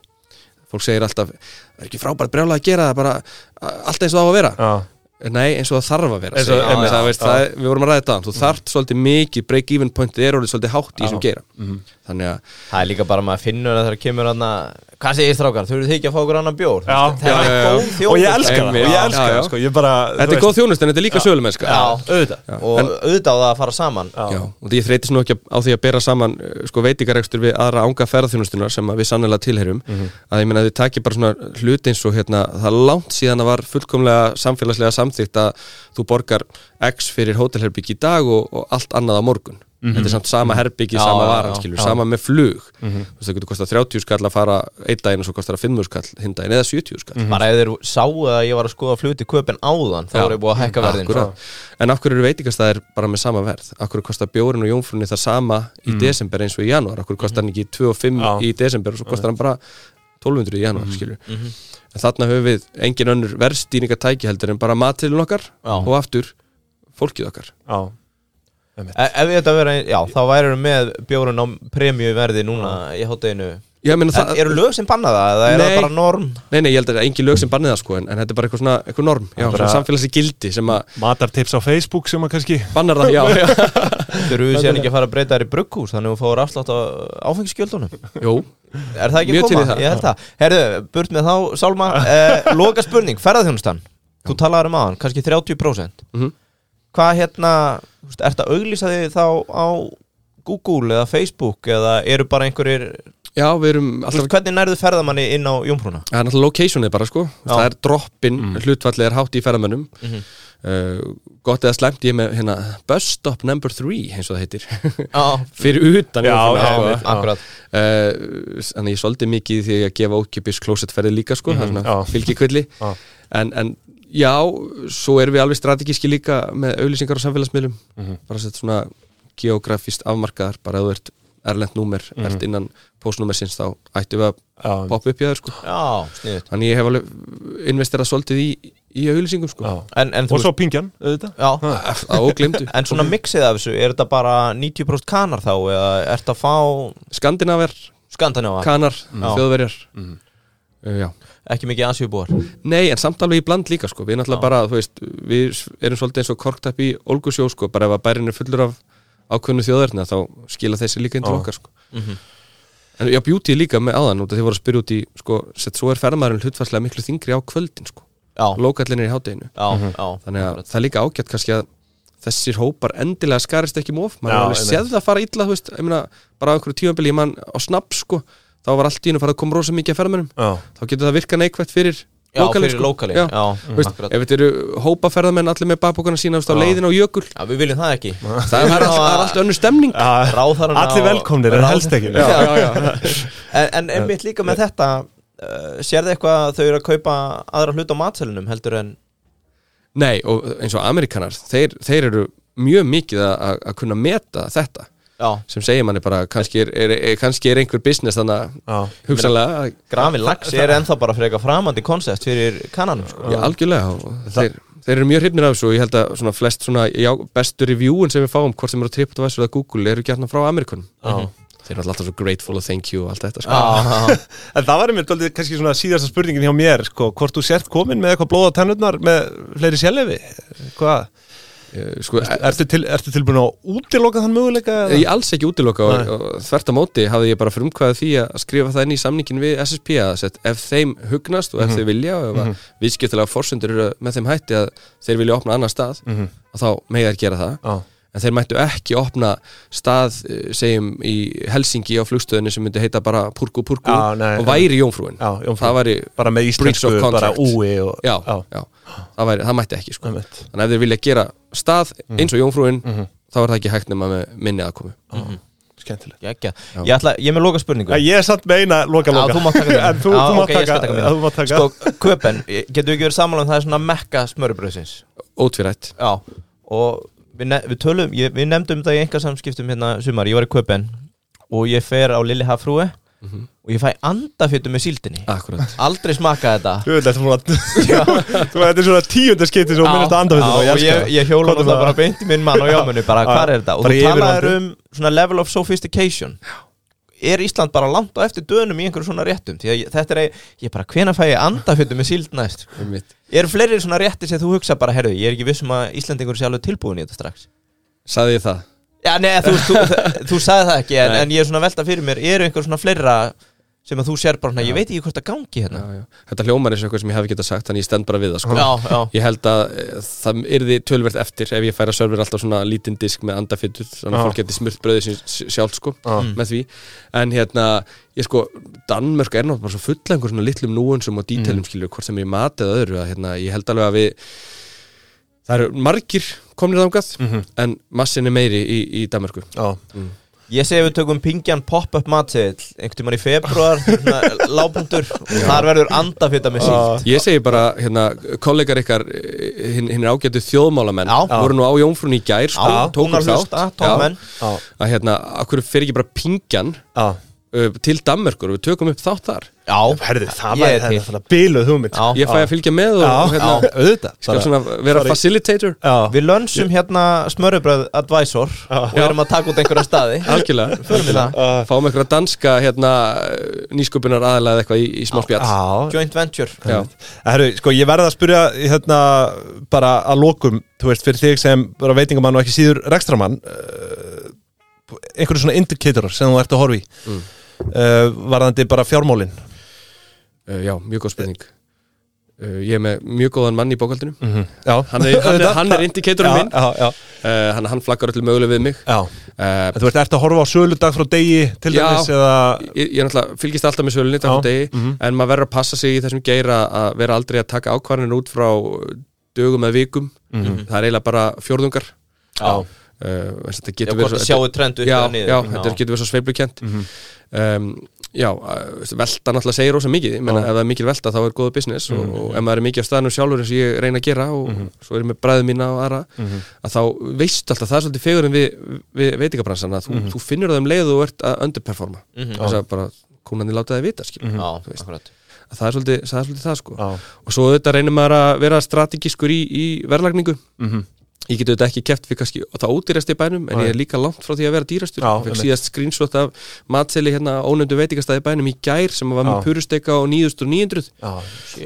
Speaker 3: fólk segir alltaf, það er ekki frábært brjálega að gera það bara a- allt eins og það á að vera
Speaker 1: Já,
Speaker 3: nei eins og það þarf að vera
Speaker 1: Eins og-
Speaker 3: segir hann.
Speaker 1: einmitt. Mhm.
Speaker 3: það, veist, það, er- við vorum að ræða þetta, þú þarft svolítið mikið break even point er orðið svolítið hátt í þessum geira
Speaker 1: Mhm.
Speaker 3: þannig að
Speaker 2: það er líka bara maður finnur að það kemur hann hvað segir strákar, þurfið þið ekki að fá okkur annan bjór
Speaker 1: Já,
Speaker 2: það
Speaker 1: já,
Speaker 2: er
Speaker 3: já,
Speaker 2: góð
Speaker 1: og ég
Speaker 2: þjónusta.
Speaker 1: elska það, og ég
Speaker 3: Já,
Speaker 1: elska
Speaker 3: já.
Speaker 1: það, sko, ég bara
Speaker 3: þetta er góð þjónust en þetta er líka sölumennska
Speaker 2: Já,
Speaker 1: auðvitað
Speaker 2: og auðvitað á það að fara saman
Speaker 3: Já, og ég þreytist nú ekki á því að bera saman eh, sko, veitingarekstur við aðra ánga ferðarþjónustunar sem að við sannlega tilherum
Speaker 2: Mhm.
Speaker 3: að ég meina að þið takir bara svona hlut eins og hérna, það er langt síðan að var fullkomlega samfélagslega samþýtt að þú borgar X fyrir hótelherbygg í dag og, og allt annað á morgun þetta er samt sama
Speaker 2: Mhm.
Speaker 3: herbyggi,
Speaker 2: Já,
Speaker 3: sama
Speaker 2: já,
Speaker 3: varan
Speaker 2: já,
Speaker 3: skilur,
Speaker 2: já. Mhm.
Speaker 3: sama með flug þú veist, það getur kostað 30 skall að fara einn daginn og svo kostar það 5 skall hinn daginn eða 70 skall
Speaker 2: bara ef þeir sáu að ég var að skoða fluti köpinn áðan, þá
Speaker 3: Já.
Speaker 2: voru ég búið að hækka verðin sko.
Speaker 3: Akkúrat. sko. En af hverju eru veitingastæðir bara með sama verð? Af hverju kostar bjórin og jómfrunni það sama í desember eins og í janúar? Af hverju kostar hann ekki 2,5
Speaker 1: Já.
Speaker 3: í desember og svo kostar hann bara 1200 í janúar, mm En þarna höfum við engin önnur verðstýningatæki heldur en bara matilun okkar
Speaker 2: Já.
Speaker 3: og aftur fólkið okkar.
Speaker 1: Já,
Speaker 2: E- Ef þetta verið, já, þá væri með bjórun á premjöverði núna í hátteginu
Speaker 3: Já, meina, það,
Speaker 2: Eru lög sem banna það, eða er
Speaker 3: Nei.
Speaker 2: það bara norm?
Speaker 3: nei, nei, ég held að það er engin lög sem bannið það sko, en, en þetta er bara eitthvað svona, eitthvað norm, já,
Speaker 1: Bara-
Speaker 3: svona samfélagsi gildi sem að
Speaker 1: matartips á Facebook sem að kannski
Speaker 3: bannar það, já, já.
Speaker 2: Þurfum við síðan ekki að fara að breyta þær í brugghús þannig að þú fáir afslátt á áfengisgjöldunum
Speaker 3: Jú,
Speaker 2: Er það ekki
Speaker 3: Mjög
Speaker 2: að
Speaker 3: til í
Speaker 2: koma?
Speaker 3: það.
Speaker 2: Ég held það Herðu, burt með þá, Sálma eh, Loka spurning, ferðarþjónustan Þú talaður um aðan, kannski 30%
Speaker 3: Mhm.
Speaker 2: Hvað hérna, þú veist, ertu að auglýsa þig þá á Google eða Facebook eða eru bara einhverjir
Speaker 3: já, við erum
Speaker 2: Þú
Speaker 3: alltaf
Speaker 2: veist, Hvernig nærðu ferðamanni inn á Jómfrúna?
Speaker 3: Það er náttúrulega locationið bara sko
Speaker 2: Já.
Speaker 3: Það er droppin, mm. hlutfallið er hátt í ferðamönnum
Speaker 1: Mhm.
Speaker 3: uh, Gott eða slæmt ég er með hérna, Bus stop number 3 eins og það heitir
Speaker 2: Já,
Speaker 3: Fyrir utan
Speaker 1: Ah. Já, já,
Speaker 3: Jómfrúna, sko.
Speaker 1: einmitt.
Speaker 2: akkurat
Speaker 3: Eh, Þannig ég svolítið mikið í því að gefa ókipis klósettferði líka sko Það er svona
Speaker 1: Mhm, Já.
Speaker 3: fylgikvilli
Speaker 1: Já.
Speaker 3: en, en já, svo erum við alveg strategíski líka með auðlýsingar á samfélagsmiðlum
Speaker 1: Mhm.
Speaker 3: bara sett svona geografist afmarkaðar bara ef þú ert erlend númer ert innan postnúmersins þá ættum við að
Speaker 1: Mhm. Já.
Speaker 3: poppa upp í það sko
Speaker 2: Já, sniðut
Speaker 3: Þannig ég hef alveg investerað svolítið í, í auðlýsingum sko
Speaker 1: Já.
Speaker 2: En, en, þú
Speaker 1: Og svo pingjan, auðvitað
Speaker 2: veist- já,
Speaker 3: Það óglemdu
Speaker 2: en svona mixið af þessu, er þetta bara 90% kanar þá eða ertu að fá
Speaker 3: Skandinaver,
Speaker 2: skandanáa,
Speaker 3: kanar,
Speaker 2: Já. Mhm.
Speaker 3: þjóðverjar uh, Já
Speaker 2: ekki mikið asjubúar
Speaker 3: Nei, en samt alveg í bland líka sko Við náttúrulega bara, þú veist, við erum svolítið eins og korktapp í Olgusjó sko Bara ef að bærin er fullur af ákveðnu þjóðverðna þá skila þessi líka inn til
Speaker 1: Já.
Speaker 3: okkar sko
Speaker 2: Mhm.
Speaker 3: En já, beauty líka með aðan út að þið voru að spyrja út í sko, sett svo er ferðmaðurinn hlutfarslega miklu þingri á kvöldin sko
Speaker 2: Já,
Speaker 3: Lókallin er í hádeginu
Speaker 2: já, já
Speaker 3: þannig að það er líka ágætt kannski að þessir hópar endilega skarist ekki móf maður
Speaker 1: Já,
Speaker 3: er alveg
Speaker 1: einmitt.
Speaker 3: séð það fara illa þú veist, ég meina, bara á einhverju tímanbili, ég mann á snapp sko, þá var allt í hennu farið að koma rosa mikið að ferðmennum,
Speaker 1: Já,
Speaker 3: þá getur það virka neikvægt fyrir
Speaker 2: Já,
Speaker 3: lokalinn,
Speaker 2: fyrir
Speaker 3: sko.
Speaker 2: lokalinn,
Speaker 3: já,
Speaker 2: já,
Speaker 3: þú veist,
Speaker 2: akkurat.
Speaker 3: ef þetta eru hópaferðamenn allir með bakbókana sína þú veist, á
Speaker 2: Já.
Speaker 3: leiðin á jökul
Speaker 2: Já, við viljum það ekki
Speaker 3: það er, það er allt önnur stemning
Speaker 2: Ráðherran á-
Speaker 1: allir velkomnir, en
Speaker 2: Ráð-
Speaker 1: helst ekki
Speaker 2: Já.
Speaker 3: já, já,
Speaker 2: En, en einmitt líka með þetta uh, Sérðu eitthvað að þau eru að kaupa aðra hlut á matselunum heldur en
Speaker 3: Nei, og eins og amerikanar þeir, þeir eru mjög mikið að, að- að kunna meta þetta
Speaker 2: Já,
Speaker 3: sem segir manni bara, kannski er, er, er, kannski er einhver business þannig
Speaker 1: Já.
Speaker 3: að hugsanlega að-
Speaker 2: grafin lax er ennþá bara frekar framandi konsept fyrir kananum sko.
Speaker 3: Já, algjörlega og þeir, þeir eru mjög hrifnir af þessu og ég held að svona flest svona, já, bestu reviewin sem við fáum hvort sem eru á TripAdvisor eða Google eru gert frá Amerikunum Mhm. Þeir eru alltaf svo grateful og thank you og allt þetta sko.
Speaker 2: Já, já, já.
Speaker 1: En það var einmitt dálítið kannski svona síðasta spurningin hjá mér sko, hvort þú sért komin með eitthvað blóða tennurnar með fleiri sjælefi Hvað,
Speaker 3: Eh, sko, er,
Speaker 1: ertu, til, ertu tilbúin að útiloka þann möguleika? eða?
Speaker 3: Ég alls ekki útiloka og, og þvert á móti hafði ég bara frumkvæðið því að skrifa það inn í samningin við SSP að set, ef þeim hugnast og ef þeir vilja og ef mm -hmm. viðskiptilega forsendur eru með þeim hætti að þeir vilja opna annar stað að þá mega þeir gera það
Speaker 1: Já.
Speaker 3: en þeir mættu ekki opna stað eh, segjum í Helsingi á flugstöðinni sem myndi heita bara Purku Purku
Speaker 1: Já, nei,
Speaker 3: og væri Jómfrúin
Speaker 1: Já, Jómfrú.
Speaker 3: það væri
Speaker 1: Bara með
Speaker 3: breach of
Speaker 1: íslensku, bara
Speaker 3: contract.
Speaker 1: úi og,
Speaker 3: já, já. Það, væri, það mætti ekki sko.
Speaker 1: Einmitt. Mhm.
Speaker 3: þannig ef þeir vilja gera stað eins og Jómfrúin þá er það ekki hægt nema með minni aðkomi
Speaker 1: skemmtilegt
Speaker 2: Gekkja. Ég ætla, ég er með loka spurningu
Speaker 1: Já, Ég er samt meina loka
Speaker 2: Já,
Speaker 1: loka
Speaker 2: þú mátt taka það
Speaker 1: En þú, þú mátt taka,
Speaker 2: mína.
Speaker 1: þú mátt taka.
Speaker 2: Sko, köpen, getur við ekki verið sammála um það er svona mekka smörubröðsins
Speaker 3: ótvirætt
Speaker 2: Já, og við, ne við tölum, ég, við nefndum það í einhver samskiptum hérna sumar, ég var í köpen og ég fer á Lilli Hafrúi
Speaker 1: Mhm.
Speaker 2: og ég fæ andafjötu með síldinni
Speaker 1: Ah.
Speaker 3: akkurat
Speaker 2: Aldrei smaka þetta
Speaker 1: Þú veit, þetta er svona- þú veit, þetta er svona tíundarskipti sem
Speaker 2: Já,
Speaker 1: hún minnast að anda við
Speaker 2: já,
Speaker 1: þetta
Speaker 2: og ég, ég hjóla náttúrulega bara beint í minn mann og jámunni bara
Speaker 1: Já,
Speaker 2: hvað er þetta og
Speaker 1: bara
Speaker 2: þú
Speaker 1: í
Speaker 2: talaðir
Speaker 1: yfirlandi.
Speaker 2: um svona level of sophistication er Ísland bara langt á eftir dönum í einhverju svona réttum því að ég- þetta er ein- ég bara hvena fæ ég andafjötu með síld næst
Speaker 3: Einmitt.
Speaker 2: eru fleiri svona rétti sem þú hugsa bara herðu ég er ekki vissum að Íslandingur sé alveg tilbúin í þetta strax
Speaker 3: sagði ég það
Speaker 2: já nei þú, þú, þú, þú sagði það ekki en,
Speaker 3: Nei.
Speaker 2: en ég er svona að velta fyrir mér eru einhver svona fleira sem að þú sér bara svona ég veit ekki hvort það gangi hérna
Speaker 3: já, já. þetta hljómar eins og eitthvað sem ég hef getað sagt þannig ég stend bara við það sko.
Speaker 2: já já
Speaker 3: ég held að eh, það yrði tölvert eftir ef ég færa server alltaf svona lítinn disk með andafittur þannig að
Speaker 1: Já.
Speaker 3: fólk geti smurt bröðið sín s- sjálft sko með því en hérna ég sko Danmörk er náttúrulega bara svo fulla einhver
Speaker 2: Mm.
Speaker 3: svona litlum núinsum og dítelum skilur hvort sem er í mat eða öðru að hérna ég held alveg að við það eru margir komnir þangað
Speaker 2: Mhm.
Speaker 3: en massin er meiri í, í Danmarku
Speaker 1: Já,
Speaker 2: Ég segi við tökum pingjan pop-up matseðil einhvern tímann í februar lábundur og þar verður andafita með sílt
Speaker 3: Ég segi bara, hérna, kollegar ykkar eh, hinn, hinn er ágættu þjóðmálamenn
Speaker 2: Já.
Speaker 3: voru nú á Jónfrún í gær sko,
Speaker 2: Já, hún
Speaker 3: tókum
Speaker 2: var að hlusta,
Speaker 3: þátt.
Speaker 2: tókum
Speaker 3: Já.
Speaker 2: menn.
Speaker 1: Já.
Speaker 3: að hérna, akkur fer ekki bara pingjan
Speaker 1: já
Speaker 3: uh, til Danmerkur og við tökum upp þátt þar
Speaker 2: Já,
Speaker 1: Herðu, það
Speaker 2: Ég
Speaker 1: var
Speaker 2: er
Speaker 1: það er
Speaker 2: til.
Speaker 1: náttúrulega biluð hugmynd
Speaker 2: já.
Speaker 3: ég fæ að fylgja með og hérna,
Speaker 1: auðvitað
Speaker 3: skal svona vera
Speaker 1: Sorry.
Speaker 3: facilitator
Speaker 1: Já,
Speaker 2: Við lönsum hérna smörubröð advisor og erum að taka út einhverja staði
Speaker 3: algjörlega,
Speaker 2: Förum í það.
Speaker 3: fáum einhverja danska hérna, nýsköpunar aðalega eitthvað í, í smá spjall
Speaker 1: já
Speaker 2: Joint venture
Speaker 3: Já.
Speaker 1: Herru, sko, ég verða að spyrja hérna, bara að lokum, þú veist, fyrir þig sem bara veitingamann og ekki síður rekstramann uh, einhverju svona indicatorar sem þú ert að horfa í uh, varðandi bara fjármálin
Speaker 3: Uh, já, mjög góð spurning uh, ég er með mjög góðan mann í bókaldinu
Speaker 1: Já,
Speaker 3: hann, er, hann, er, hann er indikatorinn minn uh,
Speaker 1: Mm. já, já,
Speaker 3: hann, hann flaggar öllu möguleg við mig
Speaker 1: já.
Speaker 3: uh,
Speaker 1: Þú veist, ert að horfa á sölu dag frá degi til
Speaker 3: Já.
Speaker 1: dæmis eða
Speaker 3: ég, ég náttúrulega fylgist alltaf með
Speaker 1: Já,
Speaker 3: sölunni dag og degi, en maður verður að passa sig í þessum geira að vera aldrei að taka ákvarðanir út frá dögum eða vikum það er eiginlega bara fjórðungar
Speaker 2: Já,
Speaker 3: uh, þess að þetta
Speaker 2: já
Speaker 3: getur
Speaker 2: hvort
Speaker 3: svo-
Speaker 2: að sjáu trend upp
Speaker 3: já,
Speaker 2: eða niður
Speaker 3: já, þetta getur verið svo sveiflukent um, já, uh, velta náttúrulega segir rosa mikið, ég meina ef það er mikil velta þá er góða business og, og ef maður er mikið á staðnum sjálfur eins og ég reyna að gera og svo er ég með bræðið mína og aðra að þá veistu alltaf, það er svolítið fegurinn við, við veitingabransan að þú, þú finnur það um leið og þú ert að underperforma
Speaker 2: Mhm.
Speaker 3: þess að bara kúnandi láta það vita skilur
Speaker 2: Já,
Speaker 3: þú veist.
Speaker 2: akkurat
Speaker 3: Að það, er svolítið, það er svolítið það sko
Speaker 1: Já.
Speaker 3: og svo auðvitað reynir maður að vera strategískur í, í verðlagningu
Speaker 1: Mhm.
Speaker 3: ég get auðvitað ekki keft fyrir kannski og það ódýrasti í bænum en ég er líka langt frá því að vera dýrastur
Speaker 1: Já,
Speaker 3: ég fekk
Speaker 1: einmitt.
Speaker 3: síðast screenshot af matseli hérna á ónefndu veitingastæði í bænum í gær sem var með
Speaker 1: Já.
Speaker 3: purusteka á 9900
Speaker 1: já,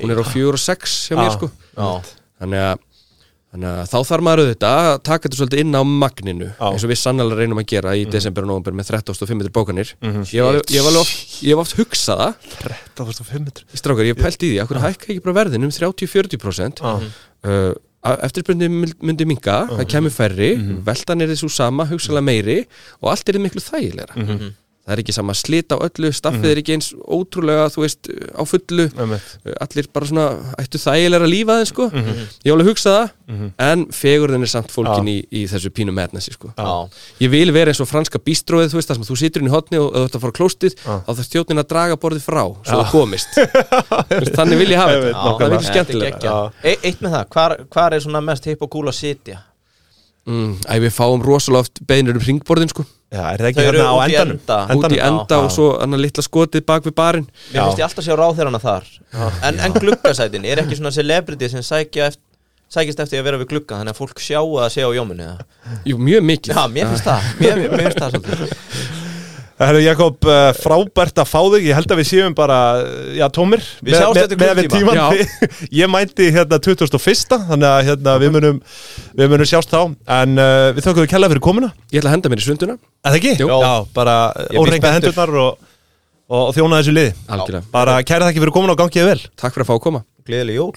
Speaker 3: hún er á 4 og 6 hjá mér
Speaker 1: Já.
Speaker 3: sko
Speaker 2: Já,
Speaker 3: þannig að Þannig að þá þarf maður auðvitað að taka þetta svolítið inn á magninu eins og við sannlega reynum að gera
Speaker 1: Mhm.
Speaker 3: í desember og november með 13.500 bókanir ég, hef alveg- ég, hef alveg oft- ég hef oft hugsað það
Speaker 1: 3500
Speaker 3: Strákar, ég hef pælt í því, akkur hækka ekki bara verðin um 30-40% uh,
Speaker 1: Mm.
Speaker 3: eftirbröndi myndi minga, það kemur færri veltan er þessu sama, hugsalega meiri og allt er þið miklu þægilegra það er ekki sama slit á öllu, staffið er ekki eins ótrúlega, þú veist, á fullu
Speaker 1: Einmitt.
Speaker 3: Uh, allir bara svona, ættu þægilegra lífa þeim sko, ég hef alveg hugsað það en fegurðin er samt fólkin í, í þessu pínum metnasi sko
Speaker 2: já
Speaker 3: Ég vil vera eins og franska bístróið, þú veist, það sem þú situr inn í hotni og ef þú ert að fara á klóstið, þá þarf stjórnin að draga borðið frá, svo það komist. Þú veist, Þannig vil ég hafa
Speaker 1: Ég veit,
Speaker 3: þetta. Það er mikið skemmtilega.
Speaker 2: e, Eitt með það, hvar, hvar er svona mest hipp og cool að sitja?
Speaker 3: Mm, Æ, við fáum rosalega oft beinur um ringborðin, sko,
Speaker 1: Já, er það
Speaker 2: Þau
Speaker 1: ekki hérna
Speaker 2: eru
Speaker 1: á
Speaker 2: út í
Speaker 1: endanum?
Speaker 2: enda.
Speaker 3: út í
Speaker 1: Endanum?
Speaker 3: enda og svo annar litla skotið bak við barinn.
Speaker 2: Mér
Speaker 1: Já.
Speaker 2: finnst ég alltaf sjá ráðherrana þar en, en gluggasætin, er ekki svona celebrity sem sækja eft, sækist eftir að vera við glugga þannig að fólk sjá að sé á jóminu eða?
Speaker 3: Jú, mjög mikið. Ah,
Speaker 2: Já, mér finnst það Mér, mér finnst það svolítið
Speaker 1: Herru Jakob, uh, frábært að fá þig Ég held að við séum bara, uh, já, tómir
Speaker 2: Við sjáumst eftir klukkutíma.
Speaker 1: tíman Ég mænti hérna 21. Þannig að hérna, við, munum, við munum sjást þá En uh, við þökkum við kella fyrir komuna
Speaker 3: Ég ætla að henda mér í sunduna.
Speaker 1: Er það ekki?
Speaker 3: Jú.
Speaker 1: Já, bara
Speaker 2: Ég býst
Speaker 1: órenga
Speaker 2: spenntur.
Speaker 1: hendurnar og, og, og þjóna þessu liði
Speaker 3: Algjörlega.
Speaker 1: Bara kæra þakki fyrir komuna og gangið vel
Speaker 3: Takk fyrir að fá að koma.
Speaker 2: Gleðileg jól